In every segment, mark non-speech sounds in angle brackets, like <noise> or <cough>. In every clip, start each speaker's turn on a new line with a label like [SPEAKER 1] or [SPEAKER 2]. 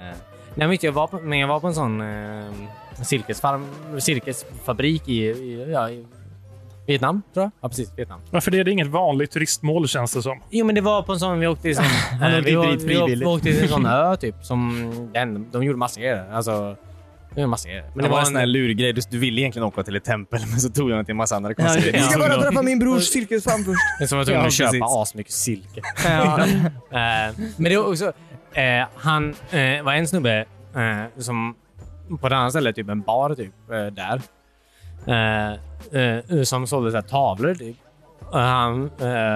[SPEAKER 1] Eh, Nej, men inte jag, var på, men jag var på en sån eh, silkesfarm, silkesfabrik i, i, ja, i Vietnam, tror jag. Ja, precis. Vietnam.
[SPEAKER 2] Varför det? Det är inget vanligt turistmål känns det som.
[SPEAKER 1] Jo, men det var på en sån... Vi åkte <laughs> till, sån,
[SPEAKER 3] Han
[SPEAKER 1] eh,
[SPEAKER 3] åkte
[SPEAKER 1] vi,
[SPEAKER 3] dit
[SPEAKER 1] var-
[SPEAKER 3] dit
[SPEAKER 1] vi, vi
[SPEAKER 3] frivilligt.
[SPEAKER 1] åkte till en <laughs> sån ö, typ. Som, den, de gjorde massor grejer. Alltså, de gjorde massor grejer.
[SPEAKER 3] Men det var en sån här lurgrej. Du, du ville egentligen åka till ett tempel, <laughs> men så tog jag den till en massa andra konstiga
[SPEAKER 1] Ja.
[SPEAKER 3] grejer.
[SPEAKER 1] ska bara
[SPEAKER 4] träffa min brors cirkusfan först.
[SPEAKER 1] Men som var tvungen
[SPEAKER 3] Ja,
[SPEAKER 1] att köpa
[SPEAKER 3] precis.
[SPEAKER 1] asmycket
[SPEAKER 3] <laughs>
[SPEAKER 1] silke. <laughs> Eh, men det var också... Eh, han eh, var en snubbe eh, som på ett annat ställe, typ en bar typ, eh, där. Eh, eh, som sålde så här, tavlor typ. Och han... Eh, <laughs>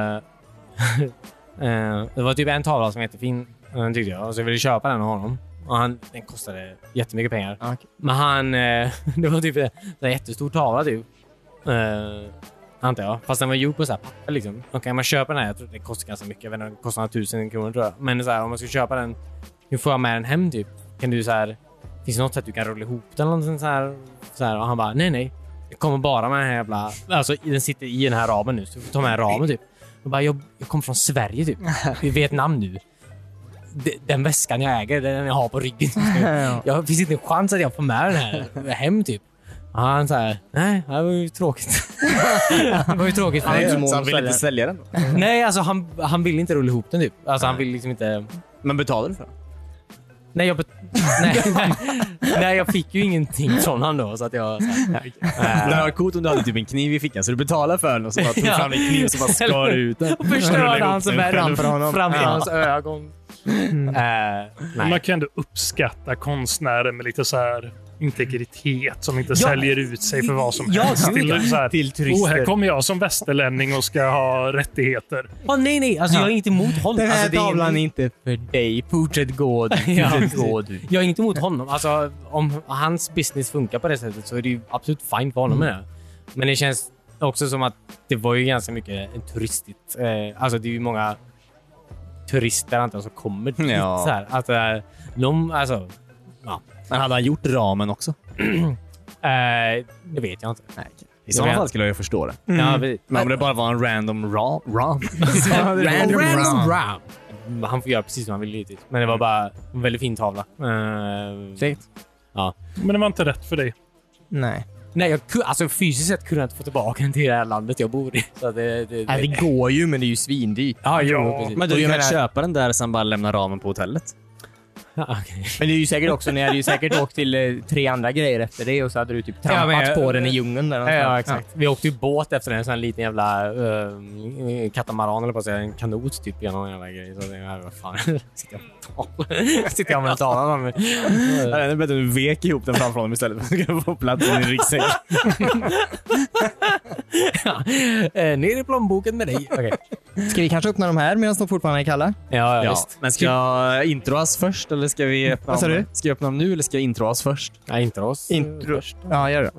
[SPEAKER 1] eh, det var typ en tavla som var jättefin eh, tyckte jag. Och så jag ville köpa den av honom. Och han, den kostade jättemycket pengar.
[SPEAKER 3] Ja, Ah, okej.
[SPEAKER 1] Men han... Eh, <laughs> det var typ en en jättestor tavla typ. Eh, Antar jag. Fast den var gjord på så här papper liksom. Okej, man köper den här. Jag tror det kostar ganska mycket. Jag vet inte, den kostar några tusen kronor tror jag. Men så här, om man ska köpa den. Hur får jag med den hem typ? Kan du så här... Finns det något sätt du kan rulla ihop den eller någonting så här? Så här och han bara, nej nej. Jag kommer bara med den här jävla... Alltså i- den sitter i den här ramen nu. Så du får ta med ramen typ. Jag bara, jag, jag kommer från Sverige typ. I Vietnam nu. De- Den väskan jag äger, den jag har på ryggen. Jag finns inte en chans att jag får med den här hem typ. Och han så här, nej, det var ju tråkigt. det var ju tråkigt. för
[SPEAKER 3] Han är
[SPEAKER 1] mig.
[SPEAKER 3] inte så mån om att sälja den. sälja den.
[SPEAKER 1] Nej, alltså han, han vill inte rulla ihop den typ. Alltså han vill liksom inte...
[SPEAKER 3] Men betalar du för den?
[SPEAKER 1] Nej, jag, bet- <laughs> nej, nej, nej, jag fick ju ingenting från han då. Så att jag... Så här,
[SPEAKER 3] Det hade varit coolt om du hade typ en kniv i fickan, så du betalar för den och så bara tog
[SPEAKER 1] Ja.
[SPEAKER 3] fram en kniv och så bara skar <laughs> du ut den.
[SPEAKER 1] och förstörde
[SPEAKER 3] ihop
[SPEAKER 1] han som
[SPEAKER 3] den
[SPEAKER 1] är
[SPEAKER 3] själv
[SPEAKER 1] ramp
[SPEAKER 3] för honom.
[SPEAKER 1] framför
[SPEAKER 3] Ja.
[SPEAKER 1] hans ögon. Eh, nej.
[SPEAKER 2] Man kan ändå uppskatta konstnärer med lite så här integritet som inte
[SPEAKER 1] Ja.
[SPEAKER 2] säljer ut sig för vad som
[SPEAKER 1] Ja,
[SPEAKER 2] helst.
[SPEAKER 1] gud, ja.
[SPEAKER 2] så här,
[SPEAKER 3] Till turister.
[SPEAKER 2] oh, här kommer jag som västerlänning och ska ha rättigheter.
[SPEAKER 1] Åh, nej, nej. Alltså, jag är inte emot honom.
[SPEAKER 3] Den här
[SPEAKER 1] alltså, det är
[SPEAKER 3] tavlan är
[SPEAKER 1] inte-
[SPEAKER 3] inte för dig. Fortsätt gå du. <laughs>
[SPEAKER 1] Ja,
[SPEAKER 3] Fortsätt
[SPEAKER 1] precis.
[SPEAKER 3] gå du.
[SPEAKER 1] Jag är inte emot honom. Alltså, om hans business funkar på det sättet så är det ju absolut fint för honom med det. Men det känns också som att det var ju ganska mycket turistigt. Eh, alltså det är ju många turister antar jag som kommer dit.
[SPEAKER 3] Ja.
[SPEAKER 1] Så här. Att, eh, de, alltså, ja.
[SPEAKER 3] Men hade han gjort ramen också?
[SPEAKER 1] Eh, det vet jag inte.
[SPEAKER 3] Nej. I
[SPEAKER 1] Jag
[SPEAKER 3] sådana
[SPEAKER 1] vet.
[SPEAKER 3] fall skulle jag ju förstå det.
[SPEAKER 1] Ja, vi,
[SPEAKER 3] Men om det bara var en random ram... ram.
[SPEAKER 1] random, ram. Han får göra precis som han vill givetvis. Men det var bara en väldigt fin tavla. Eh,
[SPEAKER 2] Men det var inte rätt för dig.
[SPEAKER 4] Nej.
[SPEAKER 1] nej, jag, ku- alltså fysiskt sett kunde jag inte få tillbaka den till det här landet jag bor i. Så att det, det,
[SPEAKER 4] Nej,
[SPEAKER 1] det,
[SPEAKER 4] det går ju, men det är ju svindyrt.
[SPEAKER 1] Ja, jo,
[SPEAKER 2] Ja.
[SPEAKER 1] precis.
[SPEAKER 3] Men du kan
[SPEAKER 4] menar-
[SPEAKER 3] köpa den där och sen bara lämna ramen på hotellet.
[SPEAKER 1] Ja, okej.
[SPEAKER 4] Men det är ju säkert också, ni hade ju säkert åkt till eh, tre andra grejer efter det och så hade du typ
[SPEAKER 1] Ja,
[SPEAKER 4] trampat
[SPEAKER 1] men jag-
[SPEAKER 4] på den i djungeln där
[SPEAKER 1] Ja, ja, exakt. Vi åkte ju båt efter en sån här liten jävla uh, katamaran, eller på att säga, en kanot typ genom en jävla grej. Så jag tänkte, vad fan, <laughs> sitter jag och <laughs> talar? Sitter jag med en tavla? med-
[SPEAKER 3] Ja, Det är bättre att du vek ihop den framför honom istället för att du ska få plats i din ryggsäck.
[SPEAKER 1] <laughs> Ja. Eh, Ner i plånboken med dig. Okej.
[SPEAKER 4] Ska vi kanske öppna de här medan de fortfarande är kalla?
[SPEAKER 1] Ja, ja,
[SPEAKER 3] Ja,
[SPEAKER 1] visst.
[SPEAKER 3] men ska jag introas först eller ska vi öppna
[SPEAKER 4] Vad sa
[SPEAKER 3] dem?
[SPEAKER 4] du?
[SPEAKER 3] Ska jag öppna dem nu eller ska jag introas först?
[SPEAKER 1] Nej, inte oss.
[SPEAKER 4] Intro. Ja, gör det.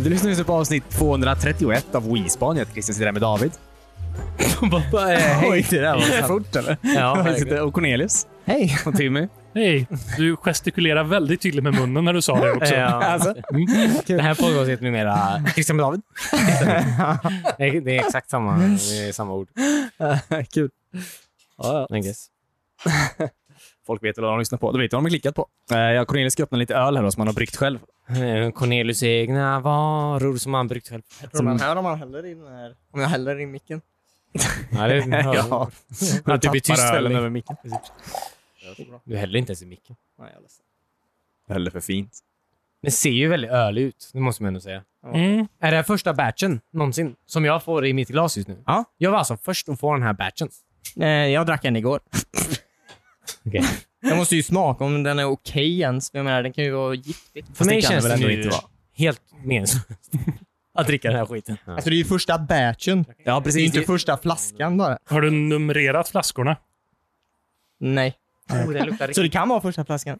[SPEAKER 3] Du lyssnar just på avsnitt 231 av Wingspan. Jag heter Christian, sitter här med David. <laughs> Oj, det där var fort eller?
[SPEAKER 1] Ja,
[SPEAKER 3] Jag sitter- och Cornelius.
[SPEAKER 4] Hej!
[SPEAKER 3] Och Timmy.
[SPEAKER 2] Hej, du gestikulerar väldigt tydligt med munnen när du sa det
[SPEAKER 1] <laughs>
[SPEAKER 2] också.
[SPEAKER 1] Ja.
[SPEAKER 3] Alltså.
[SPEAKER 1] Det här pågår heter numera Christian med David. <laughs> det, är, det är exakt samma, det är samma ord.
[SPEAKER 3] Kul. Ja, ja.
[SPEAKER 1] I guess.
[SPEAKER 3] Folk vet väl vad de lyssnar på. Då vet jag vad de har klickat på. Eh, Jag och Cornelius ska öppna lite öl här då, som han har bryggt själv.
[SPEAKER 1] Eh, Cornelius egna varor som han bryggt själv.
[SPEAKER 4] man hör om man häller i den här? Om jag häller i micken?
[SPEAKER 1] Ja, det
[SPEAKER 3] <laughs> Ja. typ
[SPEAKER 1] Att det blir tyst
[SPEAKER 3] Tappar ölen
[SPEAKER 1] väldigt.
[SPEAKER 3] över micken.
[SPEAKER 1] Du häller inte ens i micken.
[SPEAKER 4] Nej, jag är ledsen.
[SPEAKER 3] Eller för fint.
[SPEAKER 1] Den ser ju väldigt ölig ut, det måste man ändå säga.
[SPEAKER 2] Mm.
[SPEAKER 1] Är det här första batchen någonsin som jag får i mitt glas just nu?
[SPEAKER 4] Ja.
[SPEAKER 1] Jag var alltså först att få den här batchen.
[SPEAKER 4] Eh, Jag drack en igår.
[SPEAKER 1] Okej.
[SPEAKER 4] Jag måste ju smaka om den är okej ens. Jag menar, den kan ju vara giftig.
[SPEAKER 1] För
[SPEAKER 3] det
[SPEAKER 1] mig
[SPEAKER 3] kan
[SPEAKER 1] känns
[SPEAKER 3] det
[SPEAKER 1] det
[SPEAKER 3] väl
[SPEAKER 1] nu
[SPEAKER 3] ändå inte vara.
[SPEAKER 1] helt meningslöst att dricka den här skiten. Ja.
[SPEAKER 4] Alltså det är ju första batchen.
[SPEAKER 3] Ja,
[SPEAKER 4] Det är ju
[SPEAKER 3] precis.
[SPEAKER 4] inte första flaskan bara.
[SPEAKER 2] Har du numrerat flaskorna?
[SPEAKER 4] Nej.
[SPEAKER 1] Oh, den luktar
[SPEAKER 4] Så det kan vara första flaskan.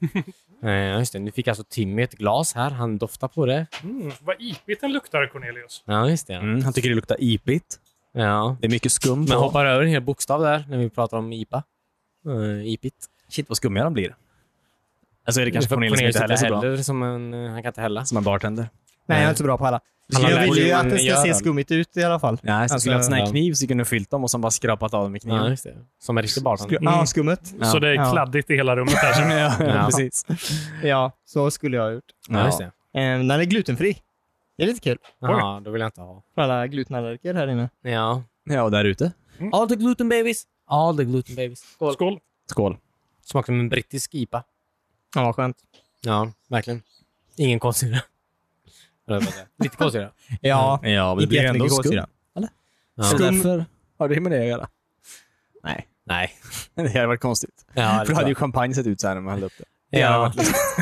[SPEAKER 1] Eh, just det. Nu fick alltså Timmy ett glas här. Han doftar på det.
[SPEAKER 2] Mm, vad ipigt den luktar, Cornelius.
[SPEAKER 1] Ja, just det. ja.
[SPEAKER 3] Mm, han tycker det luktar ipigt.
[SPEAKER 1] Ja.
[SPEAKER 3] Det är mycket skum.
[SPEAKER 1] Men
[SPEAKER 3] på.
[SPEAKER 1] hoppar över en hel bokstav där när vi pratar om IPA. Uh, IPIT.
[SPEAKER 3] Shit vad skummiga de blir. Alltså är det kanske
[SPEAKER 1] För
[SPEAKER 3] Cornelius inte heller är så bra.
[SPEAKER 1] heller som en... eh, Han kan inte hälla.
[SPEAKER 3] Som en bartender.
[SPEAKER 4] Nej, jag är inte så bra på alla.
[SPEAKER 1] Alla
[SPEAKER 4] Jag vill ju
[SPEAKER 1] lärare-
[SPEAKER 4] att det ska
[SPEAKER 1] gör
[SPEAKER 4] se
[SPEAKER 1] den.
[SPEAKER 4] skummigt ut i alla fall.
[SPEAKER 3] Nej, så skulle jag haft sån här
[SPEAKER 1] ja.
[SPEAKER 3] kniv så kunde jag fyllt dem och sen bara skrapat av dem med kniven.
[SPEAKER 1] Ja, just det. Som en riktig bartender.
[SPEAKER 4] Skru- Ja, skummet.
[SPEAKER 2] Så det är
[SPEAKER 4] Ja.
[SPEAKER 2] kladdigt i hela rummet här. Så
[SPEAKER 3] <laughs> ja,
[SPEAKER 1] Ja.
[SPEAKER 3] precis.
[SPEAKER 4] Ja, så skulle jag ha gjort.
[SPEAKER 1] Ja, just det.
[SPEAKER 4] Eh, den är glutenfri. Det är lite kul.
[SPEAKER 1] Jaha, då vill jag inte ha.
[SPEAKER 4] För alla glutenallergiker här inne.
[SPEAKER 1] Ja.
[SPEAKER 3] Ja, och där ute.
[SPEAKER 1] All the gluten babies. All the gluten babies. <laughs> Skål.
[SPEAKER 2] skål.
[SPEAKER 3] Skål.
[SPEAKER 1] Smakar som en brittisk IPA.
[SPEAKER 4] Ja, vad skönt.
[SPEAKER 1] Ja, verkligen. Ingen kolsyra. Eller vad säger jag? Lite kolsyra.
[SPEAKER 4] Ja,
[SPEAKER 3] Ja, men det
[SPEAKER 4] Inte
[SPEAKER 3] blir ändå
[SPEAKER 4] jättemycket
[SPEAKER 3] skum.
[SPEAKER 4] kolsyra.
[SPEAKER 1] Ja.
[SPEAKER 3] Så
[SPEAKER 4] Skum-
[SPEAKER 3] därför har det med det att göra. <laughs> Nej,
[SPEAKER 1] Nej.
[SPEAKER 3] det hade varit konstigt.
[SPEAKER 1] Ja,
[SPEAKER 3] För då hade ju champagne sett ut så här när man hällde upp det.
[SPEAKER 1] ja.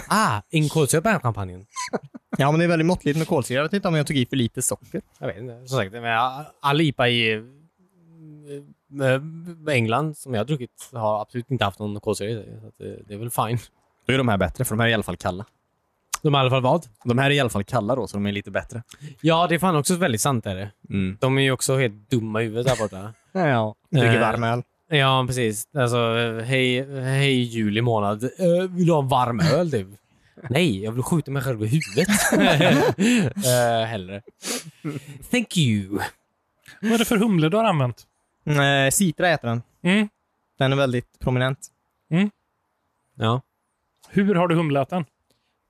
[SPEAKER 1] Ah, ingen kolsyra på den här champagnen.
[SPEAKER 4] ja, men det är väldigt måttligt med kolsyra. Jag vet inte om jag tog i för lite socker.
[SPEAKER 1] Jag vet inte. Som sagt, men all IPA i eh, England som jag har druckit har absolut inte haft någon kolsyra i sig. Så att eh, det, det är väl fine.
[SPEAKER 3] Då är de här bättre, för de här är i alla fall kalla.
[SPEAKER 1] De är i alla fall vad?
[SPEAKER 3] De här är i alla fall kalla då, så de är lite bättre.
[SPEAKER 1] Ja, det är fan också väldigt sant. Är det.
[SPEAKER 3] Mm.
[SPEAKER 1] De är ju också helt dumma i huvudet där borta.
[SPEAKER 4] Ja, dricker
[SPEAKER 1] Eh.
[SPEAKER 4] varm öl.
[SPEAKER 1] ja, precis. Alltså, eh, hej, hej juli månad. Eh, vill du ha en varm öl typ? Nej, jag vill skjuta mig själv i huvudet. uh, hellre. Thank you.
[SPEAKER 2] Vad är det för humle du har använt?
[SPEAKER 4] Mm, eh, Citra heter den.
[SPEAKER 2] Mm.
[SPEAKER 4] Den är väldigt prominent.
[SPEAKER 1] Ja.
[SPEAKER 2] Hur har du humlat den?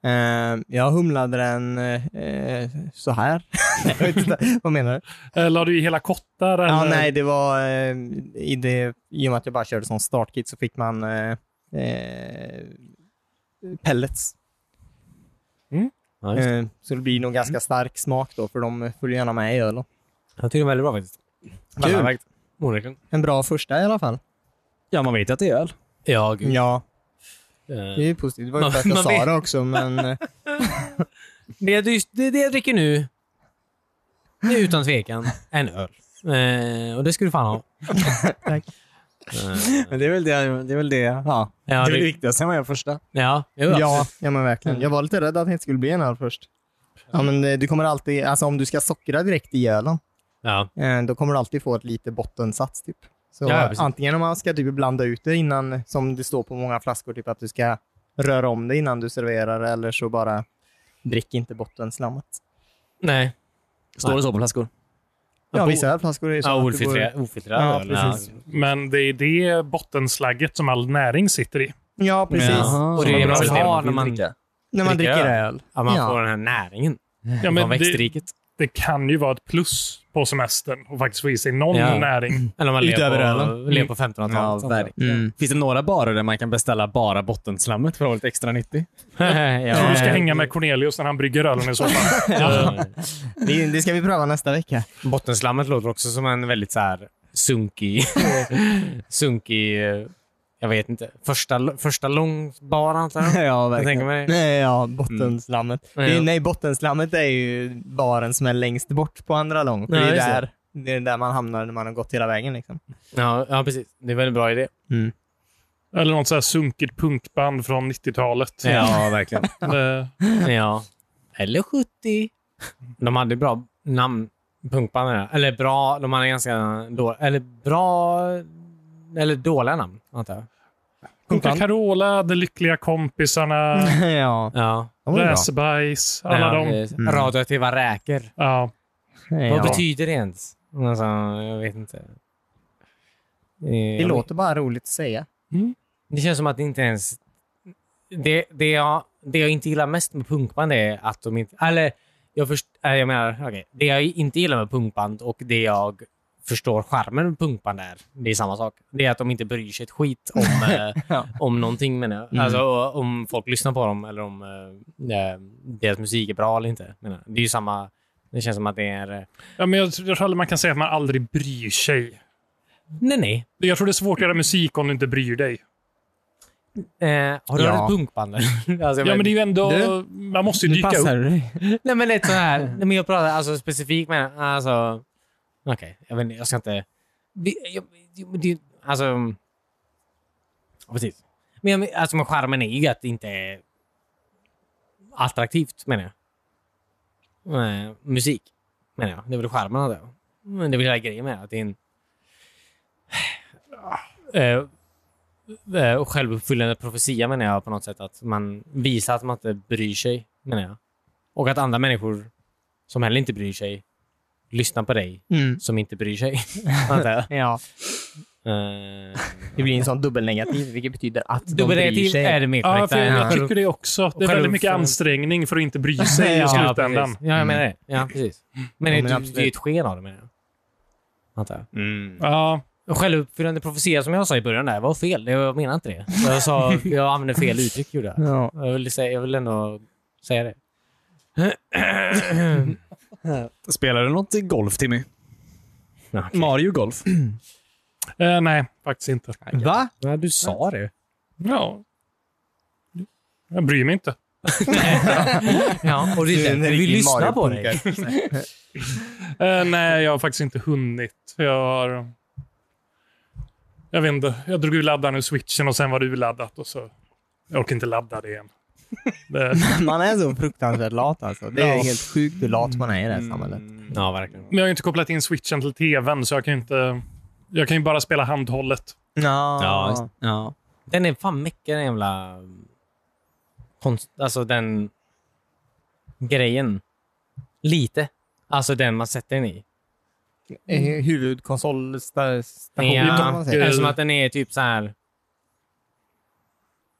[SPEAKER 4] Eh, jag humlade den eh, eh, så här. <laughs> Nej, jag vet inte. Vad menar du?
[SPEAKER 2] Eh, La du i hela kottar?
[SPEAKER 4] Ja,
[SPEAKER 2] eller?
[SPEAKER 4] nej, det var eh, i, det, i och med att jag bara körde som startkit så fick man eh, eh, pellets.
[SPEAKER 1] ja just det.
[SPEAKER 4] Eh, så det blir nog ganska stark smak då, för de följer gärna med i ölen.
[SPEAKER 1] Jag tycker det är väldigt bra faktiskt.
[SPEAKER 4] Kul.
[SPEAKER 1] Onekligen.
[SPEAKER 4] eh, En bra första i alla fall.
[SPEAKER 3] Ja, man vet ju att det är öl.
[SPEAKER 1] Ja, gud.
[SPEAKER 4] Ja,
[SPEAKER 1] Eh,
[SPEAKER 4] det är ju positivt. Det var ju
[SPEAKER 1] Man- <laughs>
[SPEAKER 4] för att jag
[SPEAKER 1] man
[SPEAKER 4] sa
[SPEAKER 1] vet.
[SPEAKER 4] det också,
[SPEAKER 1] <laughs>
[SPEAKER 4] men eh,
[SPEAKER 1] Det, du, det, det jag dricker nu det är utan tvekan en öl. Eh, och det ska du fan ha.
[SPEAKER 4] <laughs> Tack.
[SPEAKER 1] Eh,
[SPEAKER 3] Men det är väl det, det, är väl det. Ja.
[SPEAKER 1] ja,
[SPEAKER 3] det är väl det
[SPEAKER 1] det,
[SPEAKER 3] viktigaste man gör första.
[SPEAKER 1] ja, Mm. jo,
[SPEAKER 4] ja, ja, men verkligen. Jag var lite rädd att det inte skulle bli en öl först. Ja, men eh, du kommer alltid, alltså om du ska sockra direkt i ölen,
[SPEAKER 1] ja.
[SPEAKER 4] eh, då kommer du alltid få ett lite bottensats typ. Så
[SPEAKER 1] Ja, ja, precis.
[SPEAKER 4] antingen om man ska typ blanda ut det innan, som det står på många flaskor, typ att du ska röra om det innan du serverar, eller så bara drick inte bottenslammet.
[SPEAKER 1] Nej.
[SPEAKER 3] Står det så på flaskor?
[SPEAKER 4] Ja,
[SPEAKER 1] på-
[SPEAKER 4] vissa ölflaskor är ju så.
[SPEAKER 1] Ja,
[SPEAKER 4] att det går-
[SPEAKER 1] ofiltrerad, ofiltrerad
[SPEAKER 4] Ja,
[SPEAKER 1] öl.
[SPEAKER 4] precis.
[SPEAKER 2] Men det är det bottenslagget som all näring sitter i.
[SPEAKER 4] Ja, precis.
[SPEAKER 1] Och det är det man vill ha när man,
[SPEAKER 4] När man
[SPEAKER 1] Dricka
[SPEAKER 4] dricker
[SPEAKER 1] öl.
[SPEAKER 4] öl.
[SPEAKER 1] att man
[SPEAKER 4] Ja.
[SPEAKER 1] får den här näringen
[SPEAKER 2] Ja,
[SPEAKER 1] från
[SPEAKER 2] men det,
[SPEAKER 1] växtriket.
[SPEAKER 2] det kan ju vara ett plus på semestern och faktiskt få i sig någon
[SPEAKER 1] Ja. Mm.
[SPEAKER 2] näring.
[SPEAKER 1] Eller om man
[SPEAKER 4] Utöver
[SPEAKER 1] lever på,
[SPEAKER 4] ölen.
[SPEAKER 1] lever på 1500-talet.
[SPEAKER 3] Ja,
[SPEAKER 1] sånt där.
[SPEAKER 3] verkligen.
[SPEAKER 4] Mm.
[SPEAKER 3] Finns det några barer där man kan beställa bara bottenslammet för att ha lite extra nyttig?
[SPEAKER 1] ja. <laughs>
[SPEAKER 2] Så du ska hänga med Cornelius när han brygger ölen i så fall.
[SPEAKER 1] Ja.
[SPEAKER 4] Det, det ska vi pröva nästa vecka.
[SPEAKER 1] Bottenslammet låter också som en väldigt så här sunkig... sunkig... eh, Jag vet inte. Första, första långbar, antar
[SPEAKER 4] <laughs>
[SPEAKER 1] jag.
[SPEAKER 3] ja,
[SPEAKER 1] jag tänker mig.
[SPEAKER 4] Nej, ja, bottenslammet.
[SPEAKER 1] Mm.
[SPEAKER 4] Det
[SPEAKER 1] Ja.
[SPEAKER 4] är, nej, bottenslammet är ju baren som är längst bort på andra lång.
[SPEAKER 1] Ja,
[SPEAKER 4] det, är
[SPEAKER 1] just det.
[SPEAKER 4] där, det är där man hamnar när man har gått hela vägen. Liksom.
[SPEAKER 1] Ja, ja, precis. Det är en väldigt bra idé.
[SPEAKER 2] Eller något så här sunkigt punkband från 90-talet.
[SPEAKER 3] Ja, verkligen.
[SPEAKER 2] Eh,
[SPEAKER 1] Ja. Eller 70. De hade bra namn, punkbanden. där. Eller bra... De hade ganska dåliga... Eller bra... Eller dåliga namn, antar jag.
[SPEAKER 2] Coca Carola, De Lyckliga Kompisarna,
[SPEAKER 4] <laughs> ja,
[SPEAKER 1] Ja.
[SPEAKER 4] de var ju bra.
[SPEAKER 2] Räsebajs, alla
[SPEAKER 1] ja,
[SPEAKER 2] de.
[SPEAKER 1] eh, Radioaktiva räkor.
[SPEAKER 2] Ja.
[SPEAKER 1] Vad
[SPEAKER 4] Mm. Ja.
[SPEAKER 1] betyder det ens? Alltså, jag vet inte.
[SPEAKER 4] Det låter bara roligt att säga.
[SPEAKER 1] Det känns som att det inte ens... Det, det, jag, det jag inte gillar mest med punkband är att de inte... Eller, jag, först, äh, jag menar, okej. Det jag inte gillar med punkband och det jag förstår charmen med punkband är, det är samma sak. Det är att de inte bryr sig ett skit
[SPEAKER 2] <laughs>
[SPEAKER 1] om, eh,
[SPEAKER 4] Ja.
[SPEAKER 1] om någonting menar jag.
[SPEAKER 4] Mm.
[SPEAKER 1] Alltså och- om folk lyssnar på dem eller om eh, eh, deras musik är bra eller inte. Menar. jag. Det är ju samma... Det känns som att det är... eh,
[SPEAKER 2] ja men jag, tror- jag tror aldrig man kan säga att man aldrig bryr sig.
[SPEAKER 1] Nej, nej.
[SPEAKER 2] Jag tror det är svårt att göra musik om du inte bryr dig.
[SPEAKER 1] Eh, har du
[SPEAKER 4] Ja.
[SPEAKER 1] hört ett punkband? <laughs> eller? alltså, jag
[SPEAKER 2] Ja,
[SPEAKER 1] vet-
[SPEAKER 2] men det är ju ändå...
[SPEAKER 4] Du,
[SPEAKER 2] man måste ju dyka upp.
[SPEAKER 4] du dig.
[SPEAKER 1] Nej, men lite så här. Nej, men jag pratar alltså specifikt med... Alltså, Okej, jag vet inte. Jag ska inte... Vi- jag- jag- men det- Alltså... ja, Precis. Men jag- alltså, men charmen är ju att det inte är attraktivt, menar jag. Nej, musik, menar jag. Det är väl charmen av det. Men det är väl hela grejen med att det är en eh, eh, självuppfyllande profetia, menar jag, på något sätt. Att man visar att man inte bryr sig, menar jag. Och att andra människor som heller inte bryr sig lyssnar på dig
[SPEAKER 4] Mm.
[SPEAKER 1] som inte bryr sig, <laughs> antar jag.
[SPEAKER 4] Ja,
[SPEAKER 1] Eh,
[SPEAKER 4] det blir en sån dubbelnegativ, vilket betyder att de bryr
[SPEAKER 1] Dubbelnegativ
[SPEAKER 4] sig.
[SPEAKER 1] är det mer
[SPEAKER 2] Ja,
[SPEAKER 1] korrekta.
[SPEAKER 2] för
[SPEAKER 1] ja.
[SPEAKER 2] jag tycker det också. Det är väldigt mycket ansträngning för att inte bry sig
[SPEAKER 1] <laughs>
[SPEAKER 2] i
[SPEAKER 1] Ja,
[SPEAKER 2] slutändan.
[SPEAKER 1] precis. Ja, jag menar det. Mm. Ja, precis. Men,
[SPEAKER 4] Ja,
[SPEAKER 1] det- det,
[SPEAKER 4] men
[SPEAKER 1] det är ju
[SPEAKER 4] absolut.
[SPEAKER 1] ett sken av det, menar jag. Antar jag.
[SPEAKER 2] Ja,
[SPEAKER 1] Och Självuppfyllande profetia, som jag sa i början, där, var fel. Jag menar inte det. Jag, <laughs> sa, jag använde fel uttryck. Gjorde jag.
[SPEAKER 4] Ja.
[SPEAKER 1] Jag, vill säga, jag vill ändå säga det.
[SPEAKER 3] Spelar du något i golf, Timmy?
[SPEAKER 1] Ja,
[SPEAKER 3] Mario Golf?
[SPEAKER 2] eh, nej, faktiskt inte.
[SPEAKER 4] Va?
[SPEAKER 1] Ja, du sa det.
[SPEAKER 2] Ja. Jag bryr mig inte.
[SPEAKER 1] Ja, och det
[SPEAKER 4] Du är
[SPEAKER 1] är
[SPEAKER 4] en
[SPEAKER 1] därför vi
[SPEAKER 4] riktig
[SPEAKER 1] lyssnar på
[SPEAKER 4] Mario-punkare.
[SPEAKER 1] dig.
[SPEAKER 2] Eh, nej, jag har faktiskt inte hunnit. Jag har... Jag vet inte. Jag drog ur laddaren ur switchen och sen var det urladdat och så... Jag orkar inte ladda det
[SPEAKER 1] <laughs>
[SPEAKER 2] igen. Det,
[SPEAKER 4] <laughs> Man är så fruktansvärt lat alltså. Det är
[SPEAKER 2] Ja.
[SPEAKER 4] helt sjukt hur lat man är i det här
[SPEAKER 1] Mm.
[SPEAKER 4] samhället.
[SPEAKER 1] Ja, verkligen.
[SPEAKER 2] men jag har ju inte kopplat in switchen till tvn, så jag kan ju inte... Jag kan ju bara spela handhållet.
[SPEAKER 4] Ja.
[SPEAKER 1] Ja, just- ja. Den är fan mäcker den jävla... Konst, alltså den grejen. Lite. Alltså den man sätter den i.
[SPEAKER 4] Eh, Huvudkonsolstation.
[SPEAKER 1] Ja,
[SPEAKER 4] om man
[SPEAKER 1] det
[SPEAKER 4] säger.
[SPEAKER 1] är som att den är typ så här...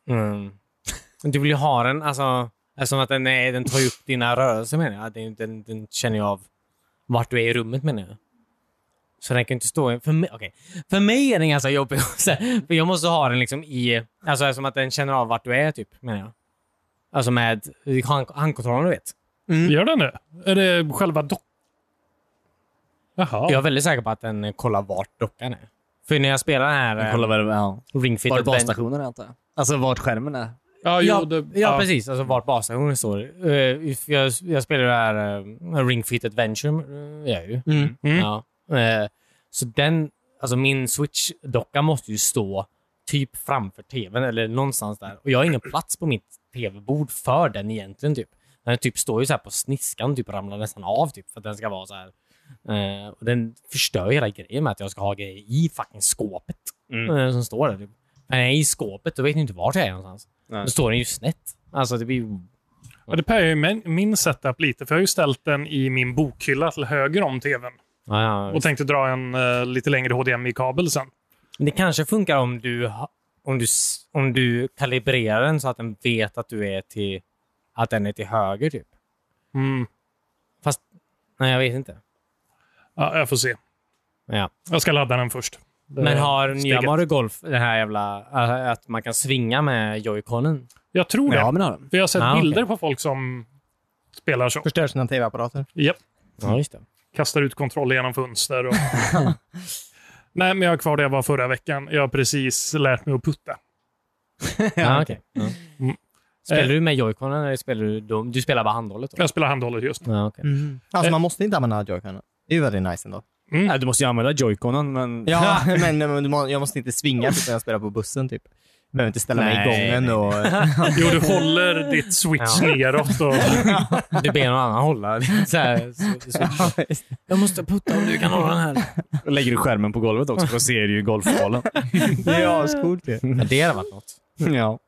[SPEAKER 1] Mm. Du vill ju ha den, alltså... Eftersom att den, är, den tar ju upp dina rörelser menar jag. Den, den, den känner ju av vart du är i rummet menar jag. Så den kan ju inte stå... i- För mig, okej. för mig är den ganska jobbig. Så här, för jag måste ha den liksom i... Alltså eftersom att den känner av vart du är typ, menar jag. Alltså med hand, handkontrollen du vet.
[SPEAKER 2] Gör det nu? Är det själva dock... Jaha.
[SPEAKER 1] Jag är väldigt säker på att den kollar vart dockan är. För när jag spelar den här eh,
[SPEAKER 3] vad det ja.
[SPEAKER 1] Ring Fit
[SPEAKER 3] Var det
[SPEAKER 1] Adventure-
[SPEAKER 3] basstationen, antar jag? Alltså vart skärmen är?
[SPEAKER 2] Ja, jo,
[SPEAKER 1] Ja,
[SPEAKER 2] det,
[SPEAKER 1] ja, precis. Alltså vart basstationen står. Eh, if- jag, jag spelar det här uh, Ring Fit Adventure, uh, jag ju.
[SPEAKER 4] Mm.
[SPEAKER 2] Mm.
[SPEAKER 1] Ja. Eh, så den, alltså min Switch-docka måste ju stå typ framför tvn eller någonstans där. Och jag har ingen plats på mitt tv-bord för den egentligen. typ. Den typ står ju så här på sniskan, typ ramlar nästan av typ för att den ska vara så här. Eh, och den förstör ju hela grejen med att jag ska ha grejer i fucking skåpet eh, som står där. Typ. Men jag är i skåpet, då vet ni inte vart jag är någonstans.
[SPEAKER 3] Nej.
[SPEAKER 1] Då står den ju snett. Alltså det blir ju...
[SPEAKER 2] Ja, det pärjar ju min, min setup lite, för jag har ju ställt den i min bokhylla till höger om tvn.
[SPEAKER 1] Ja, ja,
[SPEAKER 2] Och tänkte dra en eh, lite längre HDMI-kabel sen.
[SPEAKER 1] Men det kanske funkar om du, ha- om, du, s- om du kalibrerar den så att den vet att du är till, att den är till höger typ.
[SPEAKER 2] Mm.
[SPEAKER 1] Fast, nej jag vet inte.
[SPEAKER 2] Ja, jag får se.
[SPEAKER 1] Ja.
[SPEAKER 2] Jag ska ladda den först. Det-
[SPEAKER 1] Men har nya
[SPEAKER 2] steget.
[SPEAKER 1] Mario Golf den här jävla, äh, att man kan svinga med joyconen?
[SPEAKER 2] Jag tror det.
[SPEAKER 3] Ja, men har den.
[SPEAKER 2] För jag har sett
[SPEAKER 1] Ah, okej.
[SPEAKER 2] bilder på folk som spelar så.
[SPEAKER 4] Förstör sina tv-apparater.
[SPEAKER 2] Japp.
[SPEAKER 1] Ja, just det.
[SPEAKER 2] Kastar ut kontroll genom fönster. Och... Nej, men jag har kvar det jag var förra veckan. Jag har precis lärt mig att putta.
[SPEAKER 1] <laughs> Ja, okej. ja.
[SPEAKER 2] Mm.
[SPEAKER 1] Spelar
[SPEAKER 2] Eh.
[SPEAKER 1] du med joyconen eller spelar du, de- du spelar bara handhållet? Då?
[SPEAKER 2] Jag spelar handhållet just nu.
[SPEAKER 1] Ja, okej.
[SPEAKER 3] Mm.
[SPEAKER 4] Alltså man måste inte använda joyconen. Det är ju väldigt nice ändå.
[SPEAKER 3] Nej, du måste ju använda joyconen, men...
[SPEAKER 4] Ja, <laughs> men men du må- jag måste inte svinga typ när jag spelar på bussen typ. Behöver inte ställa mig i
[SPEAKER 1] Nej,
[SPEAKER 4] gången och...
[SPEAKER 3] <laughs>
[SPEAKER 4] <laughs>
[SPEAKER 2] Jo, du håller ditt switch
[SPEAKER 1] Ja.
[SPEAKER 2] neråt. Och...
[SPEAKER 1] <laughs> Du ber någon annan <laughs> hålla. Så här, så, så. Jag måste putta om du kan hålla den här.
[SPEAKER 3] Då lägger du skärmen på golvet också, för då ser du ju golfbollen.
[SPEAKER 4] det är ascoolt det.
[SPEAKER 1] Ja, det hade varit något.
[SPEAKER 3] ja.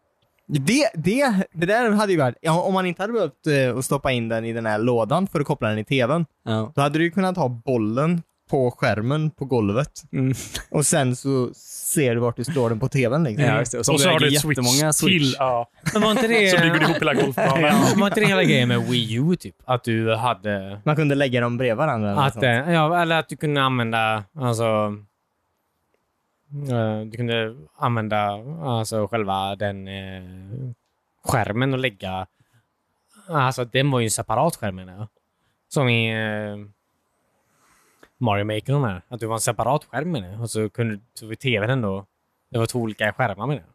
[SPEAKER 4] Det, det, det där hade ju varit, ja, om man inte hade behövt eh, att stoppa in den i den här lådan för att koppla den i tvn,
[SPEAKER 3] ja.
[SPEAKER 4] då hade du ju kunnat ha bollen på skärmen på golvet
[SPEAKER 3] Mm.
[SPEAKER 4] och sen så ser du vart du slår den på tvn liksom.
[SPEAKER 3] Ja, just det. Och så,
[SPEAKER 2] och så har
[SPEAKER 3] lägger
[SPEAKER 2] du ett
[SPEAKER 3] jättemånga
[SPEAKER 2] switch, till. Ja.
[SPEAKER 1] Men var inte det...
[SPEAKER 2] Så bygger du ihop hela golfbanan.
[SPEAKER 1] Var inte det hela grejen med Wii U, typ? Att du hade...
[SPEAKER 4] Man kunde lägga dem bredvid varandra. liksom. eller
[SPEAKER 1] Att,
[SPEAKER 4] sånt.
[SPEAKER 1] eh, ja, eller att du kunde använda... Alltså... eh, Du kunde använda alltså, själva den eh, skärmen och lägga... Alltså, den var ju en separat skärm, menar jag. Som i eh, Mario Maker och de här. Att du var en separat skärm, menar jag. Och så kunde så var tvn ändå... Det var två olika skärmar, menar jag.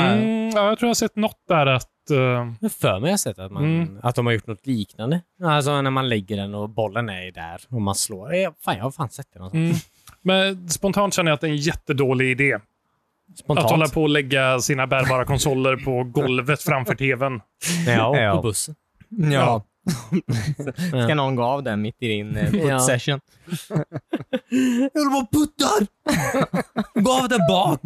[SPEAKER 2] Mm, ja, jag tror jag har sett något där att... eh,
[SPEAKER 1] Jag har för mig jag har sett att, man,
[SPEAKER 2] Mm.
[SPEAKER 1] att de har gjort något liknande. Alltså när man lägger den och bollen är där och man
[SPEAKER 2] Mm.
[SPEAKER 1] slår. Eh, Fan, jag har fan sett det någonstans.
[SPEAKER 2] Men spontant känner jag att det är en jättedålig idé. Att hålla
[SPEAKER 1] Spontant.
[SPEAKER 2] på och lägga sina bärbara konsoler <laughs> på golvet framför tvn.
[SPEAKER 1] När jag åker
[SPEAKER 4] Ja.
[SPEAKER 1] på bussen.
[SPEAKER 4] Ja.
[SPEAKER 1] Ja.
[SPEAKER 4] <laughs> Ska någon gå av den mitt i din eh,
[SPEAKER 1] Ja.
[SPEAKER 4] put <laughs> session?
[SPEAKER 1] Jag håller på och puttar! Gå av där bak!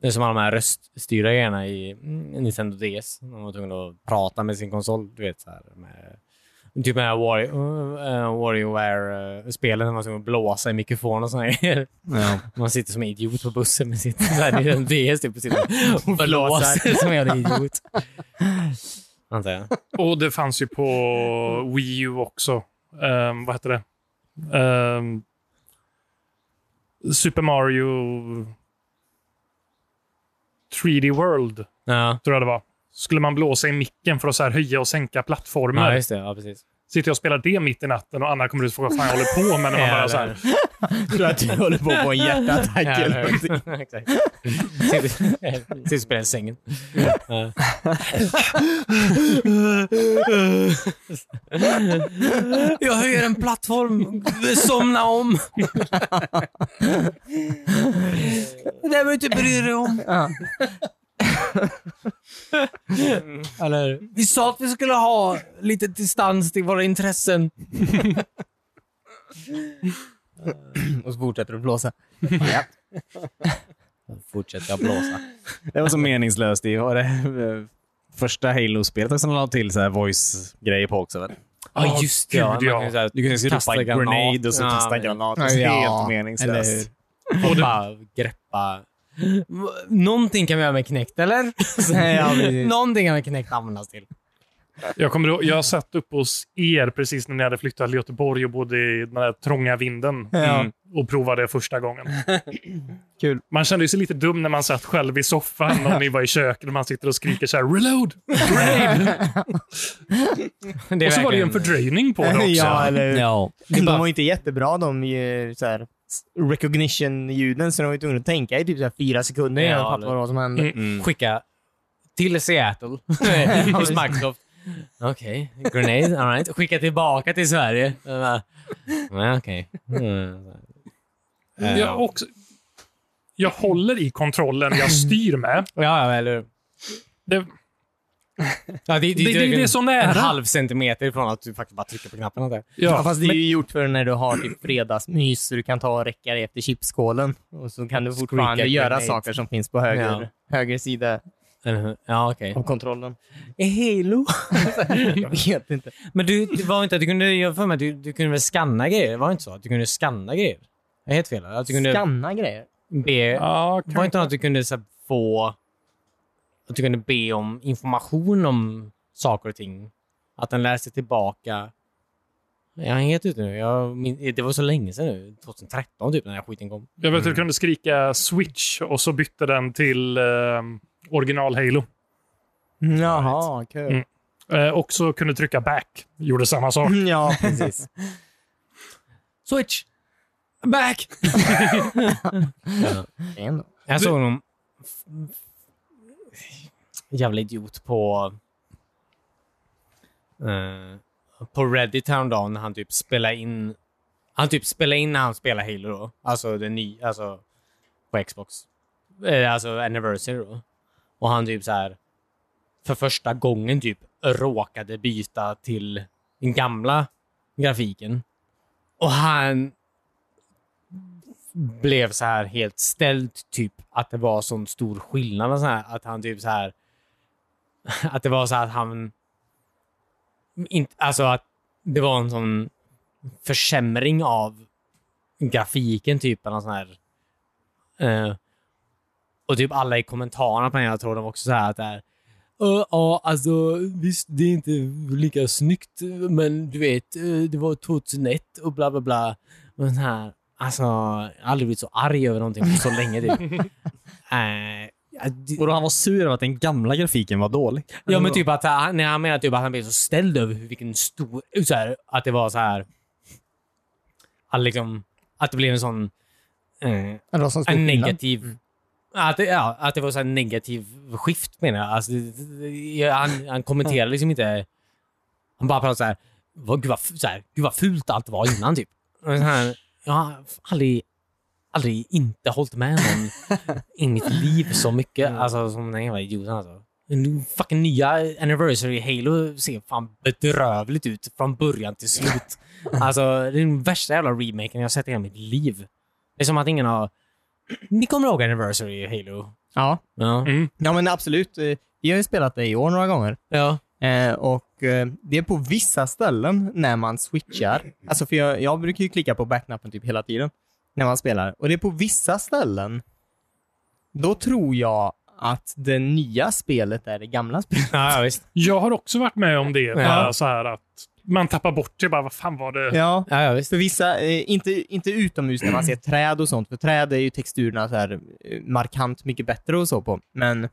[SPEAKER 1] Det är som alla de här röststyrda grejerna i mm, Nintendo DS. De var tvungna att prata med sin konsol. Du vet, så här, med, typ med Wario- eh, Warriorware-spelen. Man var tvungen att blåsa i mikrofon och såna grejer.
[SPEAKER 3] Ja.
[SPEAKER 1] Man sitter som en idiot på bussen med sitt så här, Nintendo DS. Typ, och sitter och blåser som en jävla idiot. Antar jag.
[SPEAKER 2] Och det fanns ju på Wii U också. Ehm, vad hette det? Ehm, Super Mario 3D World,
[SPEAKER 1] Ja,
[SPEAKER 2] tror jag det var. Skulle man blåsa i micken för att så här höja och sänka plattformar.
[SPEAKER 1] ja just det. Ja, precis.
[SPEAKER 2] Sitter jag och spelar det mitt i natten och Anna kommer ut och frågar vad fan jag håller på med. <laughs> När man bara så här,
[SPEAKER 4] Tror du att du håller på att få en hjärtattack
[SPEAKER 1] Ja,
[SPEAKER 4] eller någonting?
[SPEAKER 1] eller- <laughs> Exakt. Sitter sitter och spelar i sängen. Ja. Jag höjer en plattform. Somna om. Det behöver du inte bry dig om.
[SPEAKER 4] Ja.
[SPEAKER 1] Eller, vi sa att vi skulle ha lite distans till våra intressen.
[SPEAKER 4] Och så fortsätter du blåsa.
[SPEAKER 1] Fortsätter jag blåsa.
[SPEAKER 3] Det var så meningslöst. Det var det eh, första Halo-spelet som de la till så här voice-grejer på också. Väl?
[SPEAKER 1] Ja,
[SPEAKER 2] "Åh,
[SPEAKER 1] just det. Ja,
[SPEAKER 2] gud,
[SPEAKER 1] Man kan ju så
[SPEAKER 2] ja.
[SPEAKER 1] här
[SPEAKER 3] Du kunde
[SPEAKER 1] Kasta
[SPEAKER 3] ropa en
[SPEAKER 1] granat.
[SPEAKER 3] grenade och så
[SPEAKER 1] Ja,
[SPEAKER 3] kasta en
[SPEAKER 1] men-
[SPEAKER 3] granat.
[SPEAKER 4] Ja,
[SPEAKER 3] Helt
[SPEAKER 4] eller hur?
[SPEAKER 3] meningslöst.
[SPEAKER 1] Och bara greppa. Någonting kan vi göra med knäckt, eller? <laughs>
[SPEAKER 4] Ja, precis.
[SPEAKER 1] Någonting kan vi knäckt användas till.
[SPEAKER 2] Jag, kommer ihåg, jag satt upp hos er precis när ni hade flyttat till Göteborg och bodde i den här trånga vinden
[SPEAKER 4] Ja.
[SPEAKER 2] mm, och provade det första gången.
[SPEAKER 4] <laughs> Kul.
[SPEAKER 2] Man kände ju sig lite dum när man satt själv i soffan och ni var i köket och man sitter och skriker så här “reload”.
[SPEAKER 1] Det är
[SPEAKER 2] och så var det ju en fördröjning på det också.
[SPEAKER 4] <laughs> Ja, eller hur?
[SPEAKER 1] Ja. Mm.
[SPEAKER 4] De var ju inte jättebra de ju, så här, recognition-ljuden, så de var ju tvungna att tänka i typ så här fyra sekunder
[SPEAKER 1] Ja,
[SPEAKER 4] innan de fattade
[SPEAKER 1] eller-
[SPEAKER 4] vad det var som hände.
[SPEAKER 2] Mm.
[SPEAKER 1] Skicka till <laughs> Seattle. Hos Microsoft. Okej, grenade, alright. Skicka tillbaka till Sverige. Jag bara, Nej, okej. Mm.
[SPEAKER 2] Jag, också, jag håller i kontrollen
[SPEAKER 4] <laughs>
[SPEAKER 2] jag styr med.
[SPEAKER 1] Ja, ja, eller
[SPEAKER 2] Det,
[SPEAKER 1] ja,
[SPEAKER 2] det, det, det är så
[SPEAKER 1] en
[SPEAKER 2] nära.
[SPEAKER 1] halv centimeter ifrån att du faktiskt bara trycker på knappen. Där.
[SPEAKER 4] Ja,
[SPEAKER 2] Ja.
[SPEAKER 4] fast det är ju gjort för när du har typ fredagsmys, så du kan ta och räcka dig efter chipskålen. Och så kan du fortfarande
[SPEAKER 1] Squeaky
[SPEAKER 4] göra
[SPEAKER 1] grenade.
[SPEAKER 4] saker som finns på höger,
[SPEAKER 1] Ja.
[SPEAKER 4] höger sida
[SPEAKER 1] Eller hur? Ja, okej.
[SPEAKER 4] av kontrollen.
[SPEAKER 1] Halo?
[SPEAKER 4] Jag vet inte.
[SPEAKER 1] Men du, det var inte att du kunde, jag för mig, att du, du kunde väl skanna grejer? Var det inte så? Att du kunde skanna grejer? Jag är helt fel. eller? Att du kunde
[SPEAKER 4] Skanna grejer.
[SPEAKER 1] be...
[SPEAKER 2] Ja,
[SPEAKER 1] var det inte något att du kunde så här, få... Att du kunde be om information om saker och ting? Att den läste tillbaka... Jag är helt ute nu. Jag, min, det var så länge sedan nu. 2013 typ, när den här skiten kom.
[SPEAKER 2] Jag vet att du kunde skrika switch och så bytte den till eh, original Halo.
[SPEAKER 4] Jaha, kul.
[SPEAKER 2] Mm. Eh, och så kunde du trycka back. Gjorde samma sak.
[SPEAKER 4] Mm, <laughs> Ja, precis.
[SPEAKER 1] <laughs> Switch! Back!
[SPEAKER 4] Ändå.
[SPEAKER 1] Jag såg någon f- f- jävla idiot på eh, på Reddit häromdagen när han typ spelade in han typ spelade in när han spelade Halo då. Alltså den nya, alltså på Xbox. Eh, Alltså Anniversary då. Och han typ så här för första gången typ råkade byta till den gamla grafiken. Och han blev så här helt ställd, typ att det var sån stor skillnad. Och så här, att han typ så här... <laughs> Att det var så här att han... Inte, alltså att det var en sån försämring av grafiken, typ. Eller någon sån här, eh, och typ alla i kommentarerna på den här tråden var också så här att det är "Ja, Ja, alltså visst, det är inte lika snyggt, men du vet, eh, det var 2001 och bla bla bla. Men så här, alltså, jag har aldrig blivit så arg över någonting på så länge. Typ. Eh, ja, det-
[SPEAKER 3] Och då han var sur över att den gamla grafiken var dålig.
[SPEAKER 1] Ja men typ att han, nej, han menar typ att han blev så ställd över hur- vilken stor, så här, att det var så här. Att liksom, att det blev en sån, eh,
[SPEAKER 4] Det var som stor
[SPEAKER 1] en
[SPEAKER 4] skillnad.
[SPEAKER 1] negativ, att, det- ja, att det var så här negativ skift menar jag. Alltså, det- det- det- han, han kommenterade liksom inte, han bara pratade så här, vad, gud, vad, f- så här, gud vad fult allt var innan typ. Och så här, jag har aldrig, aldrig inte hållit med någon i mitt liv så mycket. Alltså som den jävla idioten alltså. Den fucking nya Anniversary Halo ser fan bedrövligt ut från början till slut. Alltså, det är den värsta jävla remaken jag har sett i hela mitt liv. Det är som att ingen har... Ni kommer ihåg Anniversary Halo?
[SPEAKER 4] Ja.
[SPEAKER 1] Ja.
[SPEAKER 2] Mm.
[SPEAKER 4] ja, men absolut. Eh, Vi har ju spelat det i år några gånger.
[SPEAKER 1] Ja.
[SPEAKER 4] Eh, och eh, det är på vissa ställen när man switchar. Alltså för jag, jag brukar ju klicka på backknappen typ hela tiden när man spelar. Och det är på vissa ställen, då tror jag att det nya spelet är det
[SPEAKER 1] <laughs>
[SPEAKER 4] gamla spelet.
[SPEAKER 1] Ja, ja, visst.
[SPEAKER 2] Jag har också varit med om det. Bara så här att man tappar bort det. Bara, vad fan var det?
[SPEAKER 4] Ja.
[SPEAKER 1] Ja, ja, visst.
[SPEAKER 4] För vissa, eh, inte, inte utomhus när man ser träd och sånt, för träd är ju texturerna så här eh, markant mycket bättre och så på. Men,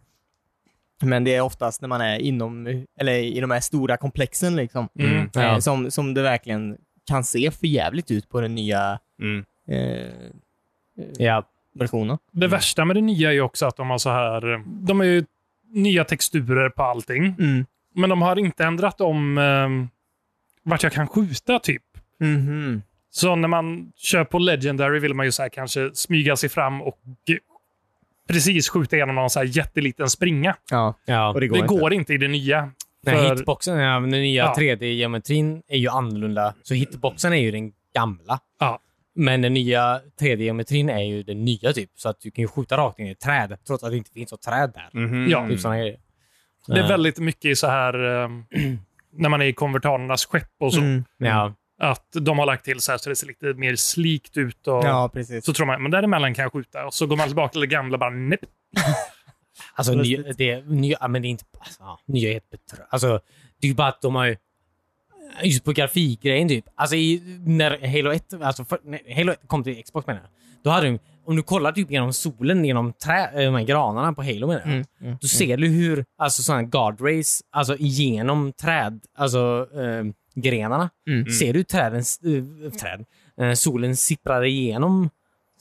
[SPEAKER 4] men det är oftast när man är inom, eller i de här stora komplexen liksom.
[SPEAKER 2] Mm.
[SPEAKER 1] Ja.
[SPEAKER 4] Eh, som, som det verkligen kan se för jävligt ut på den nya eh,
[SPEAKER 1] Ja.
[SPEAKER 4] versionen.
[SPEAKER 2] Det värsta med det nya är ju också att de har så här... De har ju nya texturer på allting.
[SPEAKER 4] Mm.
[SPEAKER 2] Men de har inte ändrat om eh, vart jag kan skjuta, typ.
[SPEAKER 4] Mhm.
[SPEAKER 2] Så när man kör på Legendary vill man ju så här kanske smyga sig fram och precis skjuta igenom någon så här jätteliten springa.
[SPEAKER 4] Ja,
[SPEAKER 1] ja.
[SPEAKER 4] och det går,
[SPEAKER 2] Det
[SPEAKER 4] inte.
[SPEAKER 2] går inte i det nya.
[SPEAKER 1] Nej,
[SPEAKER 2] För-
[SPEAKER 1] hitboxen, ja, men den nya
[SPEAKER 2] Ja.
[SPEAKER 1] 3D-geometrin är ju annorlunda. Så hitboxen är ju den gamla.
[SPEAKER 2] Ja.
[SPEAKER 1] Men den nya 3D-geometrin är ju den nya typ. Så att du kan ju skjuta rakt in i ett träd trots att det inte finns något träd där.
[SPEAKER 4] Mhm.
[SPEAKER 2] Ja.
[SPEAKER 1] Typ såna grejer.
[SPEAKER 2] Mm. Det är
[SPEAKER 1] Eh,
[SPEAKER 2] väldigt mycket i så här eh,
[SPEAKER 4] <clears throat>
[SPEAKER 2] när man är i konvertanernas skepp och så.
[SPEAKER 4] Mm.
[SPEAKER 1] Ja.
[SPEAKER 2] Att de har lagt till så här så det ser lite mer slikt ut. Och
[SPEAKER 4] Ja, precis.
[SPEAKER 2] Så tror man, men däremellan kan jag skjuta. Och så går man tillbaka till det gamla och bara nej.
[SPEAKER 1] Alltså, ny, det, nya, ja, men det är inte... Alltså, ja, nya är helt betrö... Alltså, det är ju bara att de har ju... Just på grafikgrejen typ. Alltså i, när Halo 1, alltså för, när Halo 1 kom till Xbox menar jag. Då hade de, om du kollar typ genom solen, genom trä, eh, de här granarna på Halo menar jag.
[SPEAKER 4] Mm, mm.
[SPEAKER 1] Då ser du hur alltså sådana guard rays, alltså igenom träd, alltså eh, grenarna.
[SPEAKER 4] Mm.
[SPEAKER 1] Ser du träden, eh, träd, eh, solen sipprar igenom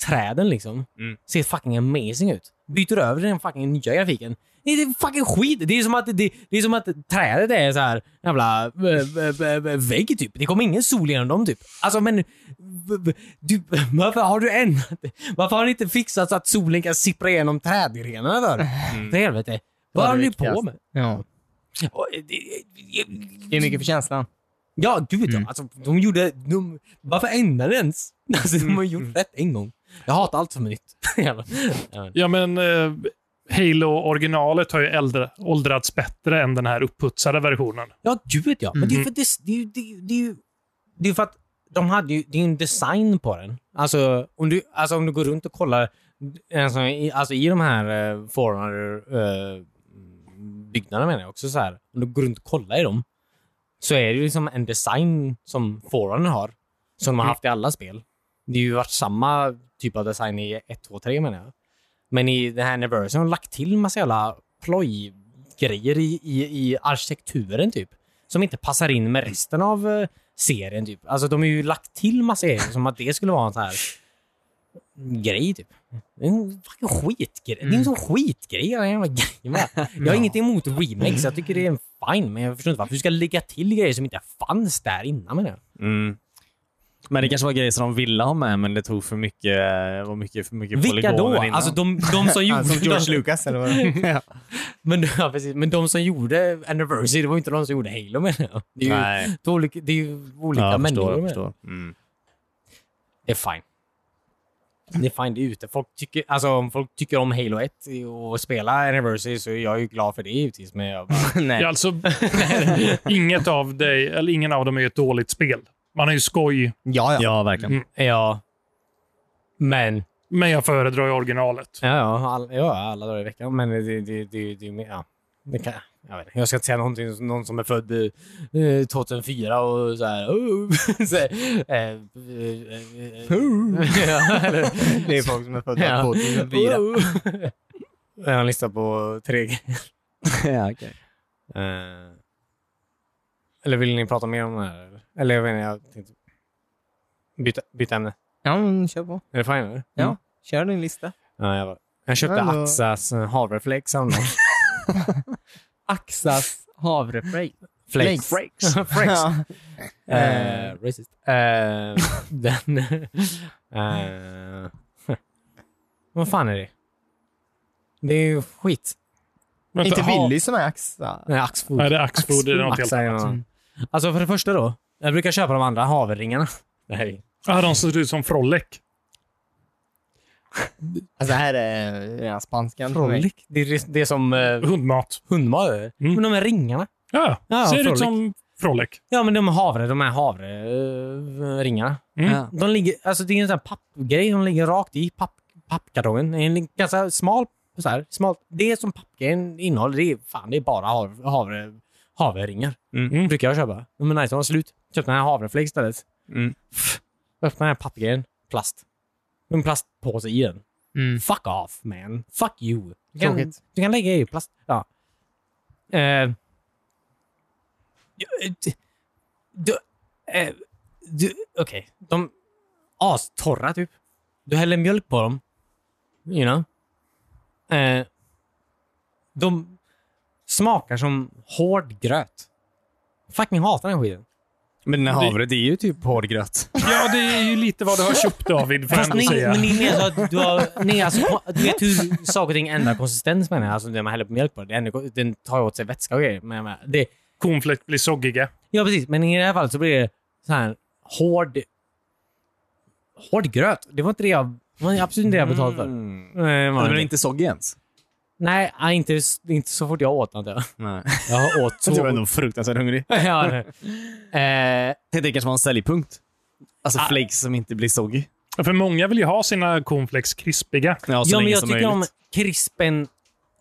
[SPEAKER 1] träden liksom.
[SPEAKER 3] Mm.
[SPEAKER 1] Ser fucking amazing ut. Byter över till den fucking nya grafiken. Det är fucking skit! Det är som att, det, det är som att trädet är så här jävla eh, eh, eh, vägg typ. Det kommer ingen sol genom dem typ. Alltså men... v- v- Du, varför har du ändrat det? Varför har ni inte fixat så att solen kan sippra igenom trädgrenarna för? För helvete. Vad
[SPEAKER 4] var
[SPEAKER 1] håller
[SPEAKER 4] det
[SPEAKER 1] ni på
[SPEAKER 4] viktigaste.
[SPEAKER 1] med?
[SPEAKER 4] Ja.
[SPEAKER 1] Och, eh, det-
[SPEAKER 4] Det är mycket för känslan.
[SPEAKER 1] Ja, gud ja. Alltså, de gjorde... De, varför ändrade det ens? <laughs> Alltså, de har gjort rätt en gång. Jag hatar allt som är nytt. <laughs> Jävlar. Ja.
[SPEAKER 2] Ja, men eh, Halo-originalet har ju äldre, åldrats bättre än den här uppputsade versionen.
[SPEAKER 1] ja, gud ja. Men det är ju för, det, det, är ju- det, är ju- det, är ju- det är för att de hade ju... Det är ju en design på den. Alltså, om du, alltså, om du går runt och kollar alltså, i, alltså, i de här eh, forerunner eh, byggnaderna menar jag också så här. Om du går runt och kollar i dem så är det ju liksom en design som forerunner har. Som de har haft i alla spel. Det har ju varit samma typ av design i 1, 2, 3 menar jag. Men i det här Anniversary har de lagt till massa jävla plojgrejer i, i, i arkitekturen typ. Som inte passar in med resten av eh, serien typ. Alltså de har ju lagt till massa grejer som att det skulle vara en sån här grej typ. Det är en fucking skitgrej. Det är en sån
[SPEAKER 3] Mm.
[SPEAKER 1] skitgrej den jävla grejen va? Jag har inget emot remakes. Jag tycker det är en fine. Men jag förstår inte varför du ska lägga till grejer som inte fanns där innan menar jag.
[SPEAKER 3] Mm. Men det kanske var grejer som de ville ha med, men det tog för mycket, det var mycket, för mycket
[SPEAKER 1] Vilka då?
[SPEAKER 3] polygoner innan. Alltså,
[SPEAKER 1] Alltså de, de
[SPEAKER 3] <laughs>
[SPEAKER 1] som
[SPEAKER 4] Ja,
[SPEAKER 1] gjorde...
[SPEAKER 4] som George Lucas eller vad ja.
[SPEAKER 1] <laughs> Men, ja, precis. men de som gjorde Anniversary, det var ju inte de som gjorde Halo menar jag. Det är ju,
[SPEAKER 3] Nej.
[SPEAKER 1] två olika, det är ju olika
[SPEAKER 3] Ja, jag
[SPEAKER 1] människor.
[SPEAKER 3] förstår. Jag
[SPEAKER 1] menar jag.
[SPEAKER 3] förstår. Mm.
[SPEAKER 1] Det är fine. Det är fine, det är ute. Folk tycker, alltså, om folk tycker om Halo 1 och spela Anniversary så är jag ju glad för det givetvis. Men jag bara,
[SPEAKER 4] <laughs> Nej.
[SPEAKER 2] Ja, alltså, inget av dig, eller ingen av dem är ju ett dåligt spel. Man har ju skoj,
[SPEAKER 4] Ja, ja.
[SPEAKER 3] Ja, verkligen.
[SPEAKER 2] Mm.
[SPEAKER 1] ja. Men,
[SPEAKER 2] men jag föredrar ju originalet.
[SPEAKER 1] ja, ja, all, ja, alla dagar i veckan. Men det, det, det, det, det, mer- ja. det kan, jag, vet inte. jag ska inte säga någonting, som- någon som är född eh, 2004 och så här... "Oh", <laughs> så här eh, eh, eh, eh. <laughs> Ja, eller-
[SPEAKER 4] Oh. Det är folk som är födda
[SPEAKER 1] Ja. <laughs>
[SPEAKER 4] 2004.
[SPEAKER 1] Oh. <laughs> Jag har en lista på tre grejer.
[SPEAKER 3] ja, okay.
[SPEAKER 1] Eh, Eller vill ni prata mer om det här? eller? Eller jag vet inte, jag tänkte byta, byta ämne.
[SPEAKER 4] Ja, men kör på.
[SPEAKER 1] Är det fine eller?
[SPEAKER 4] Ja, kör din lista.
[SPEAKER 1] Ja, jag, bara, jag köpte
[SPEAKER 4] Hallå.
[SPEAKER 1] Axas eh, havreflakes <laughs> häromdagen.
[SPEAKER 4] Axas havreflakes.
[SPEAKER 1] Flakes.
[SPEAKER 4] Flakes.
[SPEAKER 1] Flakes.
[SPEAKER 4] Ja.
[SPEAKER 1] <laughs> Eh, Racist. Eh, Den... eh, Vad fan är det? Det är ju skit.
[SPEAKER 2] Vänta,
[SPEAKER 4] Inte
[SPEAKER 2] ha-
[SPEAKER 4] Willy som är axa.
[SPEAKER 1] Nej, Axfood.
[SPEAKER 2] Nej, det är Axfood. Det är något helt
[SPEAKER 1] Axar,
[SPEAKER 2] annat.
[SPEAKER 1] ja. Alltså för det första då. Jag brukar köpa de andra havelringarna. Nej.
[SPEAKER 2] Ah, de ser ut som Frollek.
[SPEAKER 4] Alltså här är redan spanskan för mig.
[SPEAKER 1] Frolic. Det är det är som eh,
[SPEAKER 2] Hundmat.
[SPEAKER 1] hundmat. Men de här ringarna.
[SPEAKER 2] Ja,
[SPEAKER 1] Ja,
[SPEAKER 2] Mm. ser
[SPEAKER 1] Frolic.
[SPEAKER 2] ut som Frollek.
[SPEAKER 1] Ja, men de är havre, de här havreringarna.
[SPEAKER 2] Mm.
[SPEAKER 1] Ja. De ligger, alltså det är en sån här pappgrej, de ligger rakt i papp, pappkartongen. Det är En ganska smal, så här, smalt. Det som pappgrejen innehåller, det är, fan, det är bara hav, havre, havreringar.
[SPEAKER 2] Mm.
[SPEAKER 1] Brukar jag köpa. De är nice, de var slut. Köpte den här havreflakes istället.
[SPEAKER 3] Mm.
[SPEAKER 1] Pff, Öppna den här pappgrejen, plast. En plastpåse i den.
[SPEAKER 4] Mm.
[SPEAKER 1] Fuck off man. Fuck you. Du kan,
[SPEAKER 4] Tråkigt.
[SPEAKER 1] du kan lägga i plast. Ja. Eh, ja, d- du, eh, du, Okej. De astorra typ. Du häller mjölk på dem. You know. Eh, de smakar som hård gröt. Fucking hatar den skiten.
[SPEAKER 3] Men den här
[SPEAKER 2] Det-
[SPEAKER 3] havret är ju typ hårdgröt.
[SPEAKER 2] Ja, det är ju lite vad du har köpt David, får jag
[SPEAKER 1] Fast
[SPEAKER 2] ändå
[SPEAKER 1] ni,
[SPEAKER 2] säga.
[SPEAKER 1] men ni menar så att du har... Ni, alltså, du vet hur saker och ting ändrar konsistens menar jag? Alltså det man häller på mjölk på. Det är ännu, den tar åt sig vätska och grejer. Men, jag menar, det,
[SPEAKER 2] Cornflakes blir soggiga.
[SPEAKER 1] ja, precis. Men i det här fallet så blir det så här hård... Hård gröt. Det var inte det jag... Det var absolut inte det jag betalade för.
[SPEAKER 3] Mm.
[SPEAKER 1] Eh, var
[SPEAKER 3] Den
[SPEAKER 1] det
[SPEAKER 3] är
[SPEAKER 1] inte.
[SPEAKER 3] inte soggig ens?
[SPEAKER 1] Nej, nej, inte, inte så fort jag åt antar jag.
[SPEAKER 3] <laughs> Nej.
[SPEAKER 1] Jag åt så...
[SPEAKER 3] Du var nog fruktansvärt hungrig.
[SPEAKER 1] ja, nej. eh, Ah.
[SPEAKER 3] Tänkte det kanske var en säljpunkt. Alltså flakes som inte blir soggig.
[SPEAKER 2] Ja, För många vill ju ha sina cornflakes krispiga.
[SPEAKER 3] Ja,
[SPEAKER 1] ja,
[SPEAKER 3] så
[SPEAKER 1] men
[SPEAKER 3] Alltså, länge
[SPEAKER 1] jag
[SPEAKER 3] som
[SPEAKER 1] tycker om
[SPEAKER 3] möjligt.
[SPEAKER 1] krispen.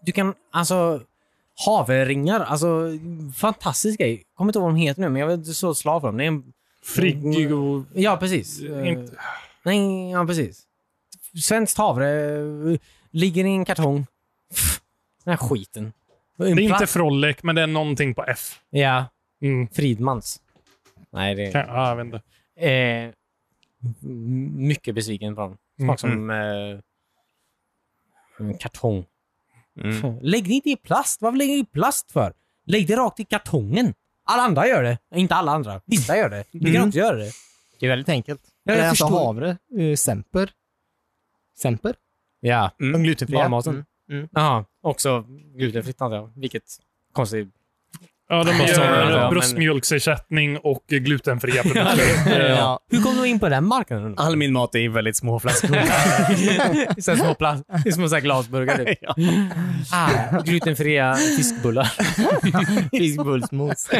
[SPEAKER 1] Du kan, alltså, haveringar. Alltså, fantastisk grej. Kommer inte ihåg vad de heter nu, men jag är så slag för dem. Det är en, Mm.
[SPEAKER 2] Frigg och...
[SPEAKER 1] ja, precis. Eh,
[SPEAKER 2] Inte-
[SPEAKER 1] Nej, ja, precis. Svenskt havre eh, ligger i en kartong. Pff, Den här skiten.
[SPEAKER 2] Det är inte Frollek, men det är någonting på F.
[SPEAKER 1] Ja,
[SPEAKER 2] Mm.
[SPEAKER 1] Fridmans. Nej, det...
[SPEAKER 2] kan- Ja, jag vet inte.
[SPEAKER 1] Eh, m- mycket besviken på dem.
[SPEAKER 4] Mm,
[SPEAKER 1] Smak som eh, en kartong.
[SPEAKER 3] Mm.
[SPEAKER 1] Lägg det inte i plast. Varför lägger du i plast för? Lägg det rakt i kartongen. Alla andra gör det. Inte alla andra. Vissa gör det. Vi kan
[SPEAKER 4] Mm.
[SPEAKER 1] också göra det.
[SPEAKER 4] Det är väldigt enkelt.
[SPEAKER 1] Ja, jag
[SPEAKER 4] Eller alltså
[SPEAKER 1] förstår.
[SPEAKER 4] havre. eh, semper. Semper?
[SPEAKER 1] Ja.
[SPEAKER 4] De glutenfria.
[SPEAKER 1] Barnmaten.
[SPEAKER 4] Mm.
[SPEAKER 1] Jaha. Också glutenfritt antar jag. Vilket konstigt.
[SPEAKER 2] Ja, de
[SPEAKER 1] Ja,
[SPEAKER 2] gör
[SPEAKER 1] ja, men-
[SPEAKER 2] bröstmjölksersättning och glutenfria produkter.
[SPEAKER 4] Ja. <laughs>
[SPEAKER 1] Hur kom du in på den marknaden?
[SPEAKER 3] All min mat är i väldigt
[SPEAKER 1] <laughs>
[SPEAKER 3] små flaskor.
[SPEAKER 1] I <laughs> så här små, plast, i små så här glasburkar. Typ.
[SPEAKER 4] <laughs>
[SPEAKER 3] Ja.
[SPEAKER 1] Ah, glutenfria fiskbullar.
[SPEAKER 4] <laughs> Fiskbullsmos.
[SPEAKER 1] <laughs>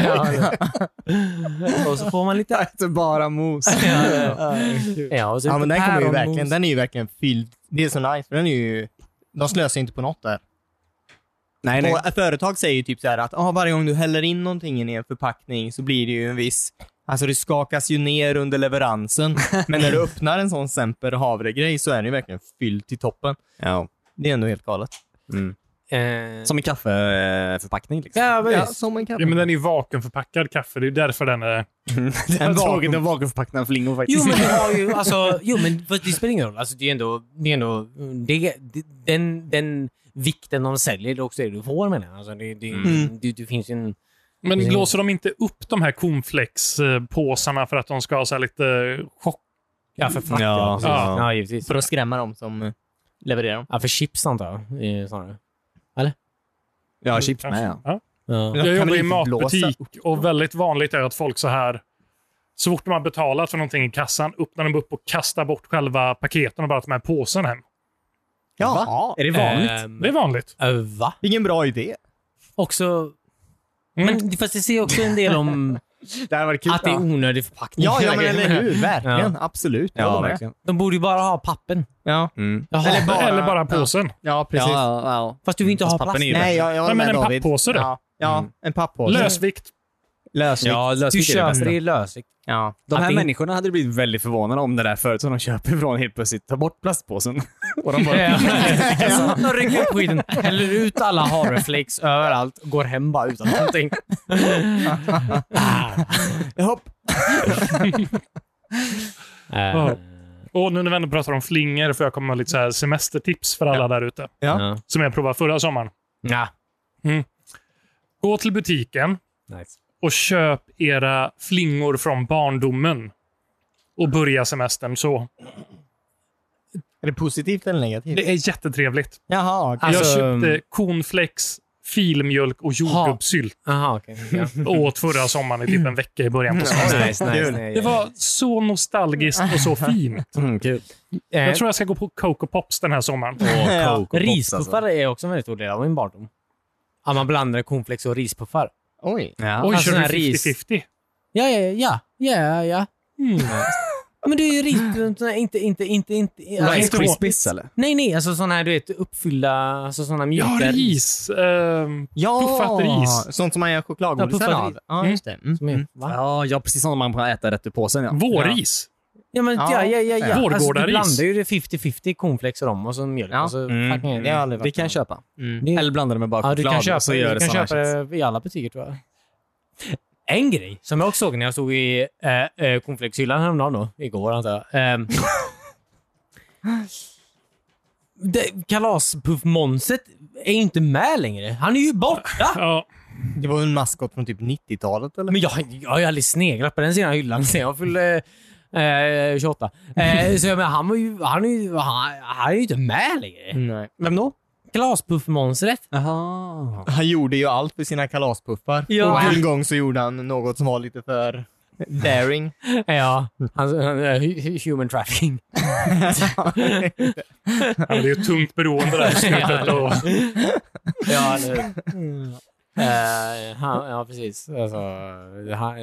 [SPEAKER 1] Och så får man lite...
[SPEAKER 4] <laughs> Alltså
[SPEAKER 1] <laughs>
[SPEAKER 4] bara mos.
[SPEAKER 1] Ja, och så lite
[SPEAKER 4] Ja, men den, kommer ju
[SPEAKER 1] päronmos.
[SPEAKER 4] verkligen, den är ju verkligen fylld. Det är så nice, för den är ju... De slösar ju inte på något där.
[SPEAKER 3] Nej, nej.
[SPEAKER 4] Och ett företag säger ju typ så här att ah, varje gång du häller in någonting i en förpackning så blir det ju en viss... Alltså det skakas ju ner under <laughs> leveransen. Men när du öppnar en sån Semper havregrej så är den ju verkligen fylld till toppen.
[SPEAKER 3] Ja.
[SPEAKER 4] Det är ändå helt galet.
[SPEAKER 1] Eh,
[SPEAKER 3] Som en kaffeförpackning. Liksom. <laughs>
[SPEAKER 1] Ja,
[SPEAKER 4] Ja,
[SPEAKER 1] precis.
[SPEAKER 4] som en
[SPEAKER 2] Ja, men den är ju vakuumförpackad kaffe. Det är därför den är...
[SPEAKER 3] Det
[SPEAKER 4] En
[SPEAKER 3] var
[SPEAKER 4] vakuum-
[SPEAKER 3] tråkigt en vakuumförpackning av lingon faktiskt.
[SPEAKER 1] Jo, men det har
[SPEAKER 3] <laughs>
[SPEAKER 1] ju, alltså, jo, men fast det spelar ingen roll. Alltså, det är ändå, det är ändå det, det, den, den vikten de säljer, det är också det du får menar jag. Alltså, det, det,
[SPEAKER 4] Mm.
[SPEAKER 1] det, det finns ju en...
[SPEAKER 2] Men
[SPEAKER 1] Mm.
[SPEAKER 2] blåser de inte upp de här cornflakespåsarna för att de ska ha så här lite chock?
[SPEAKER 1] Ja, för frack.
[SPEAKER 3] Ja,
[SPEAKER 1] precis.
[SPEAKER 2] ja.
[SPEAKER 1] ja, givetvis.
[SPEAKER 4] För att skrämma dem som eh, levererar dem.
[SPEAKER 1] Ja, för chips antar jag. eh, snarare.
[SPEAKER 3] Ja, chips med. Ja.
[SPEAKER 2] Ja.
[SPEAKER 1] Ja.
[SPEAKER 2] Jag
[SPEAKER 4] kan
[SPEAKER 2] jobbar
[SPEAKER 4] väl
[SPEAKER 2] i
[SPEAKER 4] inte
[SPEAKER 2] matbutik och väldigt vanligt är att folk så här, så fort de har betalat för någonting i kassan, öppnar de upp och kastar bort själva paketen och bara tar med påsen hem.
[SPEAKER 4] Ja, är det vanligt?
[SPEAKER 1] Ehm,
[SPEAKER 2] Det är vanligt.
[SPEAKER 1] eh, va?
[SPEAKER 4] Vilken bra idé.
[SPEAKER 1] Också...
[SPEAKER 2] Mm.
[SPEAKER 1] Men, fast det säger också en del om
[SPEAKER 3] Det här var <laughs> kul.
[SPEAKER 1] att det är onödig förpackning.
[SPEAKER 4] Ja,
[SPEAKER 1] hela
[SPEAKER 4] ja men
[SPEAKER 1] grejen.
[SPEAKER 4] eller hur? Verkligen. Absolut. Jag
[SPEAKER 3] Ja,
[SPEAKER 4] håller med.
[SPEAKER 3] verkligen.
[SPEAKER 1] De borde ju bara ha pappen.
[SPEAKER 4] Ja.
[SPEAKER 3] Mm.
[SPEAKER 1] Jaha.
[SPEAKER 4] Eller bara-
[SPEAKER 2] Eller bara påsen.
[SPEAKER 4] ja, precis.
[SPEAKER 3] Ja, ja, ja.
[SPEAKER 1] Fast du vill inte
[SPEAKER 3] Fast
[SPEAKER 1] ha
[SPEAKER 3] pappen
[SPEAKER 1] plast.
[SPEAKER 3] är ju
[SPEAKER 1] Nej,
[SPEAKER 4] Nej, jag, jag
[SPEAKER 2] Nej,
[SPEAKER 4] håller
[SPEAKER 2] men
[SPEAKER 4] med
[SPEAKER 2] en
[SPEAKER 4] David.
[SPEAKER 2] papppåse då?
[SPEAKER 4] Ja, ja
[SPEAKER 3] Mm.
[SPEAKER 4] en papppåse.
[SPEAKER 2] Lösvikt.
[SPEAKER 4] Lösvikt. Ja.
[SPEAKER 3] Ja,
[SPEAKER 1] du
[SPEAKER 3] lösvikt är det
[SPEAKER 1] köper
[SPEAKER 3] bästa.
[SPEAKER 1] det i lösvikt.
[SPEAKER 4] Ja.
[SPEAKER 3] De
[SPEAKER 1] Att
[SPEAKER 3] här
[SPEAKER 1] det-
[SPEAKER 3] människorna hade blivit väldigt förvånade om det där förut som de köper ifrån helt plötsligt tar bort plastpåsen. Och de bara,
[SPEAKER 1] De rycker upp skiten, häller ut alla havreflakes överallt och går hem bara utan någonting.
[SPEAKER 4] <laughs>
[SPEAKER 1] Ah.
[SPEAKER 4] Hopp.
[SPEAKER 1] Ah.
[SPEAKER 2] Ja.
[SPEAKER 1] Oh.
[SPEAKER 2] Och nu när vi ändå pratar om flingor får jag komma med lite så här semestertips för alla där ute.
[SPEAKER 4] Ja.
[SPEAKER 1] Ja.
[SPEAKER 2] Som jag provade förra sommaren.
[SPEAKER 1] Ja.
[SPEAKER 2] Gå till butiken
[SPEAKER 1] Nice.
[SPEAKER 2] och köp era flingor från barndomen. Och börja semestern så.
[SPEAKER 4] Är det positivt eller negativt?
[SPEAKER 2] Det är jättetrevligt.
[SPEAKER 4] Jaha, okej.
[SPEAKER 1] Alltså,
[SPEAKER 2] jag
[SPEAKER 4] mm.
[SPEAKER 2] köpte cornflakes, filmjölk och jordgubbssylt
[SPEAKER 1] Jaha, okej. <laughs> Ja.
[SPEAKER 2] och åt förra sommaren i typ en vecka i början på sommaren.
[SPEAKER 1] Nice,
[SPEAKER 4] Kul.
[SPEAKER 1] nice, nice.
[SPEAKER 2] Det var så nostalgiskt <laughs> och så fint.
[SPEAKER 3] Mm, kul.
[SPEAKER 1] Eh,
[SPEAKER 2] Jag tror jag ska gå på Coco Pops den här sommaren.
[SPEAKER 3] Och
[SPEAKER 4] Ja.
[SPEAKER 3] Coco Pops
[SPEAKER 1] Rispuffar
[SPEAKER 3] alltså.
[SPEAKER 1] är också en väldigt stor del av min barndom. Att man blandade cornflakes och rispuffar.
[SPEAKER 4] Oj.
[SPEAKER 1] Ja.
[SPEAKER 2] Oj,
[SPEAKER 1] sån
[SPEAKER 2] kör
[SPEAKER 1] Alltså här
[SPEAKER 2] du
[SPEAKER 1] ris-
[SPEAKER 2] 50-50?
[SPEAKER 1] Ja, ja, ja. ja, ja, ja. Mm. Men det är ju ris... Inte, inte, inte, inte...
[SPEAKER 3] Rice
[SPEAKER 4] Alltså,
[SPEAKER 1] inte-
[SPEAKER 3] Krispies eller?
[SPEAKER 1] Nej, nej. Alltså sådana här, du vet, uppfyllda... Alltså sådana mjuka...
[SPEAKER 2] Ja, ris. Ehm,
[SPEAKER 4] Ja,
[SPEAKER 2] Puffat ris.
[SPEAKER 4] sånt som man gör chokladgodisar
[SPEAKER 1] Ja, puffat
[SPEAKER 4] av.
[SPEAKER 1] ris.
[SPEAKER 4] Ja,
[SPEAKER 1] Mm.
[SPEAKER 4] just det. Mm.
[SPEAKER 1] Som är, va?
[SPEAKER 3] Ja, ja, precis som man kan äta rätt ur påsen. Ja.
[SPEAKER 2] vårris.
[SPEAKER 1] Ja, men ja, ja, ja. ja. Alltså, du
[SPEAKER 2] Vårgårdaris.
[SPEAKER 1] blandar ju det 50-50 cornflakes och dem och så mjölk.
[SPEAKER 4] Ja.
[SPEAKER 1] Och så,
[SPEAKER 3] Mm.
[SPEAKER 1] fucking-
[SPEAKER 4] Det har jag aldrig varit
[SPEAKER 3] Det kan jag
[SPEAKER 4] med
[SPEAKER 3] köpa.
[SPEAKER 4] om. Mm.
[SPEAKER 1] Det-
[SPEAKER 3] Eller blanda det med bara
[SPEAKER 1] Ja,
[SPEAKER 3] choklad.
[SPEAKER 1] du kan köpa,
[SPEAKER 3] och så
[SPEAKER 1] du
[SPEAKER 3] gör det
[SPEAKER 1] kan
[SPEAKER 3] såna här
[SPEAKER 1] köpa
[SPEAKER 3] chips.
[SPEAKER 1] det i alla butiker tror jag. En grej som jag också såg när jag stod i äh, äh, cornflakeshyllan häromdagen då, igår antar jag. <laughs> Ehm, det- Kalaspuff-monset är ju inte med längre. Han är ju borta!
[SPEAKER 2] Ja.
[SPEAKER 4] Det var ju en maskot från typ 90-talet eller?
[SPEAKER 1] Men jag, jag har ju aldrig sneglat på den sidan hyllan sen jag fyllde eh, 28. Eh, så jag menar, han, var ju, han, är ju, han, han är ju inte med längre.
[SPEAKER 4] Nej. Vem då?
[SPEAKER 1] Kalaspuff-monstret.
[SPEAKER 3] Jaha.
[SPEAKER 4] Han gjorde ju allt för sina kalaspuffar.
[SPEAKER 1] Ja.
[SPEAKER 4] Och en gång så gjorde han något som var lite för <laughs> daring.
[SPEAKER 1] Ja, han, han, hu- human trafficking.
[SPEAKER 2] Ja, men det är ju ett tungt
[SPEAKER 1] <laughs>
[SPEAKER 2] beroende där i slutet. Och,
[SPEAKER 1] Ja, eller Eh, han, ja, precis. Alltså, han,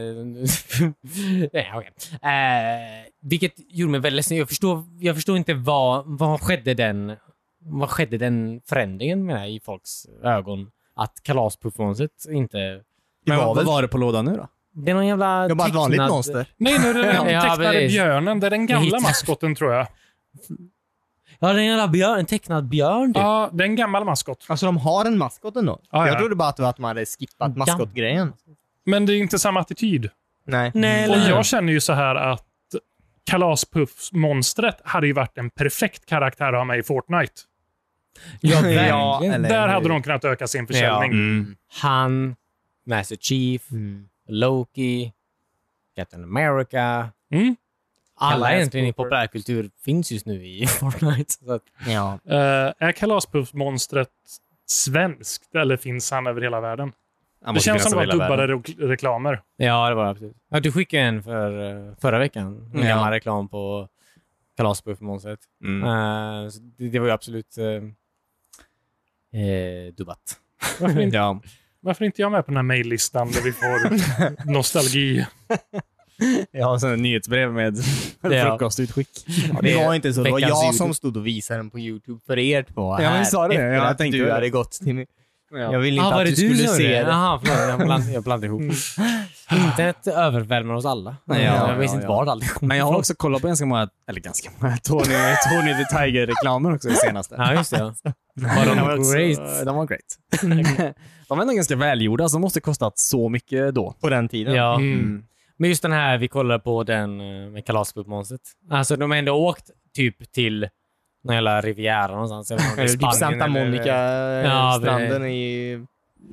[SPEAKER 1] <laughs> nej, okej. Eh, vilket gjorde mig väldigt ledsen. Jag förstår, jag förstår inte vad, vad skedde den vad skedde den förändringen menar jag, i folks ögon? Att kalaspuffmonstret inte...
[SPEAKER 3] Men
[SPEAKER 4] var
[SPEAKER 3] vad,
[SPEAKER 4] väl-
[SPEAKER 3] vad var det på lådan nu då?
[SPEAKER 1] Det är någon jävla
[SPEAKER 4] Det var bara ett vanligt
[SPEAKER 1] tecknad-
[SPEAKER 4] monster.
[SPEAKER 2] nej, nu är det den
[SPEAKER 1] Ja,
[SPEAKER 2] tecknade
[SPEAKER 1] precis.
[SPEAKER 2] björnen. Det är den gamla
[SPEAKER 1] Hit.
[SPEAKER 2] maskoten, tror jag.
[SPEAKER 1] Ja, det är en jävla björn. En tecknad björn typ.
[SPEAKER 2] Ja, det är en gammal maskot.
[SPEAKER 4] Alltså de har en maskot ändå.
[SPEAKER 2] Ja,
[SPEAKER 4] Jag
[SPEAKER 2] ja.
[SPEAKER 4] trodde bara att det var att man hade skippat
[SPEAKER 1] Ja.
[SPEAKER 4] maskotgrejen.
[SPEAKER 2] Men det är inte samma attityd.
[SPEAKER 4] Nej. Mm.
[SPEAKER 1] Nej,
[SPEAKER 2] Och
[SPEAKER 1] eller hur?
[SPEAKER 2] jag känner ju så här att Kalaspuffs-monstret hade ju varit en perfekt karaktär att ha med i Fortnite.
[SPEAKER 1] Ja, verkligen.
[SPEAKER 4] Ja, eller-
[SPEAKER 2] Där hade de kunnat öka sin försäljning.
[SPEAKER 1] Han, Master Chief,
[SPEAKER 4] Mm.
[SPEAKER 1] Loki, Captain America.
[SPEAKER 2] Mm.
[SPEAKER 1] Alla
[SPEAKER 4] Kalas
[SPEAKER 1] egentligen i
[SPEAKER 4] Cooper.
[SPEAKER 1] populärkultur finns just nu i <laughs> Fortnite. Så att,
[SPEAKER 4] Ja.
[SPEAKER 2] Eh, är Kalaspuffs-monstret svenskt eller finns han över hela världen?
[SPEAKER 3] Han
[SPEAKER 2] Det
[SPEAKER 3] måste
[SPEAKER 2] känns
[SPEAKER 3] finnas
[SPEAKER 2] som det var
[SPEAKER 3] över hela
[SPEAKER 2] dubbade
[SPEAKER 3] världen.
[SPEAKER 2] re- reklamer.
[SPEAKER 1] ja, det var det absolut. Ja, du skickade en för, eh, förra veckan. En
[SPEAKER 3] Ja.
[SPEAKER 1] gammal reklam på Kalasbuffmonstret.
[SPEAKER 3] Mm.
[SPEAKER 1] Mm. så det, det var ju absolut eh, eh, <laughs> dubbat.
[SPEAKER 2] Varför inte,
[SPEAKER 3] Ja.
[SPEAKER 2] varför inte jag med på den här mejllistan där vi får nostalgi?
[SPEAKER 3] Jag har en nyhetsbrev med
[SPEAKER 1] Ja.
[SPEAKER 3] frukostutskick.
[SPEAKER 4] Det
[SPEAKER 1] är
[SPEAKER 4] var inte så. Det var
[SPEAKER 1] veckans
[SPEAKER 4] jag
[SPEAKER 1] YouTube.
[SPEAKER 4] som stod och visade den på YouTube för er två.
[SPEAKER 3] Ja,
[SPEAKER 4] här
[SPEAKER 3] vi sa det.
[SPEAKER 4] Efter
[SPEAKER 3] Ja, jag
[SPEAKER 4] att
[SPEAKER 3] tänkte
[SPEAKER 4] du
[SPEAKER 3] det.
[SPEAKER 4] hade gått till mig. Jag ville inte
[SPEAKER 1] Ah, var
[SPEAKER 4] att
[SPEAKER 1] det
[SPEAKER 4] du
[SPEAKER 1] du
[SPEAKER 4] skulle
[SPEAKER 1] som
[SPEAKER 4] se
[SPEAKER 1] gjorde
[SPEAKER 4] det.
[SPEAKER 1] Jaha, förlåt. Jag blandade, jag blandade <laughs> ihop. Internet överväldigar oss alla.
[SPEAKER 3] Ja,
[SPEAKER 1] jag
[SPEAKER 3] ja,
[SPEAKER 1] visste
[SPEAKER 3] ja.
[SPEAKER 1] inte var allt kom
[SPEAKER 3] Men jag har
[SPEAKER 1] ifrån.
[SPEAKER 3] också kollat på ganska många, eller ganska många, <laughs> Tony, Tony the Tiger-reklamer också i senaste.
[SPEAKER 1] <laughs> Ja, just det. Ja.
[SPEAKER 3] <laughs> Var de,
[SPEAKER 1] också-
[SPEAKER 3] great? de var great.
[SPEAKER 1] Mm.
[SPEAKER 3] <laughs> de var ändå ganska välgjorda, så de måste kostat så mycket då.
[SPEAKER 4] På den tiden.
[SPEAKER 1] Ja.
[SPEAKER 2] Mm.
[SPEAKER 1] Men just den här vi kollade på, den eh, med kalasbubbmonstret. Alltså de har ändå åkt typ till någon jävla riviera någonstans. Jag vet inte om det är
[SPEAKER 4] Eller <laughs>
[SPEAKER 1] Spanien
[SPEAKER 4] typ Santa
[SPEAKER 1] eller- Ja, det-
[SPEAKER 4] Monica-stranden i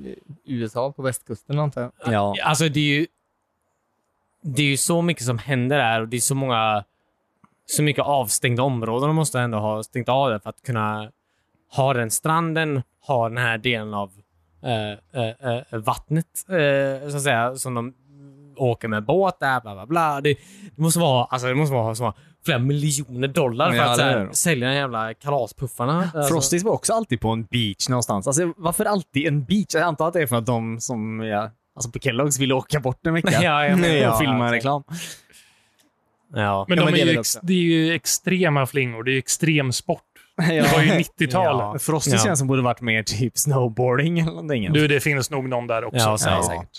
[SPEAKER 4] eh, USA på västkusten antar
[SPEAKER 1] <laughs>
[SPEAKER 4] jag.
[SPEAKER 3] Ja.
[SPEAKER 1] Alltså det är ju... Det är ju så mycket som händer där och det är så många... Så mycket avstängda områden de måste ändå ha stängt av där för att kunna ha den stranden, ha den här delen av eh, eh, eh, vattnet eh, så att säga, som de åker med båt där, bla bla bla. Det, det måste vara, alltså det måste vara, vara flera miljoner dollar för
[SPEAKER 3] Ja,
[SPEAKER 1] att
[SPEAKER 3] det
[SPEAKER 1] så
[SPEAKER 3] är
[SPEAKER 1] här,
[SPEAKER 3] det.
[SPEAKER 1] sälja de jävla kalaspuffarna. Alltså,
[SPEAKER 3] Frosties var också alltid på en beach någonstans. Alltså, varför alltid en beach? Jag antar att det är för att de som ja, alltså på Kelloggs ville åka bort en vecka
[SPEAKER 1] <laughs> Ja, jag menar-
[SPEAKER 3] <laughs> och filma en reklam.
[SPEAKER 1] Ja.
[SPEAKER 2] Men,
[SPEAKER 4] Ja,
[SPEAKER 2] de
[SPEAKER 4] men det
[SPEAKER 2] är
[SPEAKER 4] är
[SPEAKER 2] ju
[SPEAKER 4] väl
[SPEAKER 2] ex,
[SPEAKER 4] också.
[SPEAKER 2] det är ju extrema flingor. Det är ju extremsport. Det var ju 90-tal.
[SPEAKER 1] Ja.
[SPEAKER 3] Frosties
[SPEAKER 1] Ja.
[SPEAKER 3] känns som borde varit mer typ snowboarding eller någonting.
[SPEAKER 2] Du, det finns nog någon där också.
[SPEAKER 1] Ja, säkert.
[SPEAKER 3] säkert.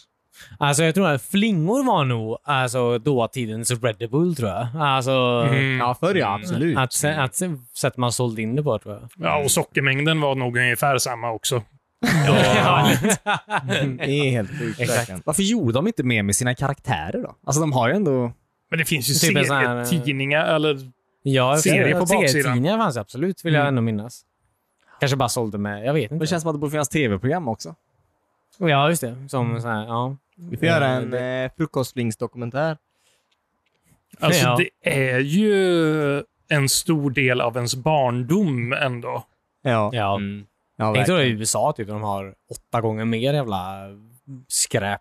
[SPEAKER 1] Alltså jag tror att flingor var nog alltså, dåtidens Red Bull tror jag. Alltså,
[SPEAKER 2] Mm.
[SPEAKER 4] Ja, förr ja. Absolut.
[SPEAKER 1] att, se- att se- sättet man sålde in det på tror jag.
[SPEAKER 2] Ja, och sockermängden var nog ungefär samma också.
[SPEAKER 4] Det är helt sjukt.
[SPEAKER 1] Mm. Exakt.
[SPEAKER 4] verkligen.
[SPEAKER 3] Varför gjorde de inte mer med sina karaktärer då? Alltså de har ju ändå...
[SPEAKER 2] Men det finns ju
[SPEAKER 1] Typ en sån här- eh,
[SPEAKER 2] serietidningar eller...
[SPEAKER 1] ja,
[SPEAKER 2] Serie
[SPEAKER 1] jag-
[SPEAKER 2] på baksidan. Mm.
[SPEAKER 1] Serietidningar fanns det absolut, vill jag ändå minnas. Kanske bara sålde med, jag vet inte.
[SPEAKER 3] Det känns som att det borde finnas tv-program också.
[SPEAKER 1] Ja, just det. Som så här, ja.
[SPEAKER 4] Vi får göra en eh, frukostlingsdokumentär.
[SPEAKER 2] Alltså,
[SPEAKER 1] Ja.
[SPEAKER 2] det är ju en stor del av ens barndom ändå.
[SPEAKER 4] Ja.
[SPEAKER 1] Ja.
[SPEAKER 3] Mm.
[SPEAKER 4] ja
[SPEAKER 1] Tänk dig då i
[SPEAKER 4] verkligen.
[SPEAKER 1] USA typ, där de har åtta gånger mer jävla skräp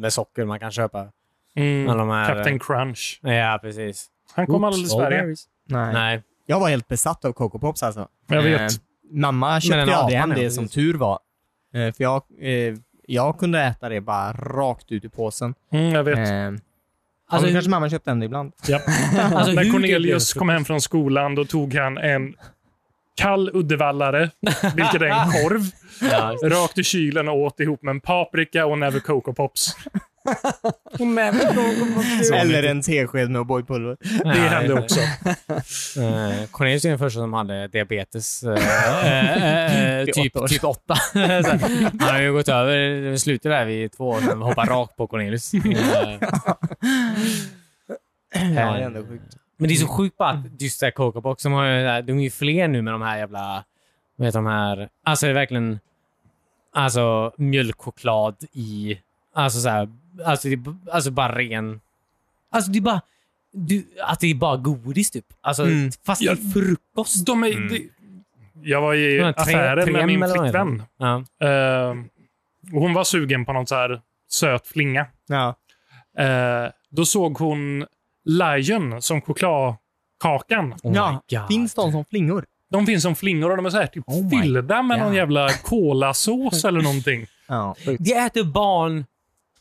[SPEAKER 1] med socker man kan köpa.
[SPEAKER 2] Mm.
[SPEAKER 1] Alla de här,
[SPEAKER 2] Captain Crunch.
[SPEAKER 1] Ja, precis.
[SPEAKER 2] Han kom aldrig till Sverige.
[SPEAKER 4] Nej.
[SPEAKER 1] Nej.
[SPEAKER 4] Jag var helt besatt av Coco Pops alltså.
[SPEAKER 2] Jag vet.
[SPEAKER 4] Eh, mamma
[SPEAKER 1] Men
[SPEAKER 4] köpte
[SPEAKER 1] en apa,
[SPEAKER 4] aldrig hem
[SPEAKER 1] ja,
[SPEAKER 4] det
[SPEAKER 1] precis.
[SPEAKER 4] som tur var. Eh, för jag, eh, jag kunde äta det bara rakt ut i påsen.
[SPEAKER 2] Mm, jag vet.
[SPEAKER 4] Eh,
[SPEAKER 1] Alltså,
[SPEAKER 4] alltså,
[SPEAKER 1] hur-
[SPEAKER 4] kanske mamma köpte hem
[SPEAKER 1] <laughs>
[SPEAKER 4] det ibland.
[SPEAKER 2] Japp.
[SPEAKER 1] alltså,
[SPEAKER 2] När
[SPEAKER 1] hur
[SPEAKER 2] Cornelius
[SPEAKER 1] gud-
[SPEAKER 2] kom hem från skolan då tog han en kall uddevallare, vilket
[SPEAKER 1] <laughs>
[SPEAKER 2] är en korv,
[SPEAKER 1] Ja,
[SPEAKER 2] rakt i kylen och åt ihop med en paprika och en näve Coco Pops.
[SPEAKER 4] Eller en tesked med O'boy-pulver. <laughs>
[SPEAKER 1] det
[SPEAKER 2] hände
[SPEAKER 1] också. Eh, Cornelius är den första som hade diabetes. eh, eh, eh,
[SPEAKER 4] Vid
[SPEAKER 1] typ,
[SPEAKER 4] åtta år.
[SPEAKER 1] typ åtta. <laughs> Så här, Han har ju gått över, slutade där vid två år sedan, hoppar rakt på
[SPEAKER 4] <laughs>
[SPEAKER 1] Cornelius. Eh,
[SPEAKER 4] Ja, det är ändå sjukt.
[SPEAKER 1] Men det är så sjukt bara att just det här Coco Box, de, har ju, äh, de är ju fler nu med de här jävla... Vad heter de här? Alltså det är verkligen... Alltså mjölkchoklad i... Alltså så här, Alltså, det, är b- alltså bara ren... Alltså det är bara... Du, att det är bara godis typ. Alltså
[SPEAKER 4] Mm.
[SPEAKER 1] fast
[SPEAKER 2] Ja.
[SPEAKER 1] till frukost.
[SPEAKER 2] De är,
[SPEAKER 1] Mm.
[SPEAKER 2] det- jag var i
[SPEAKER 1] De här tre-
[SPEAKER 2] affären
[SPEAKER 1] tre
[SPEAKER 2] med min
[SPEAKER 1] mellan-
[SPEAKER 2] flickvän.
[SPEAKER 1] Ja.
[SPEAKER 2] Eh, och hon var sugen på någon så här söt flinga.
[SPEAKER 4] Ja.
[SPEAKER 2] Eh, då såg hon Lion som chokladkakan.
[SPEAKER 1] Oh my
[SPEAKER 4] ja,
[SPEAKER 1] God.
[SPEAKER 4] finns de som flingor?
[SPEAKER 2] De finns som flingor och de är så här typ
[SPEAKER 1] Oh my
[SPEAKER 2] fyllda med någon
[SPEAKER 1] God.
[SPEAKER 2] jävla kolasås eller någonting.
[SPEAKER 4] Ja.
[SPEAKER 1] Det äter barn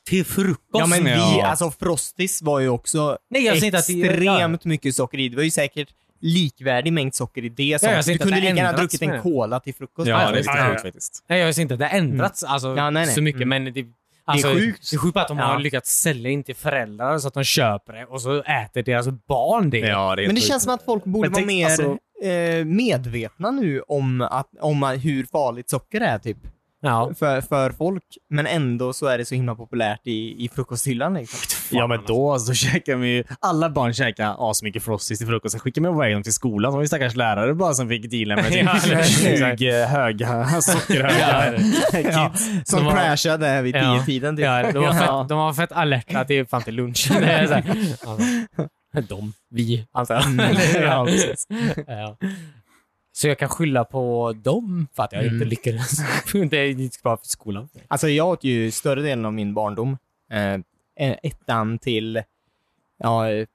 [SPEAKER 1] till frukost.
[SPEAKER 4] Ja men vi,
[SPEAKER 1] Ja.
[SPEAKER 4] alltså Frostis var ju också
[SPEAKER 1] Nej, jag ser inte att det-
[SPEAKER 4] extremt mycket socker i. Det var ju säkert likvärdig mängd socker i det. Som,
[SPEAKER 1] Ja, jag ser
[SPEAKER 4] du
[SPEAKER 1] inte
[SPEAKER 4] kunde
[SPEAKER 1] att det
[SPEAKER 4] lika gärna ha
[SPEAKER 1] ändrats,
[SPEAKER 4] druckit
[SPEAKER 1] menar
[SPEAKER 4] en
[SPEAKER 1] jag.
[SPEAKER 4] cola till frukost. Alltså,
[SPEAKER 3] Ja, det är
[SPEAKER 2] visst.
[SPEAKER 3] lite
[SPEAKER 2] Ja, ja.
[SPEAKER 3] sjukt faktiskt.
[SPEAKER 1] Nej, jag ser inte att det har ändrats alltså,
[SPEAKER 4] Mm. Ja, nej, nej.
[SPEAKER 1] så mycket, men det, alltså,
[SPEAKER 4] sjukt.
[SPEAKER 1] Det är sjukt bara att de har
[SPEAKER 4] Ja.
[SPEAKER 1] lyckats sälja in till föräldrar så att de köper det och så äter deras barn det.
[SPEAKER 3] Ja, det är
[SPEAKER 4] Men det
[SPEAKER 3] sjukt.
[SPEAKER 4] känns som att folk borde
[SPEAKER 3] Men
[SPEAKER 4] vara
[SPEAKER 3] tänk,
[SPEAKER 4] mer
[SPEAKER 3] alltså-
[SPEAKER 4] eh, medvetna nu om, att, om hur farligt socker är typ.
[SPEAKER 1] Ja.
[SPEAKER 4] För, för folk. Men ändå så är det så himla populärt i, i frukosthyllan liksom.
[SPEAKER 3] Ja, men då alltså, <laughs> käkar vi ju... Alla barn käkar asmycket Frosties till frukost. Sen skickar man iväg dem till skolan. Det var ju stackars lärare bara som fick deala med <laughs>
[SPEAKER 1] Ja, eller
[SPEAKER 3] typ
[SPEAKER 1] hur?
[SPEAKER 3] 20 höga sockerhöga kids.
[SPEAKER 4] Som
[SPEAKER 1] De var-
[SPEAKER 4] crashade här vid
[SPEAKER 1] Ja.
[SPEAKER 4] 10-tiden typ.
[SPEAKER 1] Ja, de, var
[SPEAKER 4] Ja.
[SPEAKER 1] fett,
[SPEAKER 4] <laughs>
[SPEAKER 1] de var fett alerta till fram till lunch. Det är så här, alltså, de, vi, antar jag.
[SPEAKER 3] Ja, precis.
[SPEAKER 1] Ja. Så jag kan skylla på dem för att jag
[SPEAKER 4] Mm.
[SPEAKER 1] inte lyckades. <laughs> det är inte bra för skolan.
[SPEAKER 4] Alltså jag åt ju större delen av min barndom. Eh, ettan till ja, eh,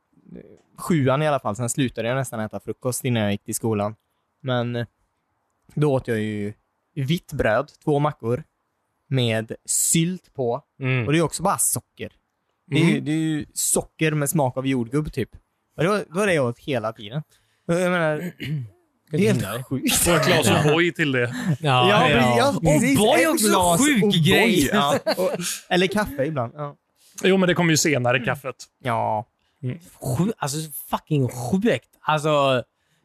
[SPEAKER 4] sjuan i alla fall. Sen slutade jag nästan äta frukost innan jag gick till skolan. Men eh, då åt jag ju vitt bröd, två mackor, med sylt på. Och det är också bara socker. <laughs> Det är, ju,
[SPEAKER 2] Mm.
[SPEAKER 4] det är ju socker med smak av jordgubb typ. Och det var, det var det jag åt hela tiden. Och Jag menar, det är helt sjukt.
[SPEAKER 2] Och ett glas O'boy till det.
[SPEAKER 1] Ja,
[SPEAKER 4] Ja,
[SPEAKER 1] ja.
[SPEAKER 4] ja. precis.
[SPEAKER 1] O'boy är
[SPEAKER 4] Ett
[SPEAKER 1] också
[SPEAKER 4] glas
[SPEAKER 1] sjuk
[SPEAKER 4] O'boy.
[SPEAKER 1] grej.
[SPEAKER 4] Ja. Och- Eller kaffe ibland. Ja.
[SPEAKER 2] Jo, men det kom ju senare, kaffet.
[SPEAKER 4] ja.
[SPEAKER 1] sju, alltså fucking sjukt. Alltså,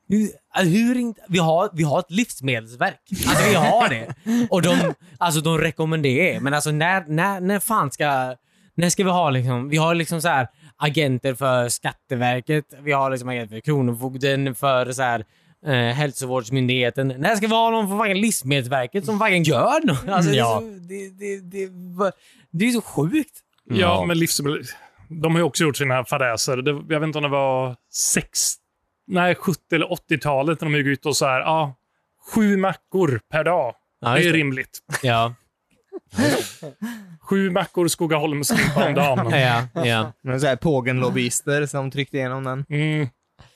[SPEAKER 1] hur, alltså, hur inte, vi, har, vi har ett livsmedelsverk. Alltså vi har det. Och de, alltså, de rekommenderar. Men alltså när, när, när fan ska, när ska vi ha liksom, vi har liksom så här agenter för Skatteverket, vi har liksom agenter för Kronofogden, för så här Eh, hälsovårdsmyndigheten. När ska vi ha någon från fucking Livsmedelsverket som fucking gör något?
[SPEAKER 2] Mm,
[SPEAKER 1] Alltså,
[SPEAKER 4] Ja.
[SPEAKER 1] det, är så, det, det, det, va- det är så sjukt.
[SPEAKER 2] Ja,
[SPEAKER 3] Ja.
[SPEAKER 2] men livsmedel... De har ju också gjort sina fadäser. Det, jag vet inte om det var sex, nej, 70 eller 80-talet när de gick ut och så här, ja, sju mackor per dag.
[SPEAKER 1] Ja,
[SPEAKER 2] det
[SPEAKER 1] just
[SPEAKER 2] är
[SPEAKER 1] det.
[SPEAKER 2] rimligt.
[SPEAKER 1] Ja,
[SPEAKER 2] Sju mackor Skogaholmslimpa
[SPEAKER 1] <laughs>
[SPEAKER 2] om dagen.
[SPEAKER 1] ja, ja.
[SPEAKER 4] Men så här pågenlobbyister som tryckte igenom den.
[SPEAKER 2] Mm.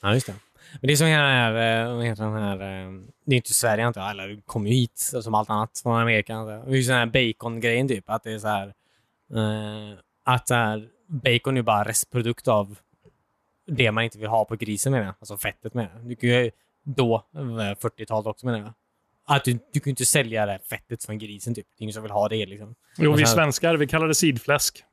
[SPEAKER 1] Ja, just det. Men det är som hela den här, eh, vad heter den här, eh, det är inte Sverige antar jag, alla kommer ju hit som allt annat från Amerika. antar jag. Det är ju sån här bacon-grejen typ, att det är så här, eh, att så här, bacon är ju bara restprodukt av det man inte vill ha på grisen menar jag, alltså fettet menar jag. Du kan ju då, eh, 40-talet också menar jag, att du, du kan ju inte sälja det här fettet från grisen typ. Det är ingen som vill ha det liksom.
[SPEAKER 2] Jo, vi
[SPEAKER 1] Och sen-
[SPEAKER 2] svenskar, vi kallar det sidfläsk.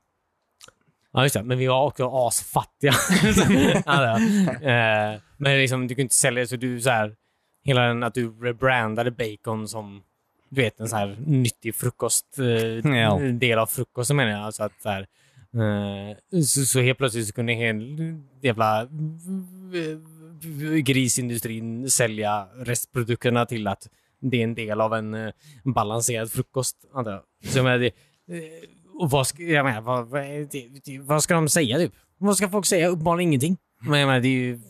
[SPEAKER 1] Ja, just det. Men vi var också asfattiga. <laughs> alltså, eh, men liksom, du kunde inte sälja det, så du så här, hela den att du rebrandade bacon som du vet, en så här nyttig frukost, eh,
[SPEAKER 3] Ja.
[SPEAKER 1] del av frukosten menar jag. Alltså att, så, här, eh, så, så helt plötsligt så kunde hela jävla eh, grisindustrin sälja restprodukterna till att det är en del av en eh, balanserad frukost, antar jag. Så jag menar, det, eh, och vad ska, jag menar, vad, vad, det, det, vad ska de säga typ? Vad ska folk säga? Uppenbarligen ingenting. Men jag menar, det är ju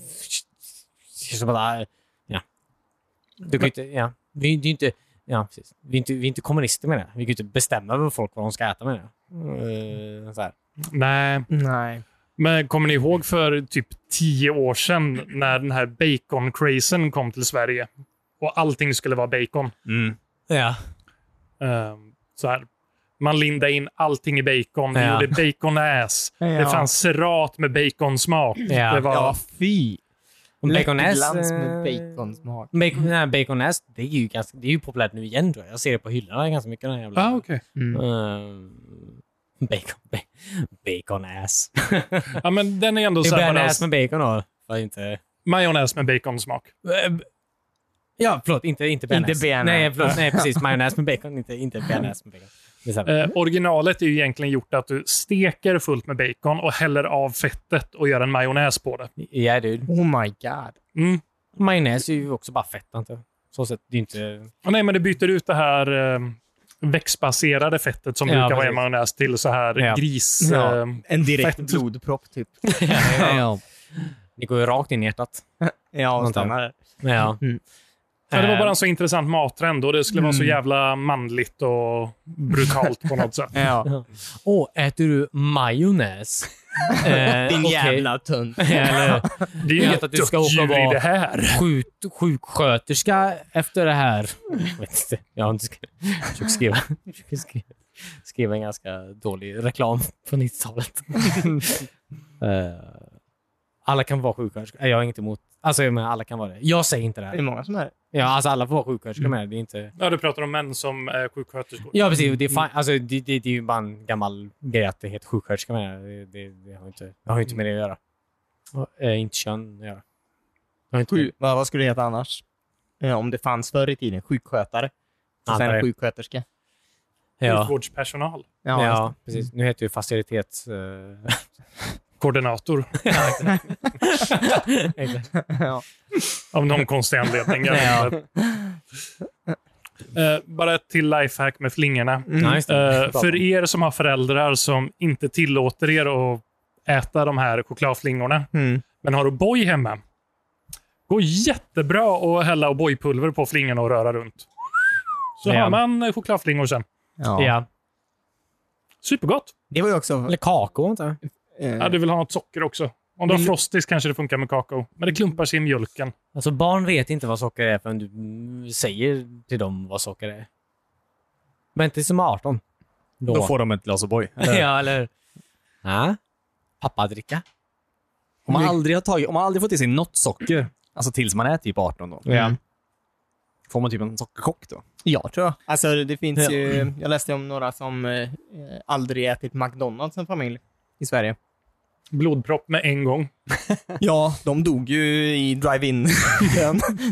[SPEAKER 1] känns som att... äh, Ja. Du kan ju inte... Ja. Vi, det är ju inte ja, precis. Vi, är inte, vi är inte kommunister med det. Vi kan ju inte bestämma över folk vad de ska äta med det. Eh, så här.
[SPEAKER 2] Nej.
[SPEAKER 4] Nej.
[SPEAKER 2] Men kommer ni ihåg för typ tio år sedan när den här bacon-crazen kom till Sverige? Och allting skulle vara bacon.
[SPEAKER 1] Ja.
[SPEAKER 2] Ehm, så här. Man lindade in allting i bacon. Vi
[SPEAKER 1] Ja.
[SPEAKER 2] gjorde baconäs.
[SPEAKER 4] Ja.
[SPEAKER 2] Det fanns serat med baconsmak.
[SPEAKER 1] Ja.
[SPEAKER 2] Det var
[SPEAKER 4] Ja, fy.
[SPEAKER 1] Baconäs...
[SPEAKER 4] Lättglans med
[SPEAKER 1] eh,
[SPEAKER 4] baconsmak.
[SPEAKER 1] Bacon, nej, baconäs, det är ju ganska, det är ju populärt nu igen tror jag. Jag ser det på hyllorna ganska mycket. Den här jävla,
[SPEAKER 2] Ah, okej.
[SPEAKER 1] Ehm, bacon, ba, baconäs. <laughs>
[SPEAKER 2] ja, men den är ändå
[SPEAKER 1] Det
[SPEAKER 2] så
[SPEAKER 1] är
[SPEAKER 2] här
[SPEAKER 1] bearnaise
[SPEAKER 2] balans.
[SPEAKER 1] med bacon då. Var inte...
[SPEAKER 2] Majonnäs med baconsmak.
[SPEAKER 1] Eh, Ja, förlåt. Inte, inte bearnaise.
[SPEAKER 4] Inte bearnaise.
[SPEAKER 1] Nej, förlåt, <laughs> nej, precis. Majonnäs med bacon. Inte, inte bearnaise med bacon. Det är samma.
[SPEAKER 2] Eh, originalet är ju egentligen gjort att du steker fullt med bacon och häller av fettet och gör en majonnäs på det.
[SPEAKER 1] Ja, du.
[SPEAKER 4] Oh my god.
[SPEAKER 2] Mm.
[SPEAKER 1] Majonnäs är ju också bara fett, antar jag. Så sätt, det är inte...
[SPEAKER 2] Och nej, men det byter ut det här eh, växtbaserade fettet som
[SPEAKER 1] Ja,
[SPEAKER 2] brukar vara i
[SPEAKER 1] precis.
[SPEAKER 2] majonnäs till så här
[SPEAKER 1] Ja.
[SPEAKER 2] gris...
[SPEAKER 4] Ja.
[SPEAKER 2] Eh,
[SPEAKER 4] En direkt
[SPEAKER 2] Fett.
[SPEAKER 4] blodpropp typ.
[SPEAKER 1] ja. Det går ju rakt in i hjärtat.
[SPEAKER 4] Ja, och
[SPEAKER 1] Vänta.
[SPEAKER 4] stannar där.
[SPEAKER 1] Ja.
[SPEAKER 2] ja,
[SPEAKER 4] Mm.
[SPEAKER 2] det var
[SPEAKER 1] Eh, Mm.
[SPEAKER 2] bara en så intressant mattrend och det skulle vara så jävla manligt och brutalt på något sätt.
[SPEAKER 4] Ja.
[SPEAKER 1] Åh, äter du <laughs> majonnäs? Eh,
[SPEAKER 4] Din
[SPEAKER 1] okej. <laughs>
[SPEAKER 4] jävla tunt.
[SPEAKER 1] Eller
[SPEAKER 2] Det är
[SPEAKER 1] <laughs> Jag
[SPEAKER 2] ju
[SPEAKER 1] vet
[SPEAKER 2] inget
[SPEAKER 1] att du ska
[SPEAKER 2] dött
[SPEAKER 1] åka
[SPEAKER 2] djur i
[SPEAKER 1] vara-
[SPEAKER 2] det här.
[SPEAKER 1] sjuk, sjuksköterska efter det här. Jag vet inte. Jag har inte skrivit. Jag försöker skriva, jag försöker skriva, skriva en ganska dålig reklam på 90-talet. Eh, alla kan vara sjuksköterska. Nej, Jag är inte emot. Alltså, jag menar, alla kan vara det. Jag säger inte det
[SPEAKER 4] Det är
[SPEAKER 1] här.
[SPEAKER 4] många som är det.
[SPEAKER 1] Ja, alltså, alla får vara sjuksköterska med. Det är inte...
[SPEAKER 2] Ja, du pratar om män som är sjuksköterskor.
[SPEAKER 1] Ja, precis. Det är, fan, alltså, det, det, det är ju bara en gammal grej att det heter sjuksköterska med. Det, det, det har ju inte, det har ju inte med det att göra. Och, eh, inte kön att göra. Det har inte med,
[SPEAKER 4] Sju. Vad, vad skulle det heta annars? Ja, om det fanns förr i tiden. Sjukskötare. Och sen
[SPEAKER 1] Antar jag.
[SPEAKER 4] sjuksköterska.
[SPEAKER 1] ja,
[SPEAKER 2] Sjukvårdspersonal.
[SPEAKER 1] ja,
[SPEAKER 4] just
[SPEAKER 1] precis. Nu heter det Mm. ju facilitets... <laughs> Eh, <laughs>
[SPEAKER 2] Koordinator.
[SPEAKER 4] <laughs> Ja.
[SPEAKER 2] Av någon konstig anledning. Jag
[SPEAKER 1] <laughs> Ja.
[SPEAKER 2] vet inte. Eh, bara ett till lifehack med flingorna.
[SPEAKER 1] Nej, Mm. just det.
[SPEAKER 2] Eh,
[SPEAKER 1] Bra.
[SPEAKER 2] för er som har föräldrar som inte tillåter er att äta de här chokladflingorna,
[SPEAKER 4] Mm.
[SPEAKER 2] men har O'boy hemma, går jättebra att hälla O'boy-pulver på flingorna och röra runt. Så
[SPEAKER 1] Ja.
[SPEAKER 2] har man eh, chokladflingor sen.
[SPEAKER 4] Ja.
[SPEAKER 1] Ja.
[SPEAKER 2] Supergott!
[SPEAKER 4] Det var ju också...
[SPEAKER 1] Eller kakao, inte?
[SPEAKER 4] eh,
[SPEAKER 2] Ja, du vill ha något socker också. Om du har Frosties kanske det funkar med kakao, men det klumpar sig i mjölken.
[SPEAKER 1] Alltså barn vet inte vad socker är förrän du mm, säger till dem vad socker är. Men inte som 18. Då, Äh?
[SPEAKER 3] Då får de ett glas O'boy.
[SPEAKER 1] <laughs> Ja, eller... Ja. Pappa dricka.
[SPEAKER 3] Om man aldrig har tagit, om man aldrig fått i sig något socker, alltså tills man är typ 18 då,
[SPEAKER 4] Mm.
[SPEAKER 3] får man typ en sockerchock då.
[SPEAKER 4] Ja, tror jag. Alltså, det finns
[SPEAKER 3] Ja.
[SPEAKER 4] ju... Jag läste om några som eh, aldrig ätit McDonalds som familj i Sverige.
[SPEAKER 2] Blodpropp med en gång.
[SPEAKER 4] Ja, <laughs> de dog ju i drive-in. <laughs>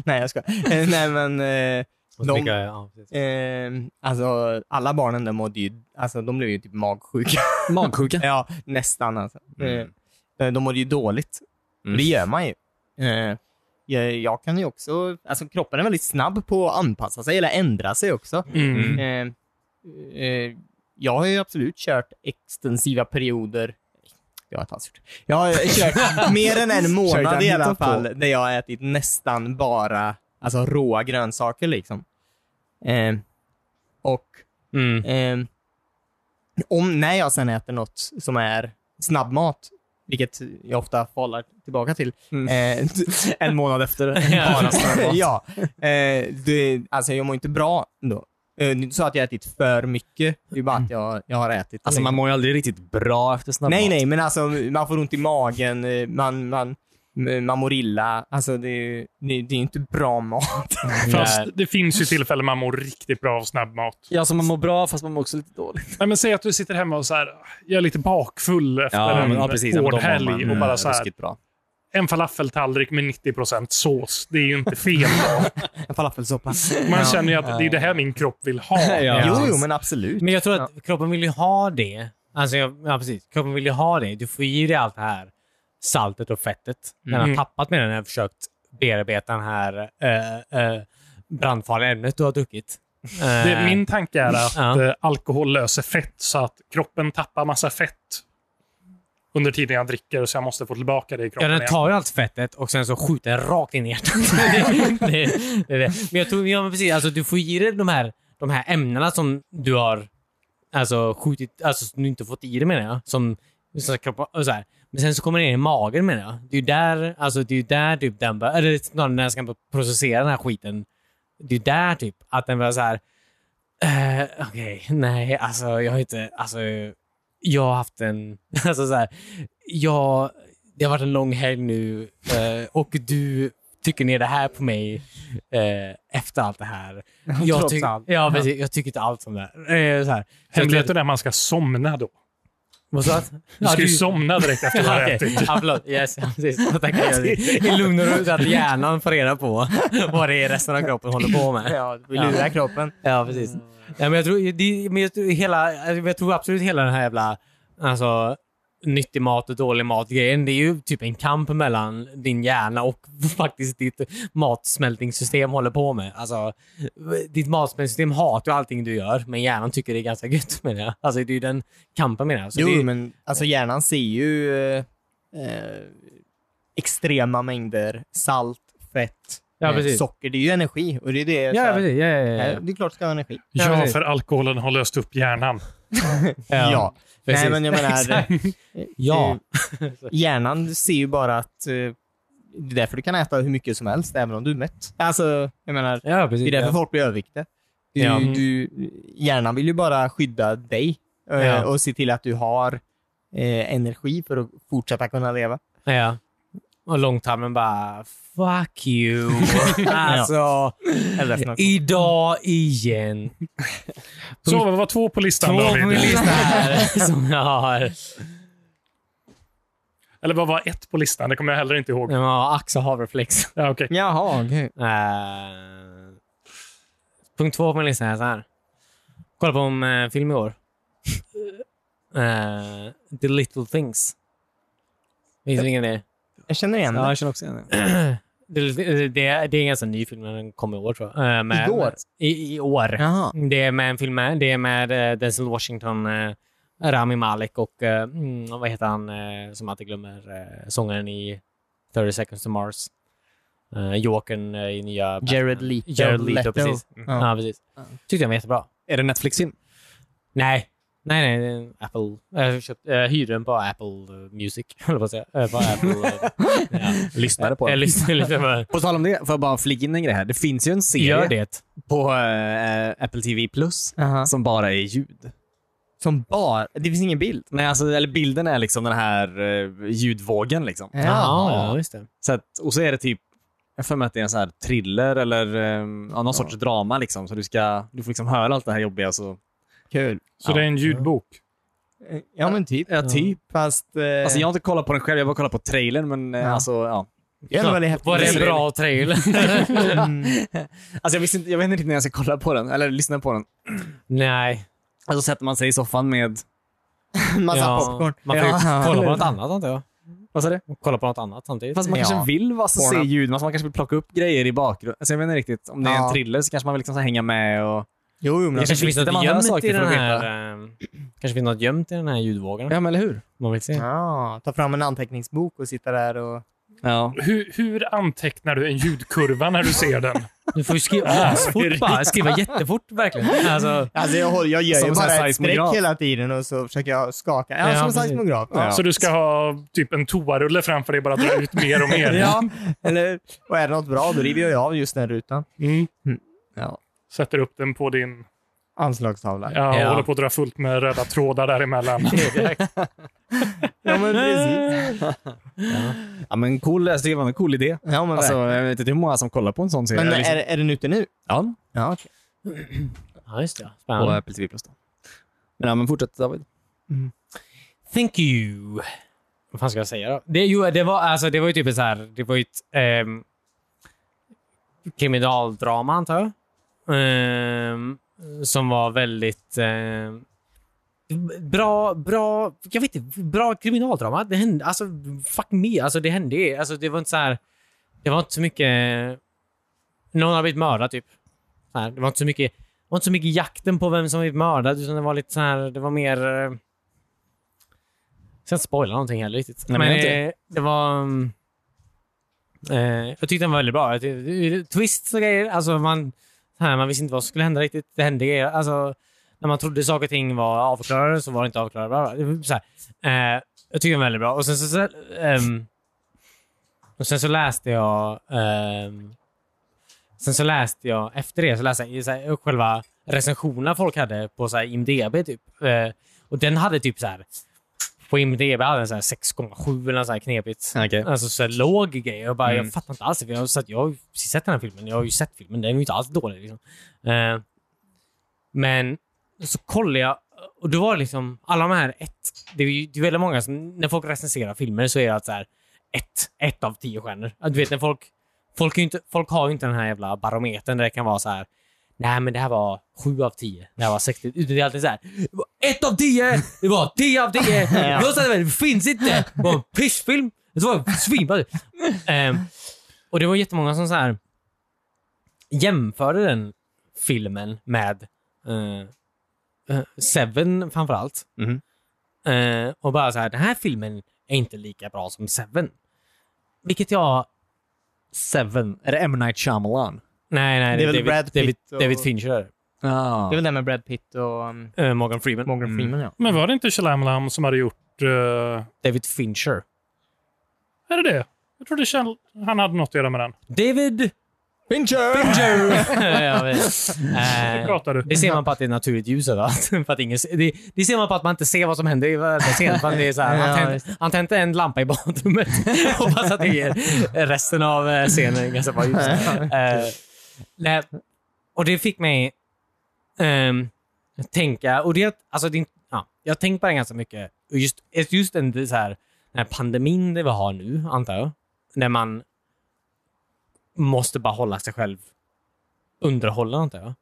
[SPEAKER 4] nej, jag ska. Nej, men... Eh,
[SPEAKER 1] Och
[SPEAKER 4] De-
[SPEAKER 1] dricka, ja, precis.
[SPEAKER 4] eh, alltså, alla barnen där mådde ju... Alltså, de blev ju typ magsjuka.
[SPEAKER 3] Magsjuka.
[SPEAKER 4] ja, nästan alltså.
[SPEAKER 3] Mm.
[SPEAKER 4] Eh, de mådde ju dåligt.
[SPEAKER 3] Mm.
[SPEAKER 4] Det gör man ju. Eh, jag, jag kan ju också... Alltså, kroppen är väldigt snabb på att anpassa sig eller ändra sig också.
[SPEAKER 2] Mm.
[SPEAKER 4] Eh, eh, jag har ju absolut kört extensiva perioder. Jag har inte alls gjort det. Jag har kört mer än en månad
[SPEAKER 3] Kört
[SPEAKER 4] i alla
[SPEAKER 3] hittat på.
[SPEAKER 4] fall där jag har ätit nästan bara alltså, råa grönsaker. liksom. Eh, och
[SPEAKER 1] Mm.
[SPEAKER 4] eh, om när jag sen äter något som är snabbmat, vilket jag ofta faller tillbaka till, eh,
[SPEAKER 3] En månad efter.
[SPEAKER 1] Ja.
[SPEAKER 4] ja. Eh, det, alltså jag mår inte bra då. Eh, det är inte så att jag har ätit för mycket. Det är bara att jag, jag har ätit.
[SPEAKER 3] Alltså man mår ju aldrig riktigt bra efter snabbmat.
[SPEAKER 4] nej, nej, men alltså man får ont i magen, eh, man, man, man mår illa. Alltså det, är- det, är- det är inte bra mat.
[SPEAKER 2] Fast det finns ju tillfällen man mår riktigt bra av snabbmat.
[SPEAKER 3] Ja, alltså man mår bra fast man mår också lite dåligt.
[SPEAKER 2] Nej, men säg att du sitter hemma och så här, jag är lite bakfull efter en Mm. hård helg och bara så här,
[SPEAKER 3] Mm. eh, ruskigt bra.
[SPEAKER 2] en falafeltallrik med 90 sås. Det är ju inte fel.
[SPEAKER 4] En falafelsoppa.
[SPEAKER 2] Man känner ju att det är det här min kropp vill ha.
[SPEAKER 1] Ja.
[SPEAKER 4] Jo, jo, men absolut.
[SPEAKER 1] Men jag tror att kroppen vill ju ha det. Alltså, jag, ja, precis. Kroppen vill ju ha det. Du får i dig allt det här saltet och fettet. Den har
[SPEAKER 2] Mm.
[SPEAKER 1] tappat med den har försökt bearbeta den här eh, eh, brandfarliga ämnet du har druckit. Eh,
[SPEAKER 2] Det, min tanke är att
[SPEAKER 1] Ja.
[SPEAKER 2] eh, alkohol löser fett så att kroppen tappar massa fett under tiden jag dricker så jag måste få tillbaka det i
[SPEAKER 1] Ja,
[SPEAKER 2] kroppen
[SPEAKER 1] den
[SPEAKER 2] igen.
[SPEAKER 1] tar ju allt fettet och sen så skjuter den rakt in i hjärtat. <laughs> det, det, det, är det. Men jag tror, ja men precis, alltså du får i dig de här, de här ämnena som du har alltså skjutit, alltså som du inte fått i dig menar jag. Som, som kroppen, och så här. Men sen så kommer det in i magen menar jag. Det är ju där, alltså det är ju där typ den bör, eller snarare när den ska börja processera den här skiten. Det är ju där typ att den börjar så här. Eh, Okej, nej alltså jag har inte, alltså jag har haft en, <laughs> alltså så här, jag, det har varit en lång helg nu eh, och du trycker ner det här på mig eh, efter allt det
[SPEAKER 2] <laughs>
[SPEAKER 1] här. Jag,
[SPEAKER 4] trots
[SPEAKER 1] tyck,
[SPEAKER 4] allt.
[SPEAKER 1] ja, precis, jag tycker inte allt om det här. Eh, så här. Så jag tror att-
[SPEAKER 2] Hemligheten är att man ska somna då.
[SPEAKER 1] Vad sa du?
[SPEAKER 2] Du ska ju somna direkt efter du har
[SPEAKER 1] Okej,
[SPEAKER 2] ätit.
[SPEAKER 1] ja, förlåt. Yes, <laughs> ja, precis. Tack.
[SPEAKER 2] <laughs>
[SPEAKER 1] I lugn och ro så att hjärnan får reda på <laughs> vad det är resten av kroppen håller på med.
[SPEAKER 4] Ja, vi lurar
[SPEAKER 1] Ja.
[SPEAKER 4] kroppen.
[SPEAKER 1] Ja, precis. Ja, men jag, tror, det, men jag, tror hela, alltså, jag tror absolut hela den här jävla alltså, nyttig mat och dålig mat-grejen, det är ju typ en kamp mellan din hjärna och <laughs> faktiskt ditt matsmältningssystem håller på med. Alltså, ditt matsmältningssystem hatar ju allting du gör, men hjärnan tycker det är ganska gött <laughs> menar jag. Alltså, det är ju den kampen menar jag. Så
[SPEAKER 4] jo,
[SPEAKER 1] det,
[SPEAKER 4] men alltså hjärnan ser ju eh, eh, extrema mängder salt, fett,
[SPEAKER 1] Ja,
[SPEAKER 4] eh,
[SPEAKER 1] precis.
[SPEAKER 4] socker. Det är ju energi och det är det. så
[SPEAKER 1] ja,
[SPEAKER 4] här,
[SPEAKER 1] precis. Ja, ja, ja.
[SPEAKER 4] eh, Det är klart det ska ha energi.
[SPEAKER 1] Ja,
[SPEAKER 2] Ja,
[SPEAKER 1] precis.
[SPEAKER 2] för alkoholen har löst upp hjärnan.
[SPEAKER 1] Ja,
[SPEAKER 4] Ja.
[SPEAKER 1] precis.
[SPEAKER 4] Nej, men jag menar,
[SPEAKER 1] <laughs> Exakt.
[SPEAKER 4] eh,
[SPEAKER 1] Ja. <laughs>
[SPEAKER 4] eh, hjärnan ser ju bara att eh, det är därför du kan äta hur mycket som helst, även om du är mätt. Alltså, jag menar,
[SPEAKER 1] Ja,
[SPEAKER 4] det är
[SPEAKER 1] precis.
[SPEAKER 4] därför folk blir överviktiga. Du,
[SPEAKER 1] Ja.
[SPEAKER 4] du, hjärnan vill ju bara skydda dig eh,
[SPEAKER 1] Ja.
[SPEAKER 4] och se till att du har eh, energi för att fortsätta kunna leva.
[SPEAKER 1] Ja. Och långtarmen bara “fuck
[SPEAKER 4] <laughs>
[SPEAKER 1] you”. alltså, idag igen.
[SPEAKER 2] Så vad var två på listan
[SPEAKER 1] Två på
[SPEAKER 2] David?
[SPEAKER 1] min lista här som jag har.
[SPEAKER 2] Eller vad var ett på listan? Det kommer jag heller inte ihåg.
[SPEAKER 1] Jag har ax och havreflex.
[SPEAKER 2] Ja, okej.
[SPEAKER 4] Jaha, okej.
[SPEAKER 1] Eh, punkt två på min lista är så här. Kolla på en eh, film i år. Eh, The Little Things. Vet du vilken det är?
[SPEAKER 4] Jag känner igen
[SPEAKER 3] Ja,
[SPEAKER 4] det.
[SPEAKER 3] jag känner också igen det.
[SPEAKER 1] Det, det, det är en ganska ny film, men den kom i år tror jag. Eh, med-
[SPEAKER 4] Igår?
[SPEAKER 1] I, I år.
[SPEAKER 4] Jaha.
[SPEAKER 1] Det är med en film med, det är med eh, Denzel Washington, eh, Rami Malek och eh, mm, vad heter han eh, som alltid glömmer eh, sångaren i 30 seconds to Mars. Eh, Jokern eh, i nya... Batman.
[SPEAKER 4] Jared Leto.
[SPEAKER 1] Jared Leto,
[SPEAKER 4] Leto.
[SPEAKER 1] precis. Mm. Ja.
[SPEAKER 4] Ja.
[SPEAKER 1] precis.
[SPEAKER 4] Ja.
[SPEAKER 1] Tyckte den var jättebra.
[SPEAKER 3] Är det Netflix-film?
[SPEAKER 1] Nej. Nej, nej. det är en Apple. Jag köpte, eh, hyrde den på Apple eh, Music, <laughs> höll jag på att säga. Eh, På Apple... eh, ja.
[SPEAKER 3] Lyssnade på
[SPEAKER 1] Jag
[SPEAKER 3] den.
[SPEAKER 1] lyssnade lite på
[SPEAKER 3] På tal om det, får jag bara flika in en grej här. Det finns ju en serie
[SPEAKER 1] Gör det.
[SPEAKER 3] på eh, Apple TV Plus
[SPEAKER 4] Jaha.
[SPEAKER 3] som bara är ljud.
[SPEAKER 4] Som bar. Det finns ingen bild.
[SPEAKER 3] Nej, alltså, eller bilden är liksom den här eh, ljudvågen liksom.
[SPEAKER 4] Ja.
[SPEAKER 1] Ja, just det.
[SPEAKER 3] Så att, och så är det typ, jag har för mig att det är en sån här thriller eller um, någon sorts drama liksom. Så du, ska, du får liksom höra allt det här jobbiga. Så,
[SPEAKER 1] Eh.
[SPEAKER 4] Kul.
[SPEAKER 2] Så det är en ljudbok.
[SPEAKER 4] Ja, men typ.
[SPEAKER 3] ja, typ.
[SPEAKER 4] Fast... Eh,
[SPEAKER 3] Alltså jag har inte kollat på den själv, jag har bara kollat på trailern. Men eh,
[SPEAKER 4] Ja.
[SPEAKER 3] alltså, ja.
[SPEAKER 4] jag var det häftigt.
[SPEAKER 1] Var det en bra trailer?
[SPEAKER 4] Mm.
[SPEAKER 3] Alltså jag, visste inte, jag vet inte riktigt när jag ska kolla på den, eller lyssna på den.
[SPEAKER 1] nej.
[SPEAKER 3] Och så sätter man sig i soffan med...
[SPEAKER 4] Massa
[SPEAKER 1] Ja.
[SPEAKER 4] popcorn.
[SPEAKER 1] Man får ju
[SPEAKER 4] Ja.
[SPEAKER 1] kolla på något annat antar jag.
[SPEAKER 3] Vad sa du?
[SPEAKER 1] Kolla på något annat samtidigt.
[SPEAKER 3] Fast man
[SPEAKER 4] Ja.
[SPEAKER 3] kanske vill alltså, se
[SPEAKER 4] Porno.
[SPEAKER 3] ljud, alltså, man kanske vill plocka upp grejer i bakgrunden. Alltså, jag vet inte riktigt, om det är
[SPEAKER 4] Ja.
[SPEAKER 3] en thriller så kanske man vill liksom, så här, hänga med och...
[SPEAKER 4] Jo, jo, men
[SPEAKER 1] det kanske finns
[SPEAKER 3] viktigt att
[SPEAKER 1] något
[SPEAKER 3] man hör
[SPEAKER 1] gömt
[SPEAKER 3] saker
[SPEAKER 1] i
[SPEAKER 3] för
[SPEAKER 1] den
[SPEAKER 3] att
[SPEAKER 1] här... ehm, kanske finns något gömt i den här ljudvågen.
[SPEAKER 3] men eller hur?
[SPEAKER 1] Man vill se.
[SPEAKER 4] Ja, ta fram en anteckningsbok och sitta där och...
[SPEAKER 3] Ja.
[SPEAKER 2] Hur, hur antecknar du en ljudkurva när du ser den?
[SPEAKER 1] Du får ju skriva asfort bara. Skriva jättefort verkligen. Alltså,
[SPEAKER 4] Alltså jag, håller, jag gör
[SPEAKER 3] Som
[SPEAKER 4] ju
[SPEAKER 3] en sån här
[SPEAKER 4] bara ett streck
[SPEAKER 3] seismograf.
[SPEAKER 4] hela tiden och så försöker jag skaka. Ja,
[SPEAKER 1] Ja,
[SPEAKER 4] som en
[SPEAKER 1] precis.
[SPEAKER 4] seismograf. Ja.
[SPEAKER 2] Så du ska ha typ en toarulle framför dig bara dra ut mer och mer?
[SPEAKER 4] <laughs> Ja, eller... Och är det något bra, då river jag ju av just den rutan.
[SPEAKER 2] Mm.
[SPEAKER 4] Ja.
[SPEAKER 2] Sätter upp den på din...
[SPEAKER 4] Anslagstavla.
[SPEAKER 2] Ja,
[SPEAKER 1] Ja.
[SPEAKER 2] Håller på att dra fullt med röda trådar däremellan.
[SPEAKER 4] Ja, men precis.
[SPEAKER 3] ja men cool, alltså, det var en cool idé.
[SPEAKER 4] Ja, men,
[SPEAKER 3] Alltså, jag vet inte hur många som kollar på en sån serie.
[SPEAKER 4] men
[SPEAKER 3] liksom.
[SPEAKER 4] är, är den ute nu?
[SPEAKER 3] Ja,
[SPEAKER 4] Ja, okej.
[SPEAKER 1] ja, just det.
[SPEAKER 3] på
[SPEAKER 1] Spännande.
[SPEAKER 3] Apple TV Plus. Då. Men, ja, men fortsätt David.
[SPEAKER 1] Thank you. Vad fan ska jag säga då? Det, jo, det var, alltså, det var ju typ ett så här... Det var ju ett ehm, kriminaldrama, antar jag. Ehm, som var väldigt... ehm, bra, bra, jag vet inte, bra kriminaldrama. Det hände, alltså fuck me, alltså det hände. Alltså det var inte så här, det var inte så mycket, någon har blivit mördad typ. Så här, det var inte så mycket, det var inte så mycket jakten på vem som blivit mördad, utan det var lite så här, det var mer eh, ska inte spoila någonting heller riktigt.
[SPEAKER 3] Nej, men
[SPEAKER 1] men
[SPEAKER 3] inte.
[SPEAKER 1] eh, det var... mm, Eh, jag tyckte den var väldigt bra. Jag tyckte- Twists och grejer. Alltså man, så här, man visste inte vad som skulle hända riktigt. Det hände grejer. Alltså, när man trodde saker och ting var avklarade så var det inte avklarade. Bla bla. Det var Så här. Eh, jag tyckte den var väldigt bra. Och sen så, så ehm, och sen så läste jag... ehm, sen så läste jag efter det så läste jag så här, själva recensionerna folk hade på så här, IMDB. Typ. Eh, och den hade typ så här... På IMDB hade den så här 6,7 eller något så här knepigt.
[SPEAKER 3] Okej.
[SPEAKER 1] Alltså så här, låg grej. Jag, bara,
[SPEAKER 3] Mm.
[SPEAKER 1] jag fattar inte alls. det, För jag, har satt- jag har ju precis sett den här filmen. Jag har ju sett filmen. Den är ju inte alls dålig. Liksom. Eh, men så kollade jag och då var det liksom alla de här ett. Det är ju det är väldigt många som, när folk recenserar filmer så är det att så här ett, ett av tio stjärnor. Att Du vet när folk, folk, är ju inte, folk har ju inte den här jävla barometern där det kan vara så här. Nej, men det här var sju av tio. Det här var 60. Utan det är alltid så här. Det var ett av tio! Det var tio av tio!
[SPEAKER 4] <laughs>
[SPEAKER 1] Det var så här, Det finns inte! Det var en pissfilm! Det var svinbra! Ehm, och det var jättemånga som så här jämförde den filmen med eh, eh, Seven framförallt.
[SPEAKER 3] Mhm.
[SPEAKER 1] Eh, och bara så här, den här filmen är inte lika bra som Seven. Vilket jag...
[SPEAKER 3] Seven. Är det M. Night Shyamalan?
[SPEAKER 1] Nej, nej.
[SPEAKER 4] Det är väl
[SPEAKER 1] David,
[SPEAKER 4] Brad Pitt
[SPEAKER 1] David,
[SPEAKER 4] och-
[SPEAKER 1] David Fincher.
[SPEAKER 3] Ah.
[SPEAKER 4] Det är väl det med Brad Pitt och um,
[SPEAKER 1] Eh, Morgan Freeman.
[SPEAKER 4] Morgan Freeman, ja.
[SPEAKER 2] Men var det inte Shalamelam som hade gjort... eh,
[SPEAKER 1] David Fincher.
[SPEAKER 2] är det det? Jag trodde Shal- han hade något att göra med den.
[SPEAKER 1] David...
[SPEAKER 4] Fincher!
[SPEAKER 1] Ja, men,
[SPEAKER 2] Det
[SPEAKER 1] eh,
[SPEAKER 2] pratar du.
[SPEAKER 1] det ser man på att det är naturligt ljus överallt. <laughs> För att ingen, se- det, det ser man på att man inte ser vad som händer i varenda scen. För att det är så här,
[SPEAKER 4] Ja,
[SPEAKER 1] han,
[SPEAKER 4] just
[SPEAKER 1] tänd, han tände en lampa i badrummet. <laughs> Hoppas att det ger resten av eh, scenen ganska bra ljus. Eh, nej, och det fick mig ehm, tänka, och det, alltså det, är inte- ja, jag har tänkt på det ganska mycket. Och Just, just den, det är så här, den här pandemin det vi har nu, antar jag, när man måste bara hålla sig själv underhållande, antar jag.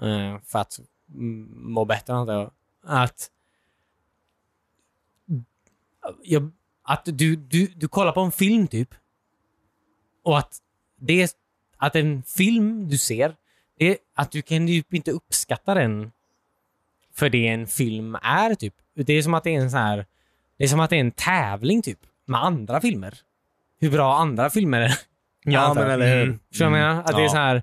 [SPEAKER 4] Mm.
[SPEAKER 1] Eh, för att mm, må bättre, antar jag. Att, jag, att du, du, du kollar på en film, typ, och att det att en film du ser, det är att du kan ju inte uppskatta den för det en film är. typ. Det är som att det är en sån här, det är som att det är en tävling typ med andra filmer. Hur bra andra filmer är.
[SPEAKER 4] Ja, men eller hur.
[SPEAKER 1] Mm. Förstår du vad jag menar? Att det är
[SPEAKER 3] Ja.
[SPEAKER 1] så här,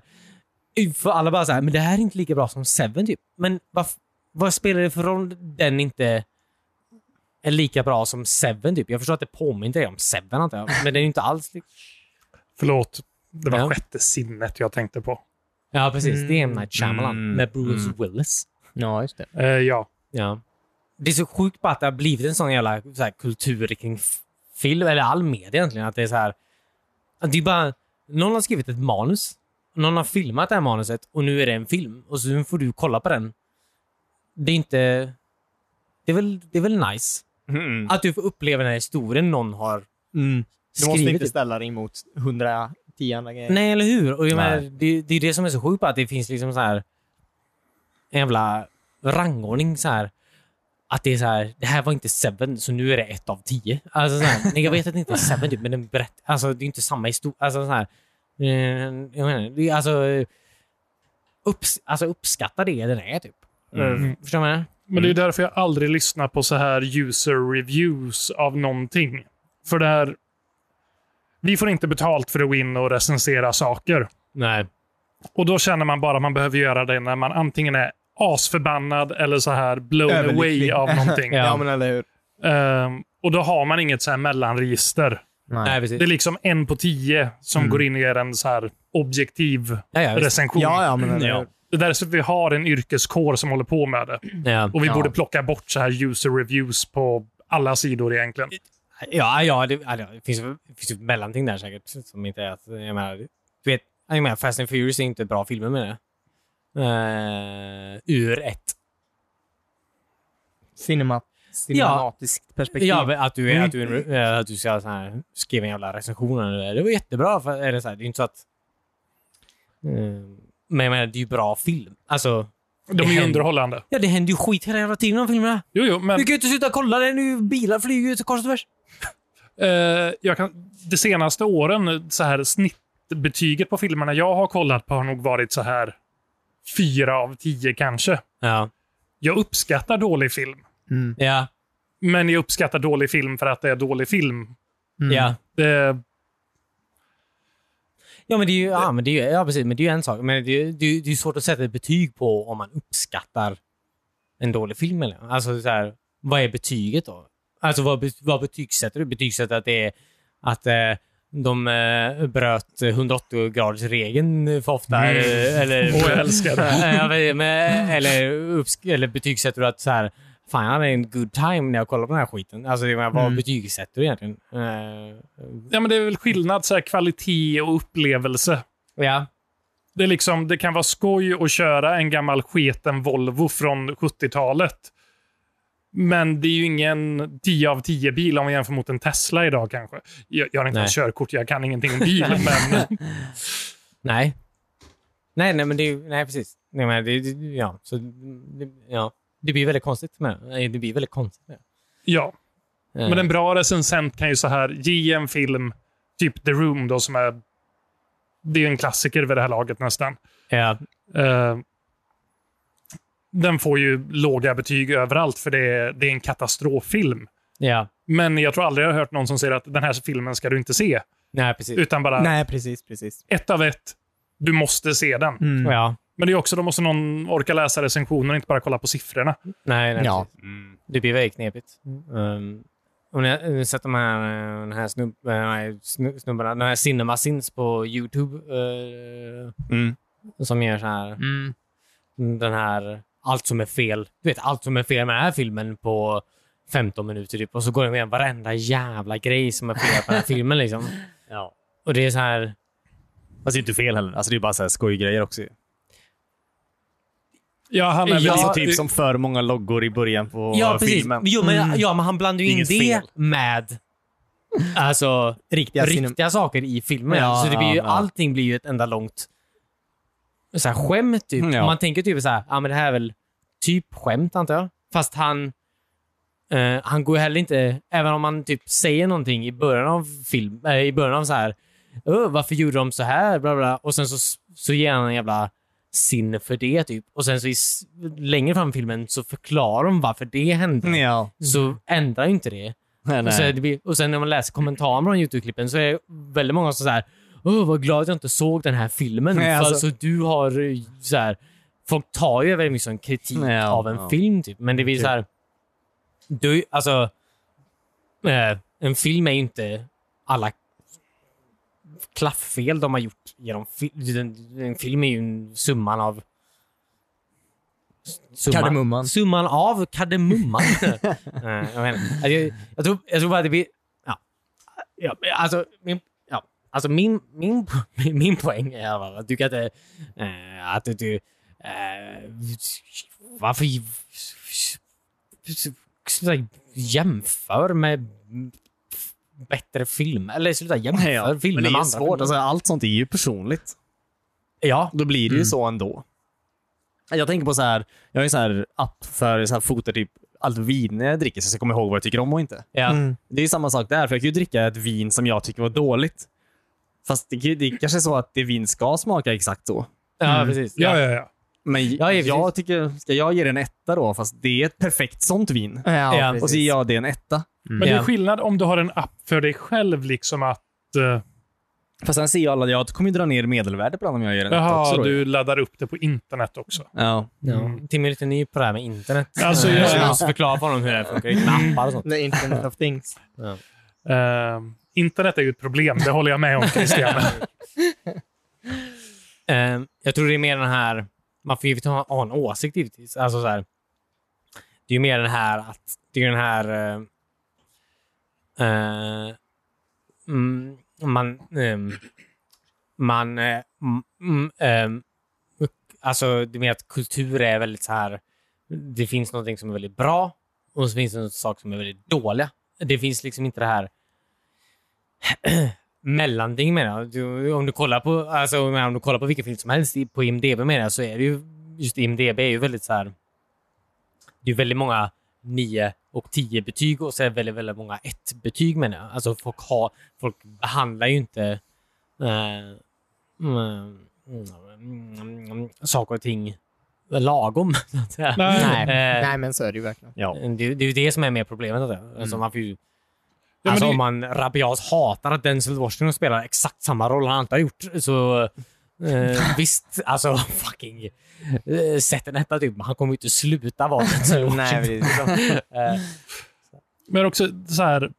[SPEAKER 1] för alla bara så här, men det här är inte lika bra som Seven typ. Men vad, f- vad spelar det för roll den inte är lika bra som Seven typ? Jag förstår att det påminner dig om Seven antar jag, men den är ju inte alls lika...
[SPEAKER 2] Förlåt. Det var
[SPEAKER 1] Ja.
[SPEAKER 2] sjätte sinnet jag tänkte på.
[SPEAKER 1] Ja, precis. Det är M. Night Shyamalan
[SPEAKER 3] Mm.
[SPEAKER 1] med Bruce Willis.
[SPEAKER 4] Ja, just det.
[SPEAKER 2] Eh, ja.
[SPEAKER 1] Ja. Det är så sjukt bara att det har blivit en sån jävla så här, kultur kring f- film, eller all media egentligen. Att det är så här... Att det är bara... Någon har skrivit ett manus. Någon har filmat det här manuset och nu är det en film. Och så får du kolla på den. Det är inte... Det är väl, det är väl nice?
[SPEAKER 3] Mm.
[SPEAKER 1] Att du får uppleva den här historien någon har
[SPEAKER 4] Mm. Du måste
[SPEAKER 1] skrivit.
[SPEAKER 4] inte ställa dig emot 110 andra grejer.
[SPEAKER 1] Nej, eller hur? Och jag
[SPEAKER 3] Nej.
[SPEAKER 1] menar, det, det är det som är så sjukt, att det finns liksom så här en jävla rangordning så här. Att det är så här, det här var inte Seven, så nu är det ett av tio. Alltså så här, nej, jag vet att det inte är Seven, typ, men den berätt, alltså, det är inte samma historia. Alltså, så här, eh, jag menar, det är alltså, eh, upps, alltså uppskatta det den är, typ.
[SPEAKER 2] Mm.
[SPEAKER 1] Förstår du vad jag menar?
[SPEAKER 2] Men det
[SPEAKER 4] Mm.
[SPEAKER 2] är därför jag aldrig lyssnar på så här user reviews av någonting. För det här... Vi får inte betalt för att gå in och recensera saker.
[SPEAKER 1] Nej.
[SPEAKER 2] Och då känner man bara att man behöver göra det när man antingen är asförbannad eller så här blown away
[SPEAKER 4] Överlycklig.
[SPEAKER 2] av någonting.
[SPEAKER 1] Ja.
[SPEAKER 4] <laughs> Ja, men eller hur.
[SPEAKER 2] Ehm, och då har man inget så här mellanregister.
[SPEAKER 1] Nej,
[SPEAKER 2] Det är
[SPEAKER 1] precis.
[SPEAKER 2] liksom en på tio som
[SPEAKER 4] Mm.
[SPEAKER 2] går in och gör en så här objektiv
[SPEAKER 1] Ja, ja, visst.
[SPEAKER 2] recension.
[SPEAKER 4] Ja, ja, men eller hur.
[SPEAKER 2] Det är därför vi har en yrkeskår som håller på med det.
[SPEAKER 1] Ja.
[SPEAKER 2] Och vi
[SPEAKER 4] Ja.
[SPEAKER 2] borde plocka bort så här user reviews på alla sidor egentligen.
[SPEAKER 1] Ja, ja det, ja, det finns ju det finns ju ett mellanting där säkert. Som inte är att, jag menar, du vet, jag menar, Fast and Furious är inte bra filmer med det. Uh, ur ett.
[SPEAKER 4] Cinema, cinematiskt perspektiv.
[SPEAKER 1] Ja, men att du, är, att du, är- eh, att du ska så här, skriva en jävla recension. eller det där. Det var jättebra. För, eller så här, det är inte så att... eh, men jag menar, det är ju bra film. Alltså,
[SPEAKER 2] De är ju
[SPEAKER 1] händer.
[SPEAKER 2] underhållande.
[SPEAKER 1] ja, det händer ju skit hela jävla tiden i de filmerna.
[SPEAKER 2] Jo, jo, men
[SPEAKER 1] Du kan ju inte sluta kolla det nu. Bilar flyger ju så kors och tvärs.
[SPEAKER 2] Eh, jag kan, de senaste åren, så här snittbetyget på filmerna jag har kollat på har nog varit så här fyra av tio kanske.
[SPEAKER 1] Ja.
[SPEAKER 4] Mm.
[SPEAKER 2] Jag uppskattar dålig film,
[SPEAKER 1] Ja.
[SPEAKER 2] Men jag uppskattar dålig film för att det är dålig film.
[SPEAKER 4] Mm.
[SPEAKER 1] Ja.
[SPEAKER 2] Det,
[SPEAKER 1] Ja, men det är ju, ja, men det är ju, ja, precis, men det är ju en sak. Men det är ju det är, det är ju svårt att sätta ett betyg på om man uppskattar en dålig film. Eller? Alltså, så här, vad är betyget då? Alltså, vad, be- vad betygsätter du? Betygsätter att det är att eh, de eh, bröt 180-gradersregeln för ofta?
[SPEAKER 2] Mm.
[SPEAKER 1] eh, Eller,
[SPEAKER 2] Åh, jag älskar det.
[SPEAKER 1] Ja, men- men, eh, eller, uppsk- eller betygsätter du att så här, fan, jag hade en good time när jag kollade på den här skiten? Alltså, jag menar, vad
[SPEAKER 4] Mm.
[SPEAKER 1] betygsätter du egentligen? Eh,
[SPEAKER 2] ja, men det är väl skillnad så här, kvalitet och upplevelse.
[SPEAKER 1] ja.
[SPEAKER 2] Det, är liksom, det kan vara skoj att köra en gammal sketen Volvo från 70-talet. Men det är ju ingen 10 av 10 bil om vi jämför mot en Tesla idag kanske. Jag, jag har inte
[SPEAKER 1] Nej.
[SPEAKER 2] ens körkort, jag kan ingenting
[SPEAKER 1] <laughs>
[SPEAKER 2] om bil, men
[SPEAKER 1] Nej. Nej, nej, men det är ju, nej precis. Nej, men det, det, ja, så, det, ja. det blir väldigt konstigt med det. Nej, det. blir väldigt konstigt med
[SPEAKER 2] ja.
[SPEAKER 1] det. Eh,
[SPEAKER 2] Men en bra recensent kan ju så här ge en film, typ The Room då, som är... Det är ju en klassiker vid det här laget nästan.
[SPEAKER 1] ja,
[SPEAKER 2] Eh, den får ju låga betyg överallt för det är, det är en katastroffilm.
[SPEAKER 1] ja,
[SPEAKER 2] Men jag tror aldrig jag har hört någon som säger att den här filmen ska du inte se.
[SPEAKER 1] nej precis.
[SPEAKER 2] Utan bara
[SPEAKER 4] Nej, precis, precis.
[SPEAKER 2] ett av ett, du måste se den.
[SPEAKER 4] Mm.
[SPEAKER 1] Ja,
[SPEAKER 2] Men det är också, då måste någon orka läsa recensioner och inte bara kolla på siffrorna.
[SPEAKER 1] nej, nej
[SPEAKER 4] Ja.
[SPEAKER 1] precis.
[SPEAKER 3] Mm.
[SPEAKER 1] Det blir väldigt knepigt. Um, och när jag har sett de här, eh, den här, snubb, eh, nej, snu- snubbarna, de här cinemasins på YouTube eh,
[SPEAKER 3] Mm.
[SPEAKER 1] som gör så här,
[SPEAKER 4] Mm.
[SPEAKER 1] den här, allt som är fel, du vet allt som är fel med den här filmen på 15 minuter typ och så går de igenom varenda jävla grej som är fel på den här filmen liksom.
[SPEAKER 3] <laughs> Ja.
[SPEAKER 1] Och det är så här,
[SPEAKER 3] Fast det är inte fel heller. Alltså, det är bara så här skojgrejer också.
[SPEAKER 2] Ja, han är väl-
[SPEAKER 3] Ja,
[SPEAKER 1] Ja,
[SPEAKER 3] alltså, typ som för många loggor i början på
[SPEAKER 1] ja precis.
[SPEAKER 3] filmen.
[SPEAKER 1] Jo, men,
[SPEAKER 4] Mm.
[SPEAKER 1] ja, men han blandar ju in
[SPEAKER 3] Inget
[SPEAKER 1] det
[SPEAKER 3] fel.
[SPEAKER 1] med alltså,
[SPEAKER 4] Riktiga, sinem-
[SPEAKER 1] riktiga saker i filmen.
[SPEAKER 4] Ja,
[SPEAKER 1] så det blir ju,
[SPEAKER 3] ja, ja.
[SPEAKER 1] allting blir ju ett enda långt så här, skämt typ.
[SPEAKER 3] Mm, ja.
[SPEAKER 1] Man tänker typ så här, ja men det här är väl typ skämt antar jag. Fast han, eh, han går ju heller inte, även om man typ säger någonting i början av film, eh, i början av så här, "Öh, varför gjorde de så här, bla bla, och sen så, så ger han en jävla sinne för det typ. Och sen så i, s- längre fram i filmen så förklarar de varför det hände.
[SPEAKER 3] Ja.
[SPEAKER 1] Så ändrar ju inte det.
[SPEAKER 3] Nej,
[SPEAKER 1] Och, så är
[SPEAKER 3] nej.
[SPEAKER 1] det, blir- och sen när man läser kommentarer från Youtube-klippen så är det väldigt många som säger Åh, vad glad jag inte såg den här filmen.
[SPEAKER 3] Nej,
[SPEAKER 1] för
[SPEAKER 3] alltså-
[SPEAKER 1] alltså, du har eh, så här, Folk tar ju väldigt mycket sån kritik
[SPEAKER 3] Ja,
[SPEAKER 1] av en
[SPEAKER 3] ja.
[SPEAKER 1] film, typ. men det blir
[SPEAKER 3] Typ.
[SPEAKER 1] så här... Du, alltså, eh, en film är ju inte alla klafffel de har gjort genom film. En film är ju en summan av... Summan,
[SPEAKER 4] Kardemumman.
[SPEAKER 1] Summan av kardemumman. Eh, jag, menar, alltså, jag, jag, tror, jag tror bara att det blir... Ja. Ja, men alltså, min, ja, alltså min, min, <laughs> min, min poäng är bara att du kan inte... eh, att du... eh, varför sluta jämför med bättre filmer. Eller sluta jämför
[SPEAKER 3] Ja, men det
[SPEAKER 1] filmer
[SPEAKER 3] är
[SPEAKER 1] med andra
[SPEAKER 3] ju svårt.
[SPEAKER 1] filmer.
[SPEAKER 3] Alltså, allt sånt är ju personligt.
[SPEAKER 1] Ja.
[SPEAKER 3] Då blir det ju så ändå. Jag tänker på så här, jag har ju så här app för så här fota typ allt vin jag dricker så jag ska komma ihåg vad jag tycker om och inte.
[SPEAKER 1] Ja.
[SPEAKER 4] Mm.
[SPEAKER 3] Det är ju samma sak där, för jag kan ju dricka ett vin som jag tycker var dåligt. Fast det, det är kanske är så att det vin ska smaka exakt så. Mm.
[SPEAKER 1] ja, precis.
[SPEAKER 2] ja, ja, ja.
[SPEAKER 3] Men
[SPEAKER 1] Ja, ja,
[SPEAKER 3] jag
[SPEAKER 1] precis.
[SPEAKER 3] tycker, ska jag ge det en etta då? Fast det är ett perfekt sånt vin.
[SPEAKER 4] Ja,
[SPEAKER 1] Ja.
[SPEAKER 4] precis.
[SPEAKER 3] Och så ger jag det en etta.
[SPEAKER 2] Men det
[SPEAKER 1] Ja.
[SPEAKER 2] är skillnad om du har en app för dig själv, liksom att... eh,
[SPEAKER 3] Fast sen ser ju alla att jag kommer ju dra ner medelvärdet på den om jag gör en etta också.
[SPEAKER 2] Jaha,
[SPEAKER 3] Då.
[SPEAKER 2] du laddar upp det på internet
[SPEAKER 3] <laughs>
[SPEAKER 2] också.
[SPEAKER 3] Ja.
[SPEAKER 1] Ja. Tim är lite ny på det här med internet.
[SPEAKER 2] Alltså,
[SPEAKER 1] Eh,
[SPEAKER 2] jag-
[SPEAKER 1] så jag måste förklara för honom hur det här funkar. Med appar och sånt.
[SPEAKER 4] The Internet of Things.
[SPEAKER 2] Eh, internet är ju ett problem, det håller jag med om Christian.
[SPEAKER 1] Eh, jag tror det är mer den här... Man får givetvis ha, ha en åsikt givetvis. Alltså så här, det är ju mer den här att... Det är ju den här... eh, eh, mm, man... ehm, man... eh, mm, mm, ehm, alltså, det är mer att kultur är väldigt så här... Det finns någonting som är väldigt bra och så finns det en sak som är väldigt dåliga. Det finns liksom inte det här <clears throat> mellanting menar jag. Du, om, du kollar på, alltså, jag menar, om du kollar på vilken film som helst i- på IMDB menar jag, så är det ju, just IMDB är ju väldigt så här, det är väldigt många 9 och 10 betyg och så är det väldigt, väldigt många 1 betyg menar jag. Alltså folk, har, folk behandlar ju inte eh, mm, mm, mm, saker och ting lagom. så att säga.
[SPEAKER 2] Nej.
[SPEAKER 4] <laughs> Nej.
[SPEAKER 1] Eh,
[SPEAKER 4] Mm. Nej, men så är det ju verkligen.
[SPEAKER 3] Ja.
[SPEAKER 1] Det, är- det är ju det som är mer problemet. Alltså. Alltså, man får ju,
[SPEAKER 2] men
[SPEAKER 1] alltså,
[SPEAKER 2] det-
[SPEAKER 1] Om man rabiat hatar att Denzel Washington spelar exakt samma roll han alltid har gjort, så eh, visst, alltså <laughs> fucking eh, sätt en etta typ. Han kommer ju inte sluta vara Denzel Washington.
[SPEAKER 4] Nej, precis.
[SPEAKER 1] <laughs> Eh,
[SPEAKER 2] Men också så här,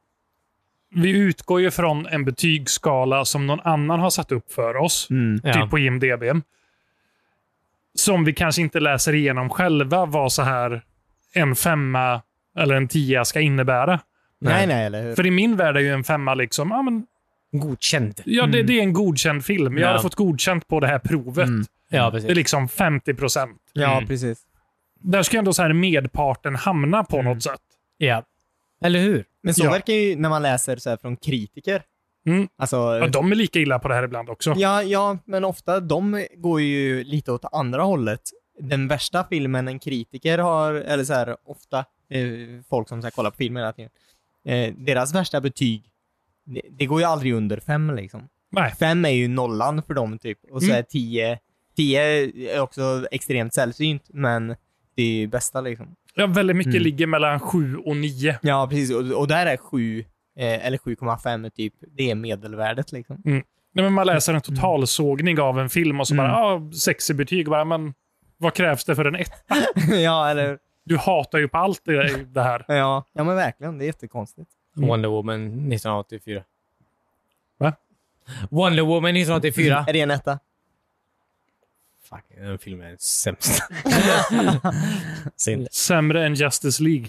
[SPEAKER 2] vi utgår ju från en betygsskala som någon annan har satt upp för oss,
[SPEAKER 4] Mm.
[SPEAKER 1] ja.
[SPEAKER 2] typ på IMDB. Som vi kanske inte läser igenom själva vad så här en femma eller en tia ska innebära.
[SPEAKER 4] Nej, nej, eller hur?
[SPEAKER 2] För i min värld är ju en femma liksom, ja, men,
[SPEAKER 1] Godkänd.
[SPEAKER 2] ja det, det är en godkänd film. Jag
[SPEAKER 1] Mm. Ja. Mm.
[SPEAKER 2] har fått godkänt på det här provet.
[SPEAKER 1] Ja,
[SPEAKER 2] Det är
[SPEAKER 1] precis.
[SPEAKER 2] liksom 50 procent.
[SPEAKER 4] Mm. Ja,
[SPEAKER 1] Mm.
[SPEAKER 4] precis.
[SPEAKER 2] Där ska ju ändå så här medparten hamna på något sätt.
[SPEAKER 1] Mm. Ja. Eller hur?
[SPEAKER 4] Men så
[SPEAKER 2] Ja.
[SPEAKER 4] verkar ju när man läser så här från kritiker.
[SPEAKER 2] Mm.
[SPEAKER 4] Alltså,
[SPEAKER 2] Ja, de är lika illa på det här ibland också.
[SPEAKER 4] Ja, ja, men ofta de går ju lite åt andra hållet. Den värsta filmen en kritiker har, eller så här ofta, eh, folk som så här, kollar på filmer hela tiden, eh, deras värsta betyg, det, det går ju aldrig under fem liksom.
[SPEAKER 2] Nej.
[SPEAKER 4] Fem är ju nollan för dem typ, och så
[SPEAKER 2] Mm.
[SPEAKER 4] är tio, tio är också extremt sällsynt, men det är ju bästa liksom.
[SPEAKER 2] Ja, väldigt mycket
[SPEAKER 4] Mm.
[SPEAKER 2] ligger mellan 7 och 9.
[SPEAKER 4] Ja, precis, och, och där är sju, eh, eller 7,5 är typ, det är medelvärdet liksom.
[SPEAKER 2] Nej, men man läser en totalsågning av en film och så bara, ah, sexig betyg. Bara, men, vad krävs det för en ett?
[SPEAKER 4] <laughs> ja, eller,
[SPEAKER 2] Du hatar ju på allt det, det här.
[SPEAKER 4] ja, ja men verkligen, det är jättekonstigt.
[SPEAKER 1] Mm. Wonder Woman 1984.
[SPEAKER 2] Va?
[SPEAKER 1] Wonder Woman 1984.
[SPEAKER 4] Är det en etta?
[SPEAKER 1] Fuck, den filmen är sämst. <laughs>
[SPEAKER 2] Sämre än Justice League.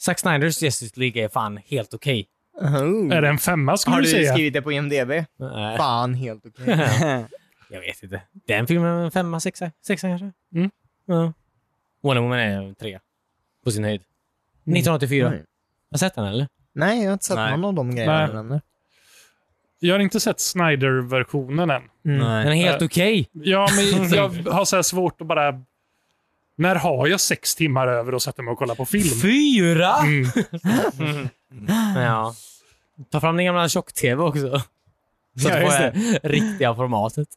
[SPEAKER 1] Zack Snyders Justice League är fan helt okej.
[SPEAKER 4] Oh.
[SPEAKER 2] Är det en femma skulle
[SPEAKER 4] Har
[SPEAKER 2] du
[SPEAKER 4] du
[SPEAKER 2] säga?
[SPEAKER 4] skrivit det på IMDB?
[SPEAKER 1] Nej,
[SPEAKER 4] Fan, helt okej.
[SPEAKER 1] jag vet inte. Den filmen är en femma, sexa, sexa kanske?
[SPEAKER 2] Mm.
[SPEAKER 1] Ja. Wonder Woman är en trea. På sin höjd. 1984.
[SPEAKER 4] Oj.
[SPEAKER 1] Har du sett den eller?
[SPEAKER 4] Nej, jag har inte sett
[SPEAKER 1] Nej.
[SPEAKER 4] någon av de grejerna
[SPEAKER 2] Nej.
[SPEAKER 4] du nämner.
[SPEAKER 2] Jag har inte sett Snyder-versionen än.
[SPEAKER 1] Den är helt
[SPEAKER 2] Äh.
[SPEAKER 1] okej.
[SPEAKER 2] Ja,
[SPEAKER 4] <laughs>
[SPEAKER 2] men jag har så här svårt att bara... När har jag sex timmar över och sätter mig och kollar på film?
[SPEAKER 1] Fyra!
[SPEAKER 4] <laughs>
[SPEAKER 2] Mm.
[SPEAKER 1] Ja. Ta fram den gamla tjock-tv också. Så
[SPEAKER 4] Ja,
[SPEAKER 1] att
[SPEAKER 4] just
[SPEAKER 1] få det riktiga formatet.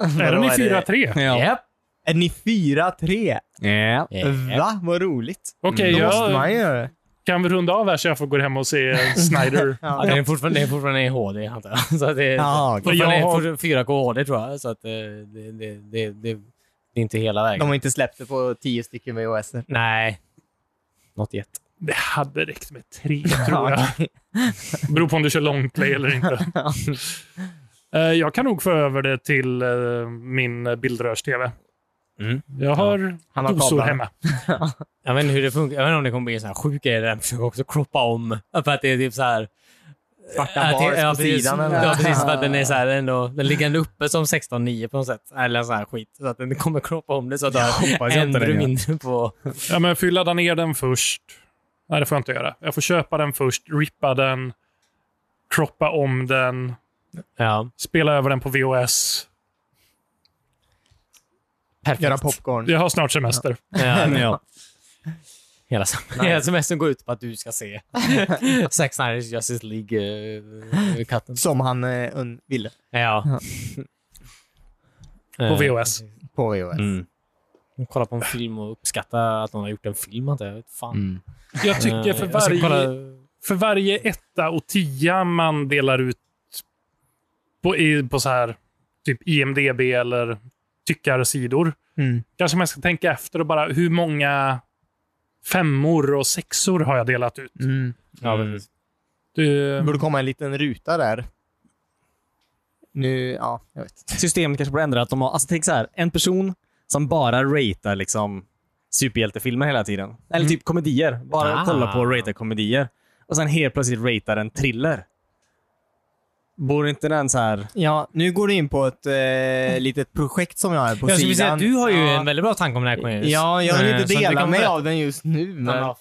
[SPEAKER 2] Är den i
[SPEAKER 4] Vadå, är det-
[SPEAKER 2] 4-3?
[SPEAKER 1] Japp.
[SPEAKER 3] Ja.
[SPEAKER 4] Är ni 4-3?
[SPEAKER 3] Ja.
[SPEAKER 1] Japp.
[SPEAKER 4] Va? Vad roligt.
[SPEAKER 2] Okej,
[SPEAKER 4] Då måste
[SPEAKER 2] jag
[SPEAKER 4] man ju göra det.
[SPEAKER 2] kan vi runda av här så jag får gå hem och se
[SPEAKER 4] <laughs>
[SPEAKER 2] Snyder.
[SPEAKER 1] Ja,
[SPEAKER 4] Ja.
[SPEAKER 1] den är fortfarande, den är fortfarande i HD, antar jag. Så att det,
[SPEAKER 4] Ja,
[SPEAKER 1] fortfarande
[SPEAKER 2] jag har-
[SPEAKER 1] är 4K HD, tror jag. Så att eh, det, det, det, det, det är inte hela vägen.
[SPEAKER 4] De har inte släppt det på 10 stycken VHS.
[SPEAKER 1] Nej. Not yet.
[SPEAKER 2] Det hade räckt med <laughs> tre, tror jag. Beror på om du kör longplay eller <laughs> inte. Eh, Jag kan nog få över det till eh, min bildrörs-tv.
[SPEAKER 1] Mm.
[SPEAKER 2] Jag har
[SPEAKER 4] Han har
[SPEAKER 2] dosor
[SPEAKER 4] kablarna.
[SPEAKER 2] hemma.
[SPEAKER 1] Jag vet inte hur det funkar. Jag vet inte om det kommer bli en sån här sjuk grej där de försöker också kroppa om. För att det är typ så här...
[SPEAKER 4] Svarta
[SPEAKER 1] att det-
[SPEAKER 4] bars på
[SPEAKER 1] precis.
[SPEAKER 4] sidan. eller?
[SPEAKER 1] Ja, precis. För att den är så här ändå... Den ligger ändå uppe som 16.9 på något sätt. Eller sån här skit. Så att den kommer kroppa om det så att du har
[SPEAKER 3] jag
[SPEAKER 1] en
[SPEAKER 3] inte det,
[SPEAKER 1] bru
[SPEAKER 3] ja.
[SPEAKER 1] mindre på...
[SPEAKER 2] Ja, men får ju ladda ner den först. Nej, det får jag inte göra. Jag får köpa den först, rippa den, croppa om den,
[SPEAKER 1] Ja.
[SPEAKER 2] spela över den på VOS.
[SPEAKER 1] Perfekt.
[SPEAKER 4] Göra popcorn.
[SPEAKER 2] Jag har snart semester.
[SPEAKER 1] Ja,
[SPEAKER 3] <laughs> Ja.
[SPEAKER 1] Hela, sam- hela semestern går ut på att du ska se Zack Snyders Justice League-katten.
[SPEAKER 4] Som han eh, un- ville.
[SPEAKER 1] ja.
[SPEAKER 2] På
[SPEAKER 1] Eh,
[SPEAKER 2] VOS.
[SPEAKER 4] På VHS.
[SPEAKER 3] Mm.
[SPEAKER 1] Kolla på en film och uppskatta att någon har gjort en film, antar jag. Jag vet Fan.
[SPEAKER 3] Mm.
[SPEAKER 2] Jag tycker
[SPEAKER 1] Eh,
[SPEAKER 2] för
[SPEAKER 1] jag ska
[SPEAKER 2] varje,
[SPEAKER 1] kolla-
[SPEAKER 2] för varje etta och tia man delar ut på, i, på så här typ IMDB eller tyckarsidor,
[SPEAKER 4] Mm.
[SPEAKER 2] kanske man ska tänka efter och bara hur många femmor och sexor har jag delat ut?
[SPEAKER 4] Mm.
[SPEAKER 1] Ja,
[SPEAKER 3] Mm.
[SPEAKER 1] precis.
[SPEAKER 2] Du,
[SPEAKER 4] Det borde komma en liten ruta där. Nu, ja, jag vet.
[SPEAKER 3] Systemet kanske borde ändra att de har, alltså tänk så här, en person som bara ratear liksom superhjältefilmer hela tiden. Eller typ komedier. Bara
[SPEAKER 1] Ah.
[SPEAKER 3] kolla på och ratea komedier. Och sen helt plötsligt ratear en thriller. Borde inte den så här...
[SPEAKER 4] Ja, nu går du in på ett eh, litet projekt som jag har på
[SPEAKER 1] Jag skulle säga
[SPEAKER 4] sidan.
[SPEAKER 1] att du har ju
[SPEAKER 4] ja.
[SPEAKER 1] en väldigt bra tanke om det här, Cornelius.
[SPEAKER 4] Ja, jag vill
[SPEAKER 1] Eh,
[SPEAKER 4] inte
[SPEAKER 1] så att vi
[SPEAKER 4] dela
[SPEAKER 1] kan
[SPEAKER 4] mig
[SPEAKER 1] berätta-
[SPEAKER 4] av den just nu. Men...
[SPEAKER 1] Ja,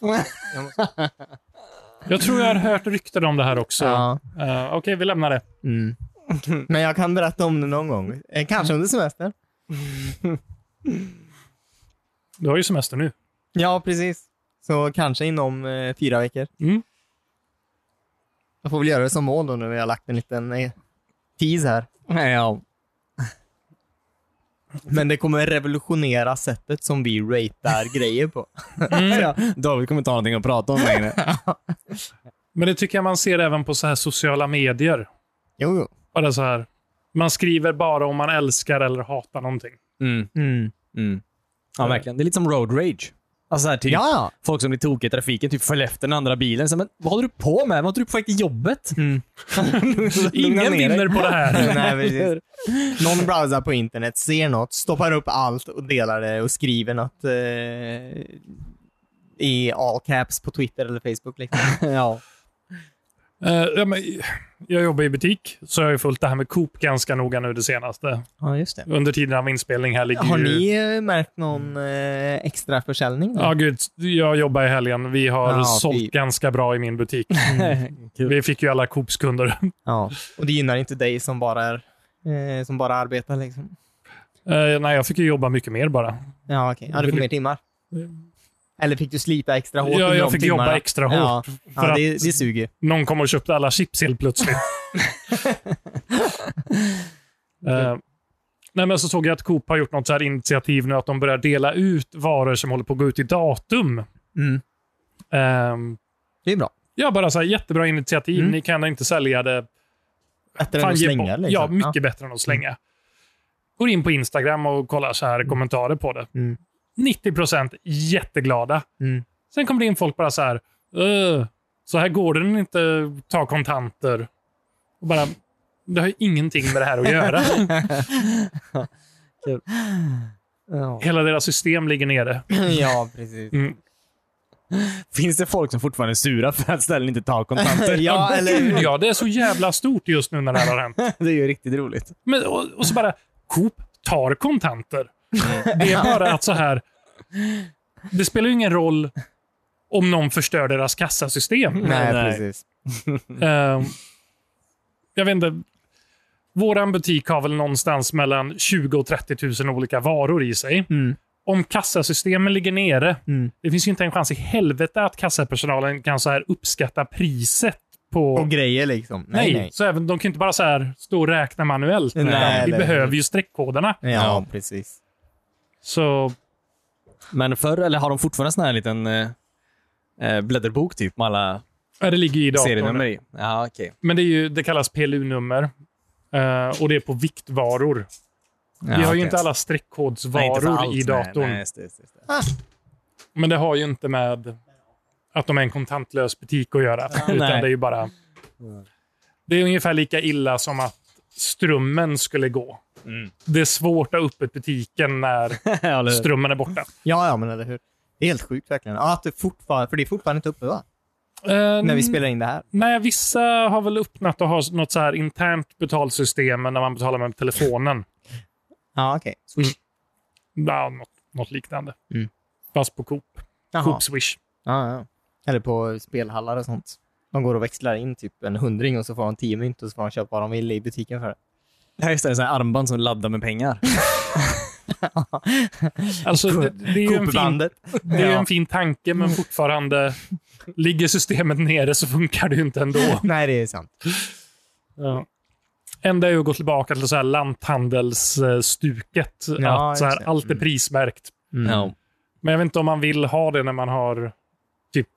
[SPEAKER 2] jag tror jag har hört rykten om det här också.
[SPEAKER 4] Ja.
[SPEAKER 2] Eh, Okej, vi lämnar det.
[SPEAKER 1] <laughs>
[SPEAKER 4] Mm. Men jag kan berätta om det någon gång. Eh,
[SPEAKER 1] Mm.
[SPEAKER 4] Kanske under semestern.
[SPEAKER 2] Du har ju semester nu.
[SPEAKER 4] Ja, precis. Så kanske inom eh, fyra veckor.
[SPEAKER 2] Mm.
[SPEAKER 4] Jag får väl göra det som mål då nu när jag har lagt en liten eh, tease här.
[SPEAKER 3] Ja.
[SPEAKER 4] Men det kommer revolutionera sättet som vi ratear grejer på. <laughs>
[SPEAKER 3] Ja, David kommer inte ha någonting att prata om längre.
[SPEAKER 2] Men det tycker jag man ser även på så här sociala medier.
[SPEAKER 4] Jo, jo.
[SPEAKER 2] Bara så här. Man skriver bara om man älskar eller hatar någonting.
[SPEAKER 3] <laughs> Mm,
[SPEAKER 4] Mm.
[SPEAKER 3] mm. Ja, verkligen. Det är lite som road rage. Alltså så här, typ,
[SPEAKER 4] Ja, ja.
[SPEAKER 3] folk som blir tokiga i trafiken, typ följer efter den andra bilen. Så, här, men vad håller du på med? Vad har du på väg till jobbet?
[SPEAKER 4] Mm. <laughs>
[SPEAKER 2] Ingen
[SPEAKER 3] ner dig.
[SPEAKER 2] vinner på det
[SPEAKER 3] <laughs>
[SPEAKER 2] här.
[SPEAKER 4] Nej, precis. Någon browsar på internet, ser något, stoppar upp allt och delar det och skriver något eh, i all caps på Twitter eller Facebook. Liksom.
[SPEAKER 3] ja.
[SPEAKER 2] Eh, ja, men, jag jobbar i butik, så jag har ju följt det här med Coop ganska noga nu det senaste.
[SPEAKER 4] Ja, just det.
[SPEAKER 2] Under tiden av inspelning här ligger
[SPEAKER 4] Har
[SPEAKER 2] ju...
[SPEAKER 4] ni eh, märkt någon eh, extra försäljning?
[SPEAKER 2] Ja, gud. Jag jobbar i helgen. Vi har
[SPEAKER 4] Ja, Mm.
[SPEAKER 2] sålt
[SPEAKER 4] fy.
[SPEAKER 2] ganska bra i min butik. Mm.
[SPEAKER 3] Kul.
[SPEAKER 4] <laughs>
[SPEAKER 2] Vi fick ju alla Coops-kunder.
[SPEAKER 4] Ja. Och det gynnar inte dig som bara, är, eh, som bara arbetar liksom?
[SPEAKER 2] Eh, nej, jag fick ju jobba mycket mer bara.
[SPEAKER 4] Ja, okej. Ja, du får mer timmar. Eller fick du slita extra hårt?
[SPEAKER 2] Ja,
[SPEAKER 4] i
[SPEAKER 2] jag
[SPEAKER 4] de
[SPEAKER 2] fick
[SPEAKER 4] timmarna?
[SPEAKER 2] jobba extra hårt.
[SPEAKER 4] Ja,
[SPEAKER 2] för
[SPEAKER 4] ja
[SPEAKER 2] att-
[SPEAKER 4] det, det suger.
[SPEAKER 2] Någon kom och köpte alla chips helt
[SPEAKER 4] <laughs>
[SPEAKER 2] plötsligt. Eh, nej, men så såg jag att Coop har gjort något så här initiativ nu att de börjar dela ut varor som håller på att gå ut i datum.
[SPEAKER 4] Mm.
[SPEAKER 2] Ehm,
[SPEAKER 4] Det är bra.
[SPEAKER 2] ja, bara så här jättebra initiativ.
[SPEAKER 4] Mm.
[SPEAKER 2] Ni kan inte sälja det.
[SPEAKER 4] Bättre än
[SPEAKER 2] Fan,
[SPEAKER 4] att
[SPEAKER 2] ge
[SPEAKER 4] slänga
[SPEAKER 2] bort.
[SPEAKER 4] liksom.
[SPEAKER 2] Ja, mycket bättre än att slänga. Går in på Instagram och kollar så här kommentarer på det.
[SPEAKER 4] Mm.
[SPEAKER 2] 90 procent jätteglada.
[SPEAKER 4] Mm.
[SPEAKER 2] Sen kommer det in folk bara så här. "Öh, Så här går det inte ta kontanter. Och bara, det har ju ingenting med det här att
[SPEAKER 4] <laughs>
[SPEAKER 2] göra.
[SPEAKER 4] Ja.
[SPEAKER 2] Hela deras system ligger nere.
[SPEAKER 4] ja, precis.
[SPEAKER 2] Mm.
[SPEAKER 3] Finns det folk som fortfarande är sura för att ställen inte tar kontanter?
[SPEAKER 4] Ja, eller
[SPEAKER 2] Gud, ja, det är så jävla stort just nu när det här har hänt.
[SPEAKER 3] Det är ju riktigt roligt.
[SPEAKER 2] Men, och, och så bara, Coop tar kontanter.
[SPEAKER 4] Mm.
[SPEAKER 2] Det är bara att så här, det spelar ju ingen roll om någon förstör deras kassasystem.
[SPEAKER 3] Nej.
[SPEAKER 4] Nej, precis. Mm.
[SPEAKER 2] Ehm, jag vet inte. Våran butik har väl någonstans mellan 20 och 30 000 olika varor i sig.
[SPEAKER 4] Mm.
[SPEAKER 2] Om kassasystemen ligger nere,
[SPEAKER 4] Mm.
[SPEAKER 2] det finns ju inte en chans i helvete att kassapersonalen kan så här uppskatta priset på...
[SPEAKER 4] Och grejer liksom.
[SPEAKER 2] nej,
[SPEAKER 4] Nej, nej.
[SPEAKER 2] Så även, de kan inte bara så här stå och räkna manuellt.
[SPEAKER 4] Nej,
[SPEAKER 2] utan vi
[SPEAKER 4] eller-
[SPEAKER 2] behöver ju streckkoderna.
[SPEAKER 4] Ja,
[SPEAKER 3] Ja.
[SPEAKER 4] precis.
[SPEAKER 2] Så
[SPEAKER 3] <laughs> Men förr, eller har de fortfarande sån här liten eh, eh, blädderbok typ med alla
[SPEAKER 2] ja, det ligger i datorn.
[SPEAKER 3] serienummer i? Ja, okej.
[SPEAKER 2] Men det, är ju, det kallas PLU-nummer. eh, och det är på viktvaror.
[SPEAKER 3] Ja,
[SPEAKER 2] vi har ju
[SPEAKER 3] okej.
[SPEAKER 2] inte alla
[SPEAKER 3] Nej, inte för
[SPEAKER 2] streckkodsvaror
[SPEAKER 3] allt,
[SPEAKER 2] i datorn.
[SPEAKER 3] Nej, nej, just det, just det, just det.
[SPEAKER 2] Men det har ju inte med att de är en kontantlös butik att göra. utan
[SPEAKER 3] nej.
[SPEAKER 2] det är ju bara... Det är ungefär lika illa som att strömmen skulle gå.
[SPEAKER 3] Mm.
[SPEAKER 2] Det är svårt att ha öppet butiken när
[SPEAKER 3] <laughs> Ja, <laughs> eller hur?
[SPEAKER 2] strömmen är borta.
[SPEAKER 4] Ja, ja, men eller hur. Det är helt sjukt verkligen. Ja, att det fortfarande, för det är fortfarande inte uppe va? När vi
[SPEAKER 2] Mm.
[SPEAKER 4] spelar in det här.
[SPEAKER 2] Ehm, Nej, vissa har väl öppnat och har något så här internt betalsystem men när man betalar med telefonen.
[SPEAKER 4] Ja, okej. Swish.
[SPEAKER 2] Ja, något, något liknande.
[SPEAKER 4] Mm.
[SPEAKER 2] Fast på Coop.
[SPEAKER 4] Jaha.
[SPEAKER 2] Coop Swish.
[SPEAKER 4] Ja, ja. Eller på spelhallar och sånt. De går och växlar in typ en hundring och så får de tio mynt och så får de köpa vad de vill i butiken för det.
[SPEAKER 3] Ja, just det. Det är sån här armband som laddar med pengar.
[SPEAKER 2] Alltså, det, det är ju en fin
[SPEAKER 4] Coop-bandet.
[SPEAKER 2] Det är ju en fin tanke,
[SPEAKER 4] Mm.
[SPEAKER 2] men fortfarande ligger systemet nere så funkar det ju inte ändå.
[SPEAKER 4] <laughs> Nej, det är sant.
[SPEAKER 2] Ja. Enda är ju att gå tillbaka till så här lanthandelsstuket.
[SPEAKER 4] Ja,
[SPEAKER 2] att så
[SPEAKER 4] just
[SPEAKER 2] här,
[SPEAKER 4] det.
[SPEAKER 2] allt är
[SPEAKER 4] Mm.
[SPEAKER 2] prismärkt.
[SPEAKER 4] Mm.
[SPEAKER 3] Ja.
[SPEAKER 2] Men jag vet inte om man vill ha det när man har typ...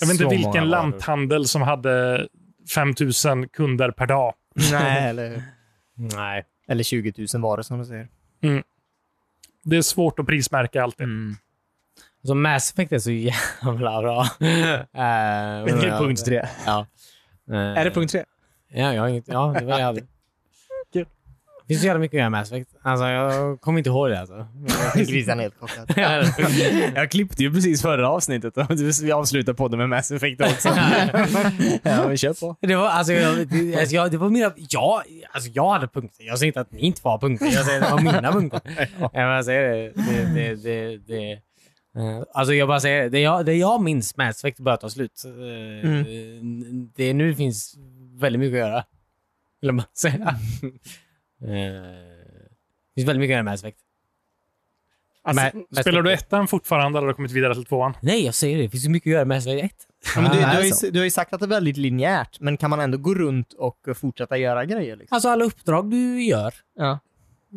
[SPEAKER 2] Jag vet
[SPEAKER 3] Så
[SPEAKER 2] inte
[SPEAKER 3] många
[SPEAKER 2] vilken
[SPEAKER 3] varor.
[SPEAKER 2] lanthandel som hade 5000 kunder per dag.
[SPEAKER 4] Nej, eller hur.
[SPEAKER 1] Nej.
[SPEAKER 4] Eller 20 000 varor som du säger.
[SPEAKER 2] Det är svårt att prismärka allt det.
[SPEAKER 4] Mm.
[SPEAKER 3] Mm.
[SPEAKER 1] Så Mass Effect är så jävla bra.
[SPEAKER 3] Men
[SPEAKER 1] det
[SPEAKER 3] det är punkt tre.
[SPEAKER 1] Ja. Eh,
[SPEAKER 3] Är det punkt tre?
[SPEAKER 1] Ja, jag har inget. Ja, det var jag hade.
[SPEAKER 3] Kul.
[SPEAKER 1] Det finns så jävla mycket att göra med Mass Effect. Alltså, jag kommer inte ihåg det alltså.
[SPEAKER 4] Grisen är helt chockad.
[SPEAKER 3] Jag klippte ju precis förra avsnittet och vi avslutar podden med Mass Effect också. <laughs> ja, men kör på.
[SPEAKER 1] Det var, alltså,
[SPEAKER 4] <laughs>
[SPEAKER 1] jag, det, alltså, jag, det var mina... Ja, alltså, jag hade punkter. Jag säger inte att ni inte får ha punkter. Jag säger att det var mina
[SPEAKER 4] <laughs>
[SPEAKER 1] punkter. ja. men Jag säger det. det, det, det, det eh, alltså jag bara säger det. Det jag, det jag minns med Aspect börjar ta slut. Eh,
[SPEAKER 4] Mm.
[SPEAKER 1] Det nu finns väldigt mycket att göra. Vill man
[SPEAKER 4] <laughs>
[SPEAKER 1] säga. Eh, Det finns väldigt mycket att göra med Aspect.
[SPEAKER 2] Alltså,
[SPEAKER 1] Men- men-
[SPEAKER 2] spelar du ettan fortfarande eller har du kommit vidare till tvåan?
[SPEAKER 1] Nej, jag säger det. Det finns ju mycket att göra med Aspect 1.
[SPEAKER 4] Ja, men du, du, har
[SPEAKER 3] alltså.
[SPEAKER 4] ju, du har ju sagt att det är väldigt linjärt, men kan man ändå gå runt och fortsätta göra grejer? Liksom?
[SPEAKER 1] Alltså alla uppdrag du gör.
[SPEAKER 4] Ja.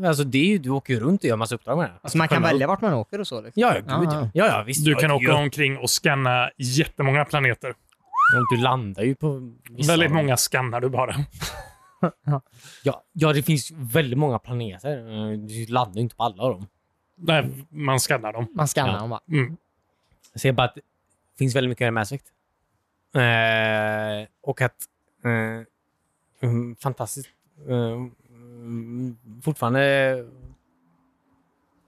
[SPEAKER 1] Alltså det är ju, du åker ju runt och gör massa uppdrag med Alltså, den.
[SPEAKER 4] Så Alltså, man kan
[SPEAKER 2] kolla
[SPEAKER 4] välja vart man åker och så? Liksom.
[SPEAKER 1] Ja, ja, gud ja.
[SPEAKER 4] Aha.
[SPEAKER 1] ja, ja visst,
[SPEAKER 2] Du
[SPEAKER 1] ja,
[SPEAKER 2] kan
[SPEAKER 1] det
[SPEAKER 2] åka
[SPEAKER 1] gör-
[SPEAKER 2] omkring och scanna jättemånga planeter.
[SPEAKER 1] Ja, Du landar ju på vissa
[SPEAKER 2] Väldigt
[SPEAKER 1] av dem.
[SPEAKER 2] många scannar du bara.
[SPEAKER 1] Ja, ja, det finns väldigt många planeter. Eh, Du landar ju inte på alla av dem.
[SPEAKER 2] Nej, man scannar dem.
[SPEAKER 4] Man scannar
[SPEAKER 1] Ja.
[SPEAKER 4] dem bara.
[SPEAKER 2] Mm.
[SPEAKER 1] Jag ser bara att det finns väldigt mycket i Mass Effect. Eh, och att... Eh, mm, fantastiskt. Eh, mm, fortfarande...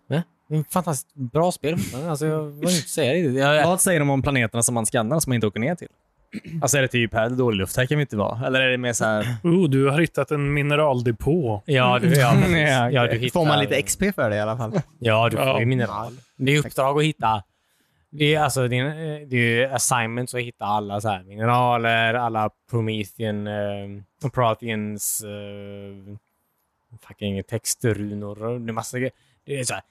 [SPEAKER 1] Nej, det är ett fantastiskt bra spel fortfarande. Alltså, jag vill inte säga det. Jag,
[SPEAKER 3] Vad säger de om planeterna som man skannar som man inte åker ner till? Alltså är det typ här, dålig luft, här kan vi inte vara. Eller är det mer så här...
[SPEAKER 2] Oh, du har hittat en mineraldepå.
[SPEAKER 1] <laughs> ja, du, ja, precis.
[SPEAKER 3] Ja, okej.
[SPEAKER 1] ja, du hittar,
[SPEAKER 4] Får man lite XP för det
[SPEAKER 1] <laughs>
[SPEAKER 4] i alla fall?
[SPEAKER 1] Ja, du får
[SPEAKER 2] Ja.
[SPEAKER 1] ju mineral. Det är uppdrag att hitta... Det är, alltså, det är, en- det är ju assignments att hitta alla så här mineraler, alla Promethean, eh, Protheans, eh, fucking textrunor och det är massa grejer. Det är så här,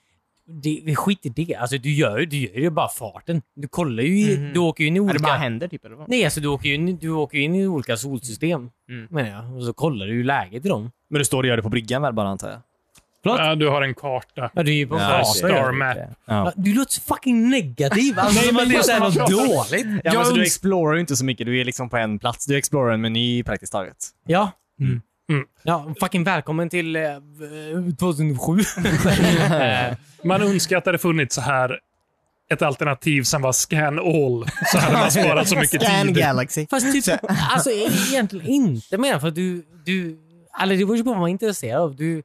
[SPEAKER 1] det, det skit i det. Alltså, du gör ju du gör ju bara farten. Du kollar ju, i-
[SPEAKER 4] Mhm.
[SPEAKER 1] du åker ju in i
[SPEAKER 4] Ja,
[SPEAKER 1] olika...
[SPEAKER 4] det bara händer typ? Eller vad?
[SPEAKER 1] Nej, alltså du åker ju in, du åker ju in i olika solsystem,
[SPEAKER 4] Mm.
[SPEAKER 1] menar jag. Och så kollar du ju läget i dem.
[SPEAKER 3] Men du står och gör det på bryggan väl bara antar jag?
[SPEAKER 1] Förlåt?
[SPEAKER 2] Ja, du har en karta.
[SPEAKER 1] Ja, du är ju på en
[SPEAKER 3] Ja,
[SPEAKER 1] karta.
[SPEAKER 2] Star
[SPEAKER 3] Äh.
[SPEAKER 2] map.
[SPEAKER 3] Ja.
[SPEAKER 1] Du låter så fucking negativ. Alltså,
[SPEAKER 2] Nej,
[SPEAKER 1] som
[SPEAKER 2] men
[SPEAKER 1] att det är så här
[SPEAKER 2] jag-
[SPEAKER 1] något dåligt.
[SPEAKER 3] Ja, men
[SPEAKER 1] Jag
[SPEAKER 3] så du
[SPEAKER 1] öns-
[SPEAKER 3] explorar ju inte så mycket. Du är liksom på en plats. Du explorar en meny praktiskt taget.
[SPEAKER 1] Ja.
[SPEAKER 2] Mm. Mm.
[SPEAKER 1] Ja, fucking välkommen till eh, 2007. Eh,
[SPEAKER 2] Man önskar att det hade funnits så här ett alternativ som var scan all. Så hade man sparat så mycket
[SPEAKER 4] Scan
[SPEAKER 1] <laughs>
[SPEAKER 2] tid.
[SPEAKER 4] Galaxy.
[SPEAKER 1] Fast typ, alltså egentligen inte mer för att du, du, eller det beror ju på vad man är intresserad av. Du,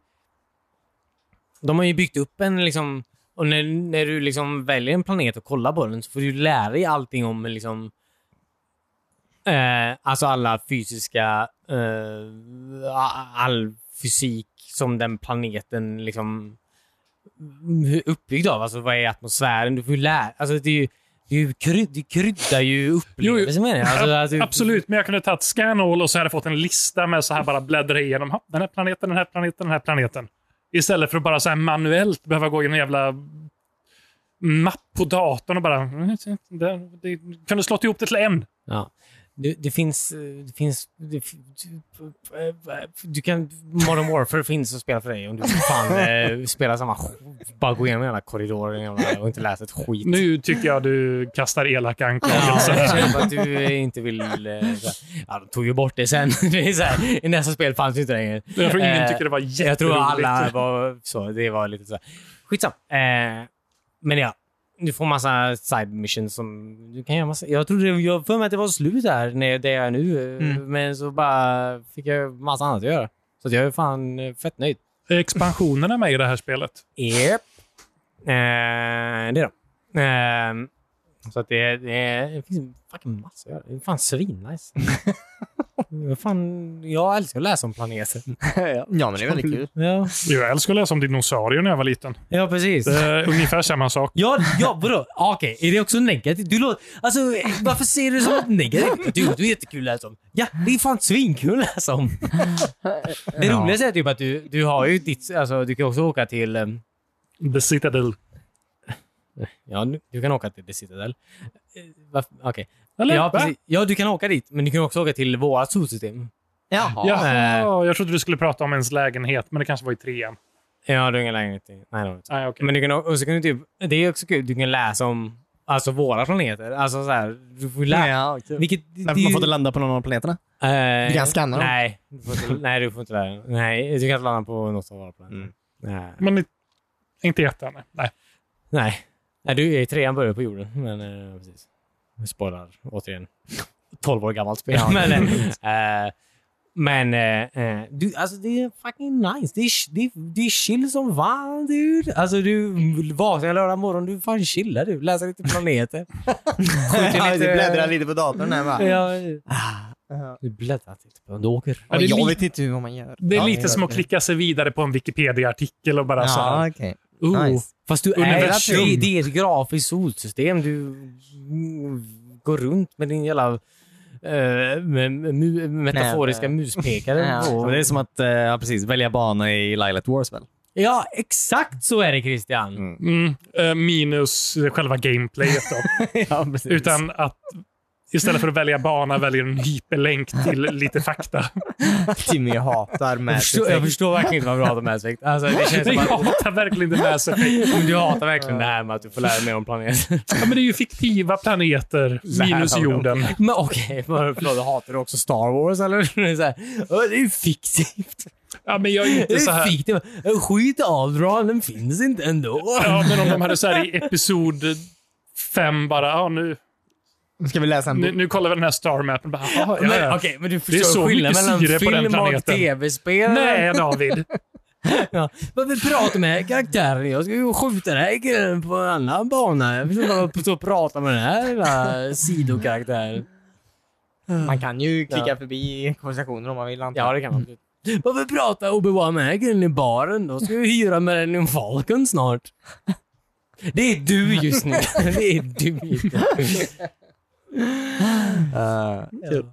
[SPEAKER 1] de har ju byggt upp en liksom, och när, när du liksom väljer en planet och kollar på den så får du lära dig allting om liksom, eh, alltså alla fysiska, eh, all fysik som den planeten liksom hur uppbyggd av. Alltså vad är atmosfären? Du får ju lära, alltså det är ju det, är ju kryd, det kryddar ju upplevelsen menar jag. Alltså, att du-
[SPEAKER 2] Absolut, men jag kunde tagit scan all och så hade jag fått en lista med så här bara bläddra igenom. "Ha, Den här planeten, den här planeten, den här planeten. Istället för att bara så här manuellt behöva gå igenom en jävla mapp på datorn och bara... "Mm, där, det- Kunde slått ihop det till en.
[SPEAKER 1] Ja. Det, det finns... eh, Det finns det, f- du- eh, du kan... Modern Warfare finns att spela för dig om du
[SPEAKER 2] <laughs>
[SPEAKER 1] fan eh, spelar samma... sk- Bara gå igenom hela korridoren jävla- och inte läsa ett skit.
[SPEAKER 2] Nu tycker jag du kastar elaka
[SPEAKER 1] Ja,
[SPEAKER 2] anklagelser.
[SPEAKER 1] jag känner att du eh, inte vill... eh, så här. Ja, de tog ju bort det sen. <laughs> Det är så här, I nästa spel fanns det inte längre.
[SPEAKER 2] Jag tror ingen
[SPEAKER 1] Eh,
[SPEAKER 2] tycker det var
[SPEAKER 1] Jag
[SPEAKER 2] jätteroligt.
[SPEAKER 1] tror alla var så. Det var lite så. här. Skitsam. Eh, men ja, du får massa side missions som du kan göra massa. Jag trodde, jag för mig att det var slut där, när det är nu. eh,
[SPEAKER 4] Mm.
[SPEAKER 1] Men så bara fick jag massa annat att göra. Så att jag är fan eh, fett nöjd.
[SPEAKER 2] Är expansionerna med i det här spelet?
[SPEAKER 1] Yep. Eh, det då. Eh, så att det, det, det finns fucking massa att göra. Det är fan svinnice. fan, jag älskar att läsa om planeter.
[SPEAKER 4] ja, men det är väldigt kul.
[SPEAKER 1] Ja,
[SPEAKER 2] Jo, Jag älskade att läsa om dinosaurier när jag var liten.
[SPEAKER 1] ja precis.
[SPEAKER 2] Det
[SPEAKER 1] <laughs>
[SPEAKER 2] är ungefär samma sak.
[SPEAKER 1] Ja, ja vadå? Ja, Okej, är det också negativt? Du låter, alltså, varför ser du det som något negativt? Du, du är jättekul att läsa om. Ja, det är fan svinkul att läsa om. Det
[SPEAKER 4] Ja.
[SPEAKER 1] roligaste är typ att du, du har ju ditt, alltså du kan också åka till, ehm, em,
[SPEAKER 2] The Citadel.
[SPEAKER 1] ja nu- du kan åka till The Citadel. Eh, varför- Okej.
[SPEAKER 2] Eller?
[SPEAKER 1] Ja,
[SPEAKER 2] Va?
[SPEAKER 1] precis. ja, du kan åka dit, men du kan också åka till vårat solsystem. Eh,
[SPEAKER 4] Jaha.
[SPEAKER 2] Jaha, jag trodde du skulle prata om ens lägenhet, men det kanske var i trean.
[SPEAKER 1] Ja, du har ingen lägenhet i. Nej, det har du inte.
[SPEAKER 2] Nej, okej.
[SPEAKER 1] Men du kan, och så kan du typ, det är också kul, du kan läsa om alltså våra planeter. Alltså så här, du får ju lära
[SPEAKER 4] Ja, kul.
[SPEAKER 1] Vilket, det,
[SPEAKER 3] Men
[SPEAKER 1] det är
[SPEAKER 3] man
[SPEAKER 1] ju-
[SPEAKER 3] får inte landa på någon av planeterna.
[SPEAKER 1] <laughs> Eh,
[SPEAKER 4] Du kan scanna dem.
[SPEAKER 1] Nej, du får inte, nej, du får inte lära dig. Nej, du kan inte landa på något av våra planeter. Nej.
[SPEAKER 2] Men i- inte i ettan. nej. Nej.
[SPEAKER 1] nej. Nej, du är i trean börjar på jorden. Men eh, precis. Vi spoilar återigen. 12 år gammalt spel. men eh, eh, men eh, eh, du, alltså det är fucking nice. Det är, det, är- det är chill som fan, dude. Alltså du vaknar lördag morgon, du fan chillar du. Läser
[SPEAKER 4] <laughs>
[SPEAKER 1] lite planeter.
[SPEAKER 4] Ja,
[SPEAKER 1] Skjuter
[SPEAKER 4] du bläddrar lite på datorn här bara.
[SPEAKER 1] Ja,
[SPEAKER 4] Ja.
[SPEAKER 1] du bläddrar lite på en åker.
[SPEAKER 2] Ja, det är
[SPEAKER 4] jag
[SPEAKER 2] li-
[SPEAKER 4] vet inte hur man gör.
[SPEAKER 2] Det är
[SPEAKER 4] Ja,
[SPEAKER 2] lite som att klicka sig vidare på en Wikipedia-artikel och bara så
[SPEAKER 4] Ja,
[SPEAKER 2] här.
[SPEAKER 4] okej.
[SPEAKER 2] "Oh,
[SPEAKER 4] Nice.
[SPEAKER 1] Fast du
[SPEAKER 2] Universum.
[SPEAKER 1] är, det, det är ett grafiskt solsystem. Du mm, går runt med din jävla eh, med, med, metaforiska
[SPEAKER 4] Nej,
[SPEAKER 1] muspekare.
[SPEAKER 4] Ja.
[SPEAKER 1] på.
[SPEAKER 3] <laughs> Ja, men det är som att eh, ja, precis, välja bana i Lilat Wars <laughs> väl?
[SPEAKER 1] Ja, exakt så är det Christian.
[SPEAKER 3] Mm.
[SPEAKER 1] <laughs>
[SPEAKER 2] Mm, eh, minus själva gameplayet då.
[SPEAKER 3] ja, precis.
[SPEAKER 2] Utan att Istället för att välja bana väljer du en hyperlänk
[SPEAKER 1] <laughs>
[SPEAKER 2] till lite fakta.
[SPEAKER 4] Timmy hatar
[SPEAKER 1] Jag
[SPEAKER 4] med
[SPEAKER 1] förstår, jag förstår verkligen inte vad du hatar med Mass Effect. Alltså, det känns
[SPEAKER 2] Jag
[SPEAKER 1] som <laughs> att
[SPEAKER 2] hatar verkligen det Mass Effect.
[SPEAKER 1] men du hatar verkligen det här med att du får lära dig mer om planeter.
[SPEAKER 2] Ja, men det är ju fiktiva planeter minus
[SPEAKER 1] har vi
[SPEAKER 2] jorden.
[SPEAKER 1] <laughs> Men okej, okay, förlåt, du hatar du också Star Wars eller? <laughs> Det är så här, "Åh, det är ju fiktivt.
[SPEAKER 2] Ja, men jag är
[SPEAKER 1] Det
[SPEAKER 2] inte så
[SPEAKER 1] är
[SPEAKER 2] här.
[SPEAKER 1] fiktivt. Skit i Alderaan, den finns inte <laughs> ändå.
[SPEAKER 2] Ja, men om de hade så här i episod fem bara, ja, nu,
[SPEAKER 4] Ska vi läsa en
[SPEAKER 2] nu,
[SPEAKER 4] bok?
[SPEAKER 2] nu kollar vi den här star mappen. Bara, ja, ja,
[SPEAKER 1] Men,
[SPEAKER 2] ja.
[SPEAKER 1] Okej, men du
[SPEAKER 2] är
[SPEAKER 1] förstår
[SPEAKER 2] så
[SPEAKER 1] skillnaden
[SPEAKER 2] mycket
[SPEAKER 1] mellan
[SPEAKER 2] syre på den
[SPEAKER 1] film och
[SPEAKER 2] planeten.
[SPEAKER 1] tv-spel?
[SPEAKER 2] Nej, David.
[SPEAKER 1] Ja. Varför pratar med karaktären? Jag ska ju skjuta den här killen på en annan bana. Jag vill inte hålla på och prata med den här lilla sidokaraktären.
[SPEAKER 4] Man kan ju klicka
[SPEAKER 1] Mm. Ja.
[SPEAKER 4] förbi konversationer om man vill. antar jag.
[SPEAKER 1] Ja, det kan man. Varför pratar Obi-Wan med den här killen i baren? Då ska vi hyra med den i en Falcon snart. Det är du just nu. <laughs> Det är du just nu.
[SPEAKER 4] Eh,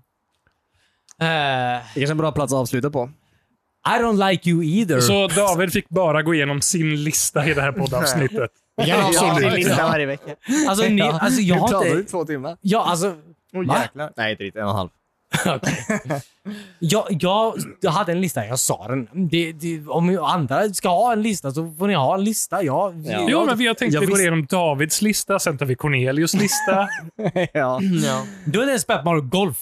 [SPEAKER 1] Eh,
[SPEAKER 3] Det är kanske en bra plats att avsluta på.
[SPEAKER 1] I don't like you either.
[SPEAKER 2] Så David fick bara gå igenom sin lista i det här poddavsnittet.
[SPEAKER 3] <laughs>
[SPEAKER 4] Vi <laughs> kan ha
[SPEAKER 1] Ja,
[SPEAKER 4] en
[SPEAKER 1] ja.
[SPEAKER 4] lista varje vecka.
[SPEAKER 1] alltså, ni, alltså, jag
[SPEAKER 3] Hur
[SPEAKER 1] har
[SPEAKER 3] klarade liksom- du
[SPEAKER 1] inte...
[SPEAKER 3] två timmar?
[SPEAKER 1] Ja, alltså... Va?
[SPEAKER 4] Oh, jäklar. Nej, inte riktigt. En och en halv.
[SPEAKER 1] <laughs> Jag, jag, jag hade en lista, jag sa den. Det, det, om andra ska ha en lista så får ni ha en lista. Jag,
[SPEAKER 3] Ja.
[SPEAKER 1] jag,
[SPEAKER 2] Jo, men vi har tänkt
[SPEAKER 1] jag
[SPEAKER 2] att vi går
[SPEAKER 1] visste-
[SPEAKER 2] igenom Davids lista, sen tar vi Cornelius lista.
[SPEAKER 3] <laughs> ja.
[SPEAKER 2] Mm,
[SPEAKER 1] Du har inte ens spelat Mario Golf.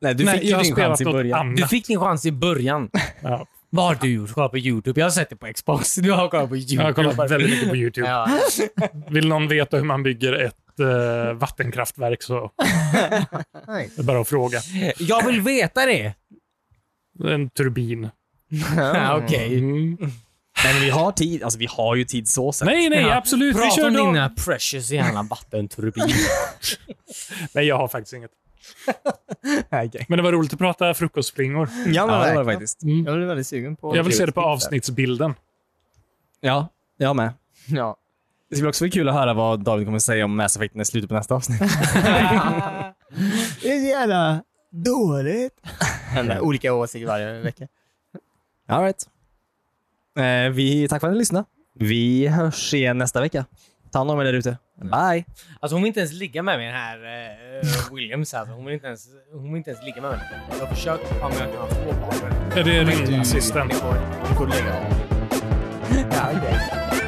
[SPEAKER 3] Nej, du
[SPEAKER 2] Nej,
[SPEAKER 3] fick ju
[SPEAKER 2] jag har
[SPEAKER 3] din chans
[SPEAKER 2] spelat
[SPEAKER 3] i
[SPEAKER 2] något
[SPEAKER 3] början.
[SPEAKER 2] annat.
[SPEAKER 1] Du fick din chans i början.
[SPEAKER 2] Ja.
[SPEAKER 1] Vad har du gjort? Kolla på YouTube. Jag har sett det på Xbox. <laughs> Du har kollat på
[SPEAKER 2] Jag har
[SPEAKER 1] YouTube.
[SPEAKER 2] kollat väldigt mycket på YouTube.
[SPEAKER 1] Ja.
[SPEAKER 2] Vill någon veta hur man bygger ett eh, vattenkraftverk så
[SPEAKER 4] Nice.
[SPEAKER 2] det är bara att fråga.
[SPEAKER 1] Jag vill veta det.
[SPEAKER 2] En turbin.
[SPEAKER 1] Ja, Okej.
[SPEAKER 2] Mm.
[SPEAKER 3] Nej, men vi har tid. Alltså, vi har ju tid så sett.
[SPEAKER 2] Nej, nej,
[SPEAKER 1] Ja.
[SPEAKER 2] absolut. Vi
[SPEAKER 1] Prata
[SPEAKER 2] kör
[SPEAKER 1] om
[SPEAKER 2] då.
[SPEAKER 1] dina precious jävla vattenturbin.
[SPEAKER 2] Nej, jag har faktiskt inget.
[SPEAKER 4] Okej.
[SPEAKER 2] Men det var roligt att prata frukostflingor.
[SPEAKER 4] Ja, men
[SPEAKER 3] Ja, det var
[SPEAKER 4] verkligen.
[SPEAKER 3] det faktiskt.
[SPEAKER 4] Jag blir väldigt sugen på...
[SPEAKER 2] Jag vill se det på avsnittsbilden.
[SPEAKER 3] Ja, jag med.
[SPEAKER 4] Ja.
[SPEAKER 3] Det ska bli också bli kul att höra vad David kommer säga om Mass Effect när slutet på nästa avsnitt.
[SPEAKER 4] Det är så jävla dåligt. Olika åsikter varje vecka.
[SPEAKER 3] All right. eh, vi, tack för att ni lyssnade. Vi hörs igen nästa vecka. Ta hand om er där ute. Bye!
[SPEAKER 1] Alltså hon vill inte ens ligga med mig den här eh, Williams. Alltså. Hon, vill inte ens, hon vill inte ens ligga med mig. Jag har försökt. Ja, men jag kan ha två barn.
[SPEAKER 2] Är det ringassistent?
[SPEAKER 1] Det går inte.
[SPEAKER 4] Du får lägga av. Ja, okej.